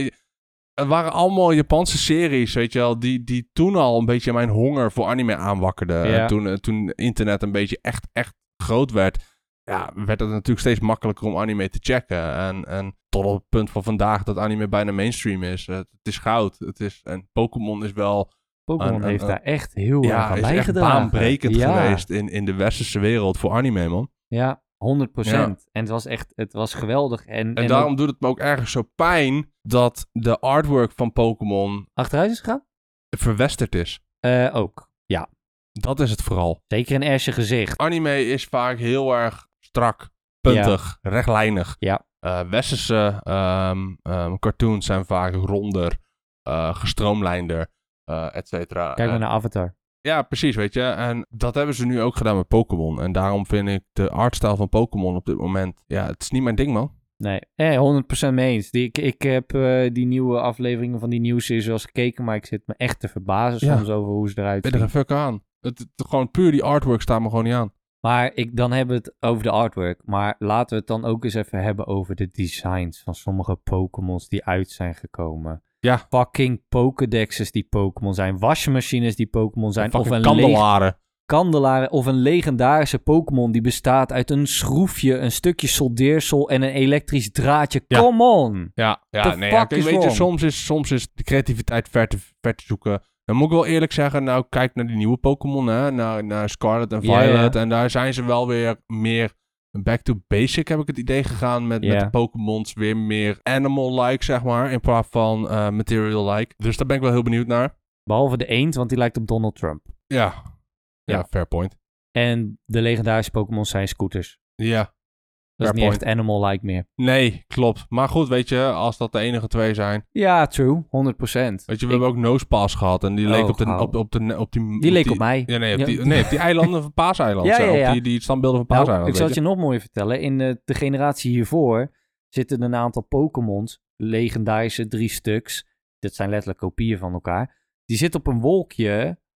S2: Het waren allemaal Japanse series, weet je wel, die, die toen al een beetje mijn honger voor anime aanwakkerden.
S1: Ja.
S2: En Toen, eh, toen internet een beetje echt, echt groot werd, ja, werd het natuurlijk steeds makkelijker om anime te checken. En, en tot op het punt van vandaag dat anime bijna mainstream is. Eh, het is goud. Het is, en Pokémon is wel
S1: Pokémon
S2: Een-
S1: heeft
S2: een-
S1: daar echt heel erg
S2: ja,
S1: aan
S2: is echt
S1: bijgedragen.
S2: baanbrekend
S1: Ja.
S2: geweest in, in de westerse wereld voor anime, man.
S1: Ja, 100%.
S2: Ja.
S1: En het was echt, het was geweldig. En, en,
S2: En, daarom doet het me ook ergens zo pijn dat de artwork van Pokémon
S1: ook achteruit is gegaan?
S2: verwesterd is.
S1: Eh, ook.
S2: Dat is het vooral.
S1: Zeker een asje gezicht.
S2: Anime is vaak heel erg strak, puntig, rechtlijnig.
S1: Ja.
S2: eh, westerse ehm, ehm, cartoons zijn vaak ronder, eh, gestroomlijnder, eh et cetera.
S1: Kijk
S2: Eh,
S1: maar naar Avatar.
S2: ja, precies, weet je. En dat hebben ze nu ook gedaan met Pokémon. En daarom vind ik de artstyle van Pokémon op dit moment... Ja, het is niet mijn ding, man.
S1: Nee, eh, 100% mee eens. Die, ik, ik heb eh, die nieuwe afleveringen van die nieuwsseries wel eens gekeken, maar ik zit me echt te verbazen
S2: Ja.
S1: soms over hoe ze eruit
S2: Ik ben er
S1: zien.
S2: een fuck aan. Het, het- gewoon puur die artwork staat me gewoon niet aan.
S1: Maar ik, dan hebben we het over de artwork. Maar laten we het dan ook eens even hebben over de designs van sommige Pokémons die uit zijn gekomen.
S2: Ja.
S1: Fucking Pokédexes die Pokémon zijn. Wasmachines die Pokémon zijn. Of
S2: Fucking
S1: een leeg-
S2: kandelaren.
S1: kandelaren. Of een legendarische Pokémon die bestaat uit een schroefje, een stukje soldeersel en een elektrisch draadje.
S2: Ja.
S1: Come on!
S2: Ja, ja
S1: The
S2: nee, ja,
S1: fuck
S2: kijk,
S1: is
S2: weet je,
S1: wrong?
S2: soms is, soms is de creativiteit ver te, ver te zoeken. Dan moet ik wel eerlijk zeggen, nou kijk naar die nieuwe Pokémon, hè, naar, naar Scarlet en
S1: Ja,
S2: Violet. En daar zijn ze wel weer meer back to basic, heb ik het idee gegaan. Met,
S1: Ja.
S2: met de Pokémons weer meer animal-like, zeg maar, in plaats van eh, material-like. Dus daar ben ik wel heel benieuwd naar.
S1: Behalve de eend, want die lijkt op Donald Trump.
S2: Ja, ja,
S1: Ja.
S2: fair point.
S1: En de legendarische Pokémon zijn scooters.
S2: Ja,
S1: Dat
S2: Fair
S1: is niet
S2: point.
S1: echt animal-like meer.
S2: nee, klopt. Maar goed, weet je, als dat de enige twee zijn.
S1: Ja, true. 100%.
S2: Weet je, we
S1: Ik-
S2: hebben ook Nosepass gehad en die
S1: Oh,
S2: leek op, de,
S1: gauw.
S2: op, op, de, op die...
S1: Die leek op mij.
S2: Ja, nee, op
S1: Ja.
S2: die, nee, op die eilanden van Paaseilanden.
S1: Ja,
S2: zo,
S1: ja, ja.
S2: Op die, die standbeelden van
S1: Nou,
S2: Paaseilanden.
S1: ik zal het
S2: weet
S1: je nog mooier vertellen. In eh, de generatie hiervoor zitten een aantal Pokémons, legendarische drie stuks. Dat zijn letterlijk kopieën van elkaar. Die zitten op een wolkje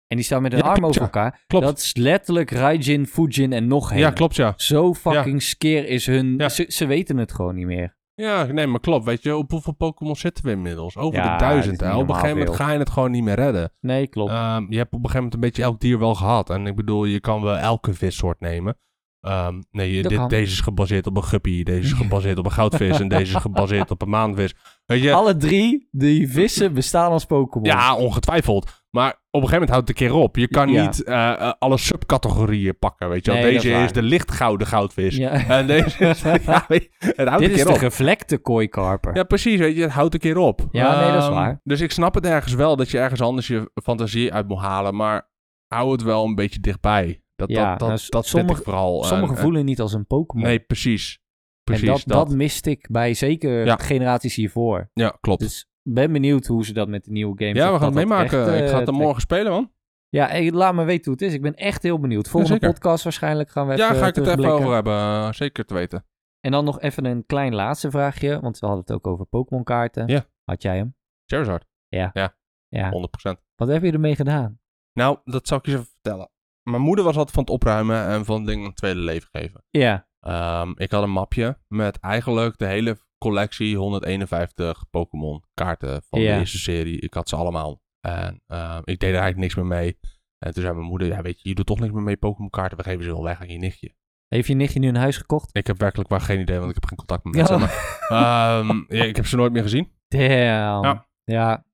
S1: en die staan met hun
S2: Ja,
S1: arm
S2: klopt,
S1: over
S2: ja.
S1: elkaar.
S2: Klopt.
S1: Dat is letterlijk Raijin, Fujin en nog
S2: je.
S1: heen.
S2: Ja, klopt, ja.
S1: Zo fucking skeer is hun...
S2: Ja.
S1: Ze, ze weten het gewoon niet meer.
S2: Ja, nee, maar klopt. Weet je, op hoeveel Pokémon zitten we inmiddels? Over
S1: Ja,
S2: de
S1: dit
S2: duizend.
S1: is niet
S2: hè. Op een gegeven
S1: normaal
S2: moment ga je het gewoon niet meer redden.
S1: Nee, klopt.
S2: Ehm, je hebt op een gegeven moment een beetje elk dier wel gehad. En ik bedoel, je kan wel elke vissoort nemen. Ehm, nee, je-
S1: Dat
S2: dit,
S1: kan.
S2: deze is gebaseerd op een guppy. Deze is gebaseerd op een goudvis. en deze is gebaseerd op een maanvis. Weet je,
S1: Alle drie, die vissen, bestaan als Pokémon.
S2: Ja, ongetwijfeld. Maar op een gegeven moment houdt het een keer op. Je kan
S1: Ja.
S2: niet eh, eh, alle subcategorieën pakken, weet je wel.
S1: Nee, dat
S2: deze
S1: is waar.
S2: is de lichtgouden goudvis.
S1: Ja.
S2: En deze is... ja, weet je, het houdt
S1: Dit
S2: dus. een
S1: is
S2: keer
S1: de
S2: op.
S1: gevlekte kooikarper.
S2: Ja, precies, weet je. Het houdt een keer op.
S1: Ja, nee, dat is
S2: Ehm,
S1: waar.
S2: Dus ik snap het ergens wel dat je ergens anders je fantasie uit moet halen. Maar hou het wel een beetje dichtbij. Dat,
S1: Ja,
S2: dat, dat,
S1: nou, s-
S2: dat vind
S1: sommige-
S2: ik vooral. En-
S1: Sommigen
S2: en- eh,
S1: voelen niet als een Pokémon.
S2: Nee, precies.
S1: en
S2: Precies.
S1: dat, dat. miste ik bij zeker
S2: Ja.
S1: generaties hiervoor.
S2: Ja, klopt.
S1: Dus ben benieuwd hoe ze dat met de nieuwe games...
S2: ja,
S1: of
S2: we gaan
S1: dat
S2: het
S1: dat
S2: meemaken.
S1: echt, eh,
S2: ik ga het
S1: trekt.
S2: dan morgen spelen, man.
S1: Ja, hey, laat me weten hoe het is. Ik ben echt heel benieuwd. Volgende
S2: Jazeker.
S1: podcast waarschijnlijk gaan we even
S2: Ja, ga ik het even
S1: terugblikken.
S2: over hebben. eh, Zeker te weten.
S1: En dan nog even een klein laatste vraagje. Want we hadden het ook over Pokémon kaarten.
S2: Ja. Oh.
S1: Had jij hem?
S2: Charizard,
S1: Ja.
S2: 100%.
S1: Wat heb je ermee gedaan?
S2: Nou, dat zal ik je eens even vertellen. Mijn moeder was altijd van het opruimen en van dingen een tweede leven geven.
S1: Ja.
S2: Ehm, ik had een mapje met eigenlijk de hele collectie 151 Pokémon kaarten van
S1: Ja.
S2: de eerste serie. Ik had ze allemaal. En ehm, ik deed er eigenlijk niks meer mee. En toen zei mijn moeder, ja weet je, je doet toch niks meer mee Pokémon kaarten. We geven ze wel weg aan je nichtje.
S1: Heeft je nichtje nu een huis gekocht?
S2: Ik heb werkelijk waar geen idee, want ik heb geen contact met
S1: Ja.
S2: mensen. Maar, ehm, ja, ik heb ze nooit meer gezien.
S1: Damn.
S2: Ja.
S1: Ja.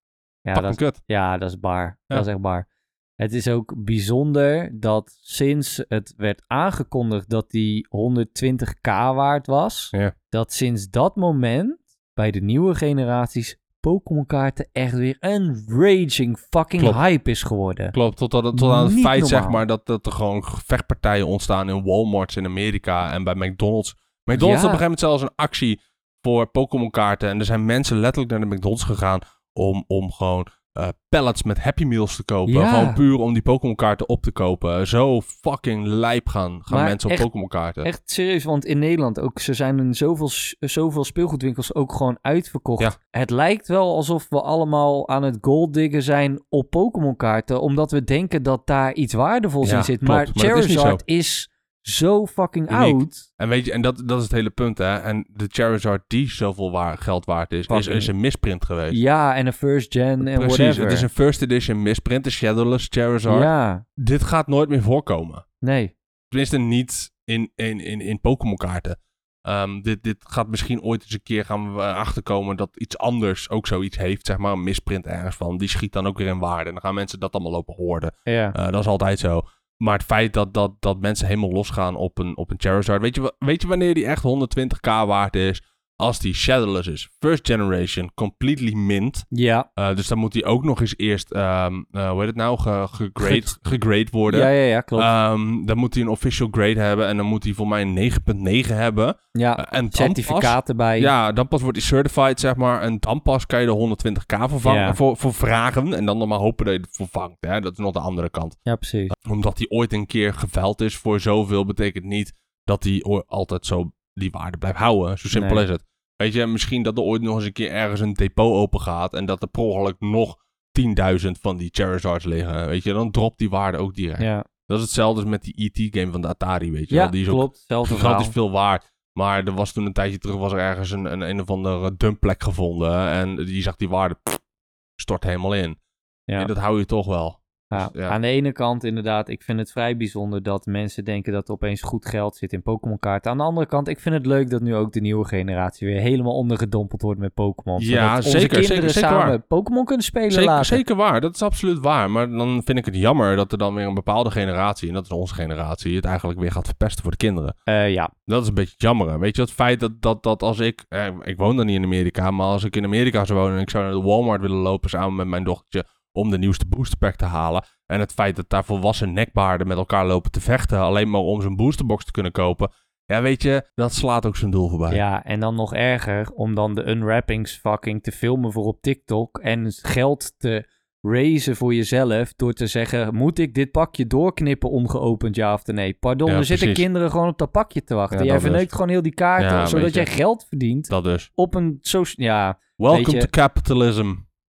S1: Ja,
S2: Pak
S1: dat
S2: een
S1: is
S2: kut.
S1: Ja, dat is baar.
S2: Ja.
S1: Dat is echt baar. Het is ook bijzonder dat sinds het werd aangekondigd dat die 120k waard was,
S2: Ja.
S1: dat sinds dat moment bij de nieuwe generaties Pokémon kaarten echt weer een raging fucking
S2: Klopt.
S1: hype is geworden.
S2: Klopt, tot, aan- tot aan het
S1: Niet
S2: feit zeg
S1: normaal.
S2: maar dat, dat er gewoon vechtpartijen ontstaan in Walmarts in Amerika en bij McDonald's. McDonald's had op een gegeven moment zelfs een actie voor Pokémon kaarten en er zijn mensen letterlijk naar de McDonald's gegaan om, om gewoon eh, pallets met Happy Meals te kopen.
S1: Ja.
S2: Gewoon puur om die Pokémon kaarten op te kopen. Zo fucking lijp gaan, gaan
S1: Maar
S2: mensen op
S1: echt-
S2: Pokémon kaarten.
S1: Echt serieus, want in Nederland ook, ze zijn in zoveel, s- zoveel speelgoedwinkels ook gewoon uitverkocht.
S2: Ja.
S1: Het lijkt wel alsof we allemaal aan het golddiggen zijn op Pokémon kaarten, omdat we denken dat daar iets waardevols
S2: Ja,
S1: in zit.
S2: klopt,
S1: maar
S2: maar dat is niet
S1: Charizard is, zo fucking
S2: Uniek.
S1: oud.
S2: En weet je, en dat, dat is het hele punt hè. En de Charizard die zoveel waar, geld waard is, is,
S1: Fucking-
S2: is een misprint geweest.
S1: Ja, en een first gen en
S2: Precies,
S1: whatever.
S2: het is een first edition misprint, de Shadowless Charizard.
S1: Ja,
S2: dit gaat nooit meer voorkomen.
S1: nee.
S2: Tenminste, niet in, in, in, in Pokémon kaarten. Ehm, dit, dit gaat misschien ooit eens een keer gaan we achterkomen dat iets anders ook zoiets heeft. Zeg maar een misprint ergens van. Die schiet dan ook weer in waarde. En dan gaan mensen dat allemaal lopen hoorden.
S1: Ja.
S2: Eh, dat is altijd zo. Maar het feit dat, dat, dat mensen helemaal losgaan op een, op een Charizard. Weet je, wa- weet je wanneer die echt 120k waard is? als die shadowless is. First generation, completely mint.
S1: Ja.
S2: Eh, dus dan moet die ook nog eens eerst, ehm, eh, hoe heet het nou, ge- gegrade,
S1: Ge-
S2: gegrade worden.
S1: Ja, ja, ja, klopt.
S2: Ehm, dan moet hij een official grade hebben en dan moet hij voor mij een 9.9 hebben.
S1: ja.
S2: Eh, en dan
S1: Ah, Certificaat erbij.
S2: Pas, ja, dan pas wordt hij certified, zeg maar. En dan pas kan je de 120k voor, vangen-
S1: Ja.
S2: voor, voor vragen. En dan nog maar hopen dat je het voor vangt. Hè? Dat is nog de andere kant.
S1: Ja, precies.
S2: Omdat hij ooit een keer geveild is voor zoveel, betekent niet dat hij oor- altijd zo die waarde blijft houden. Zo simpel
S1: Nee.
S2: is het. Weet je, misschien dat er ooit nog eens een keer ergens een depot open gaat en dat er per ongeluk nog 10.000 van die Charizards liggen. Weet je, dan dropt die waarde ook direct.
S1: Ja,
S2: Dat is hetzelfde als met die ET-game van de Atari, weet je
S1: ja
S2: wel. Die is ook
S1: klopt. Zelfde verhaal.
S2: gigantisch veel waard. Maar er was toen een tijdje terug was er ergens een, een, een of andere dumpplek gevonden. En die zag die waarde pff, stort helemaal in.
S1: Ja.
S2: En dat hou je toch wel.
S1: Ja,
S2: Dus, ja.
S1: Aan de ene kant inderdaad, ik vind het vrij bijzonder dat mensen denken dat er opeens goed geld zit in Pokémon kaarten. Aan de andere kant, ik vind het leuk dat nu ook de nieuwe generatie weer helemaal ondergedompeld wordt met Pokémon.
S2: Ja,
S1: Zodat onze
S2: zeker,
S1: kinderen
S2: zeker, zeker
S1: samen Pokémon kunnen spelen
S2: Zeker,
S1: later.
S2: zeker waar, dat is absoluut waar. Maar dan vind ik het jammer dat er dan weer een bepaalde generatie, en dat is onze generatie, het eigenlijk weer gaat verpesten voor de kinderen.
S1: Eh, ja,
S2: Dat is een beetje jammer. Weet je, het feit dat, dat, dat als ik, eh, ik woon dan niet in Amerika, maar als ik in Amerika zou wonen en ik zou naar de Walmart willen lopen samen met mijn dochtertje om de nieuwste boosterpack te halen. En het feit dat daar volwassen nekbaarden met elkaar lopen te vechten, alleen maar om zo'n boosterbox te kunnen kopen. Ja, weet je, dat slaat ook zijn doel voorbij.
S1: ja, en dan nog erger om dan de unwrappings fucking te filmen voor op TikTok en geld te raisen voor jezelf door te zeggen, moet ik dit pakje doorknippen ongeopend, ja of nee? Pardon,
S2: Ja,
S1: er zitten
S2: precies.
S1: kinderen gewoon op dat pakje te wachten.
S2: Ja,
S1: jij
S2: dat dus.
S1: verneukt gewoon heel die kaarten,
S2: Ja, weet
S1: zodat
S2: je.
S1: jij geld verdient.
S2: Dat dus.
S1: op een social... Ja, Weet
S2: Welcome
S1: je-
S2: to capitalism.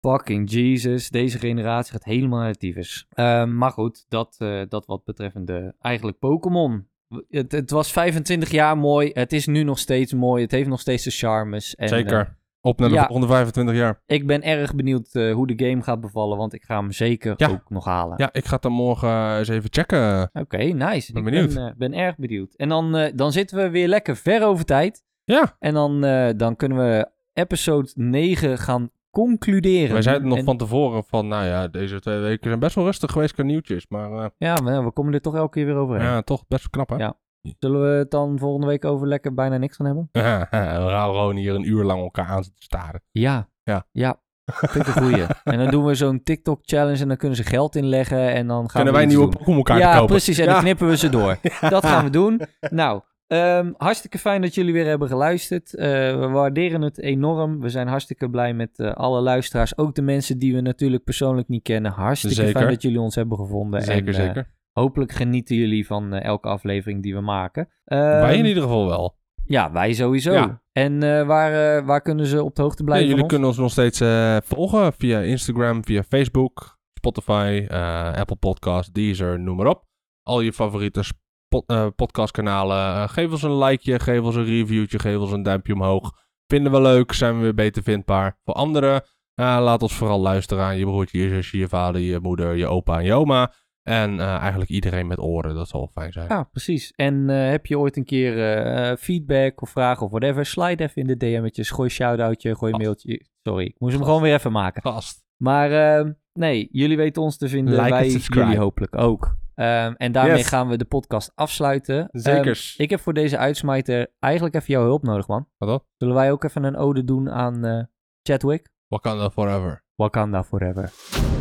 S1: fucking Jesus. Deze generatie gaat helemaal naar het tyfus. Eh, maar goed, dat, eh, dat wat betreffende eigenlijk Pokémon. Het, het was 25 jaar mooi. Het is nu nog steeds mooi. Het heeft nog steeds de charmes. En,
S2: Zeker.
S1: eh,
S2: Op naar de
S1: ja.
S2: volgende 25 jaar.
S1: ik ben erg benieuwd eh, hoe de game gaat bevallen, want ik ga hem zeker
S2: Ja.
S1: ook nog halen.
S2: Ja, ik ga het dan morgen eh, eens even checken.
S1: Oké, nice.
S2: Ben
S1: ik
S2: benieuwd.
S1: Ben, eh, ben erg benieuwd. En dan, eh, dan zitten we weer lekker ver over tijd.
S2: Ja,
S1: En dan, eh, dan kunnen we episode 9 gaan concluderen.
S2: wij zeiden nog
S1: En-
S2: van tevoren van, nou ja, deze twee weken zijn best wel rustig geweest qua nieuwtjes. Maar eh,
S1: Ja, maar we komen er toch elke keer weer overheen.
S2: ja, toch best knap, hè?
S1: Ja. Zullen we het dan volgende week over lekker bijna niks gaan hebben?
S2: we gaan gewoon hier een uur lang elkaar aan te staren.
S1: Ja.
S2: Ja.
S1: Ja. Vind ik een goeie. en dan doen we zo'n TikTok-challenge en dan kunnen ze geld inleggen en dan gaan
S2: Kunnen
S1: we
S2: wij
S1: iets
S2: nieuwe
S1: doen.
S2: Pokémon kaarten
S1: Ja,
S2: kopen?
S1: precies. En
S2: Ja.
S1: dan knippen we ze door. Dat gaan we doen. Nou, ehm, hartstikke fijn dat jullie weer hebben geluisterd. Eh, we waarderen het enorm. We zijn hartstikke blij met eh, alle luisteraars. Ook de mensen die we natuurlijk persoonlijk niet kennen. Hartstikke
S2: Zeker.
S1: fijn dat jullie ons hebben gevonden.
S2: Zeker,
S1: en, eh,
S2: zeker.
S1: hopelijk genieten jullie van eh, elke aflevering die we maken.
S2: wij in
S1: Ehm,
S2: ieder geval wel.
S1: Ja, wij sowieso.
S2: Ja.
S1: En eh, waar, eh, waar kunnen ze op de hoogte
S2: Ja,
S1: blijven? van
S2: jullie
S1: ons?
S2: kunnen ons nog steeds eh, volgen via Instagram, via Facebook, Spotify, eh, Apple Podcasts, Deezer, noem maar op. Al je favoriete spo- eh, podcastkanalen. Eh, geef ons een likeje, geef ons een reviewtje, geef ons een duimpje omhoog. Vinden we leuk, zijn we weer beter vindbaar. Voor anderen, eh, laat ons vooral luisteren aan je broertje, je zusje, je vader, je moeder, je opa en je oma. En eh, eigenlijk iedereen met oren, dat zal fijn zijn.
S1: Ja, precies. En eh, heb je ooit een keer eh, eh, feedback of vragen of whatever? Slide even in de DM'tjes. Gooi een shout-outje, gooi een
S2: Gast.
S1: mailtje. Sorry, ik moest hem gewoon weer even maken.
S2: Gast.
S1: Maar ehm, nee, jullie weten ons te vinden.
S2: Like en
S1: wij
S2: subscribe.
S1: jullie hopelijk ook. Ehm, en daarmee
S2: Yes.
S1: gaan we de podcast afsluiten. Ehm,
S2: Zekers.
S1: ik heb voor deze uitsmijter eigenlijk even jouw hulp nodig, man.
S2: Wat dan?
S1: Zullen wij ook even een ode doen aan eh Chadwick?
S2: Wakanda forever.
S1: Wakanda forever.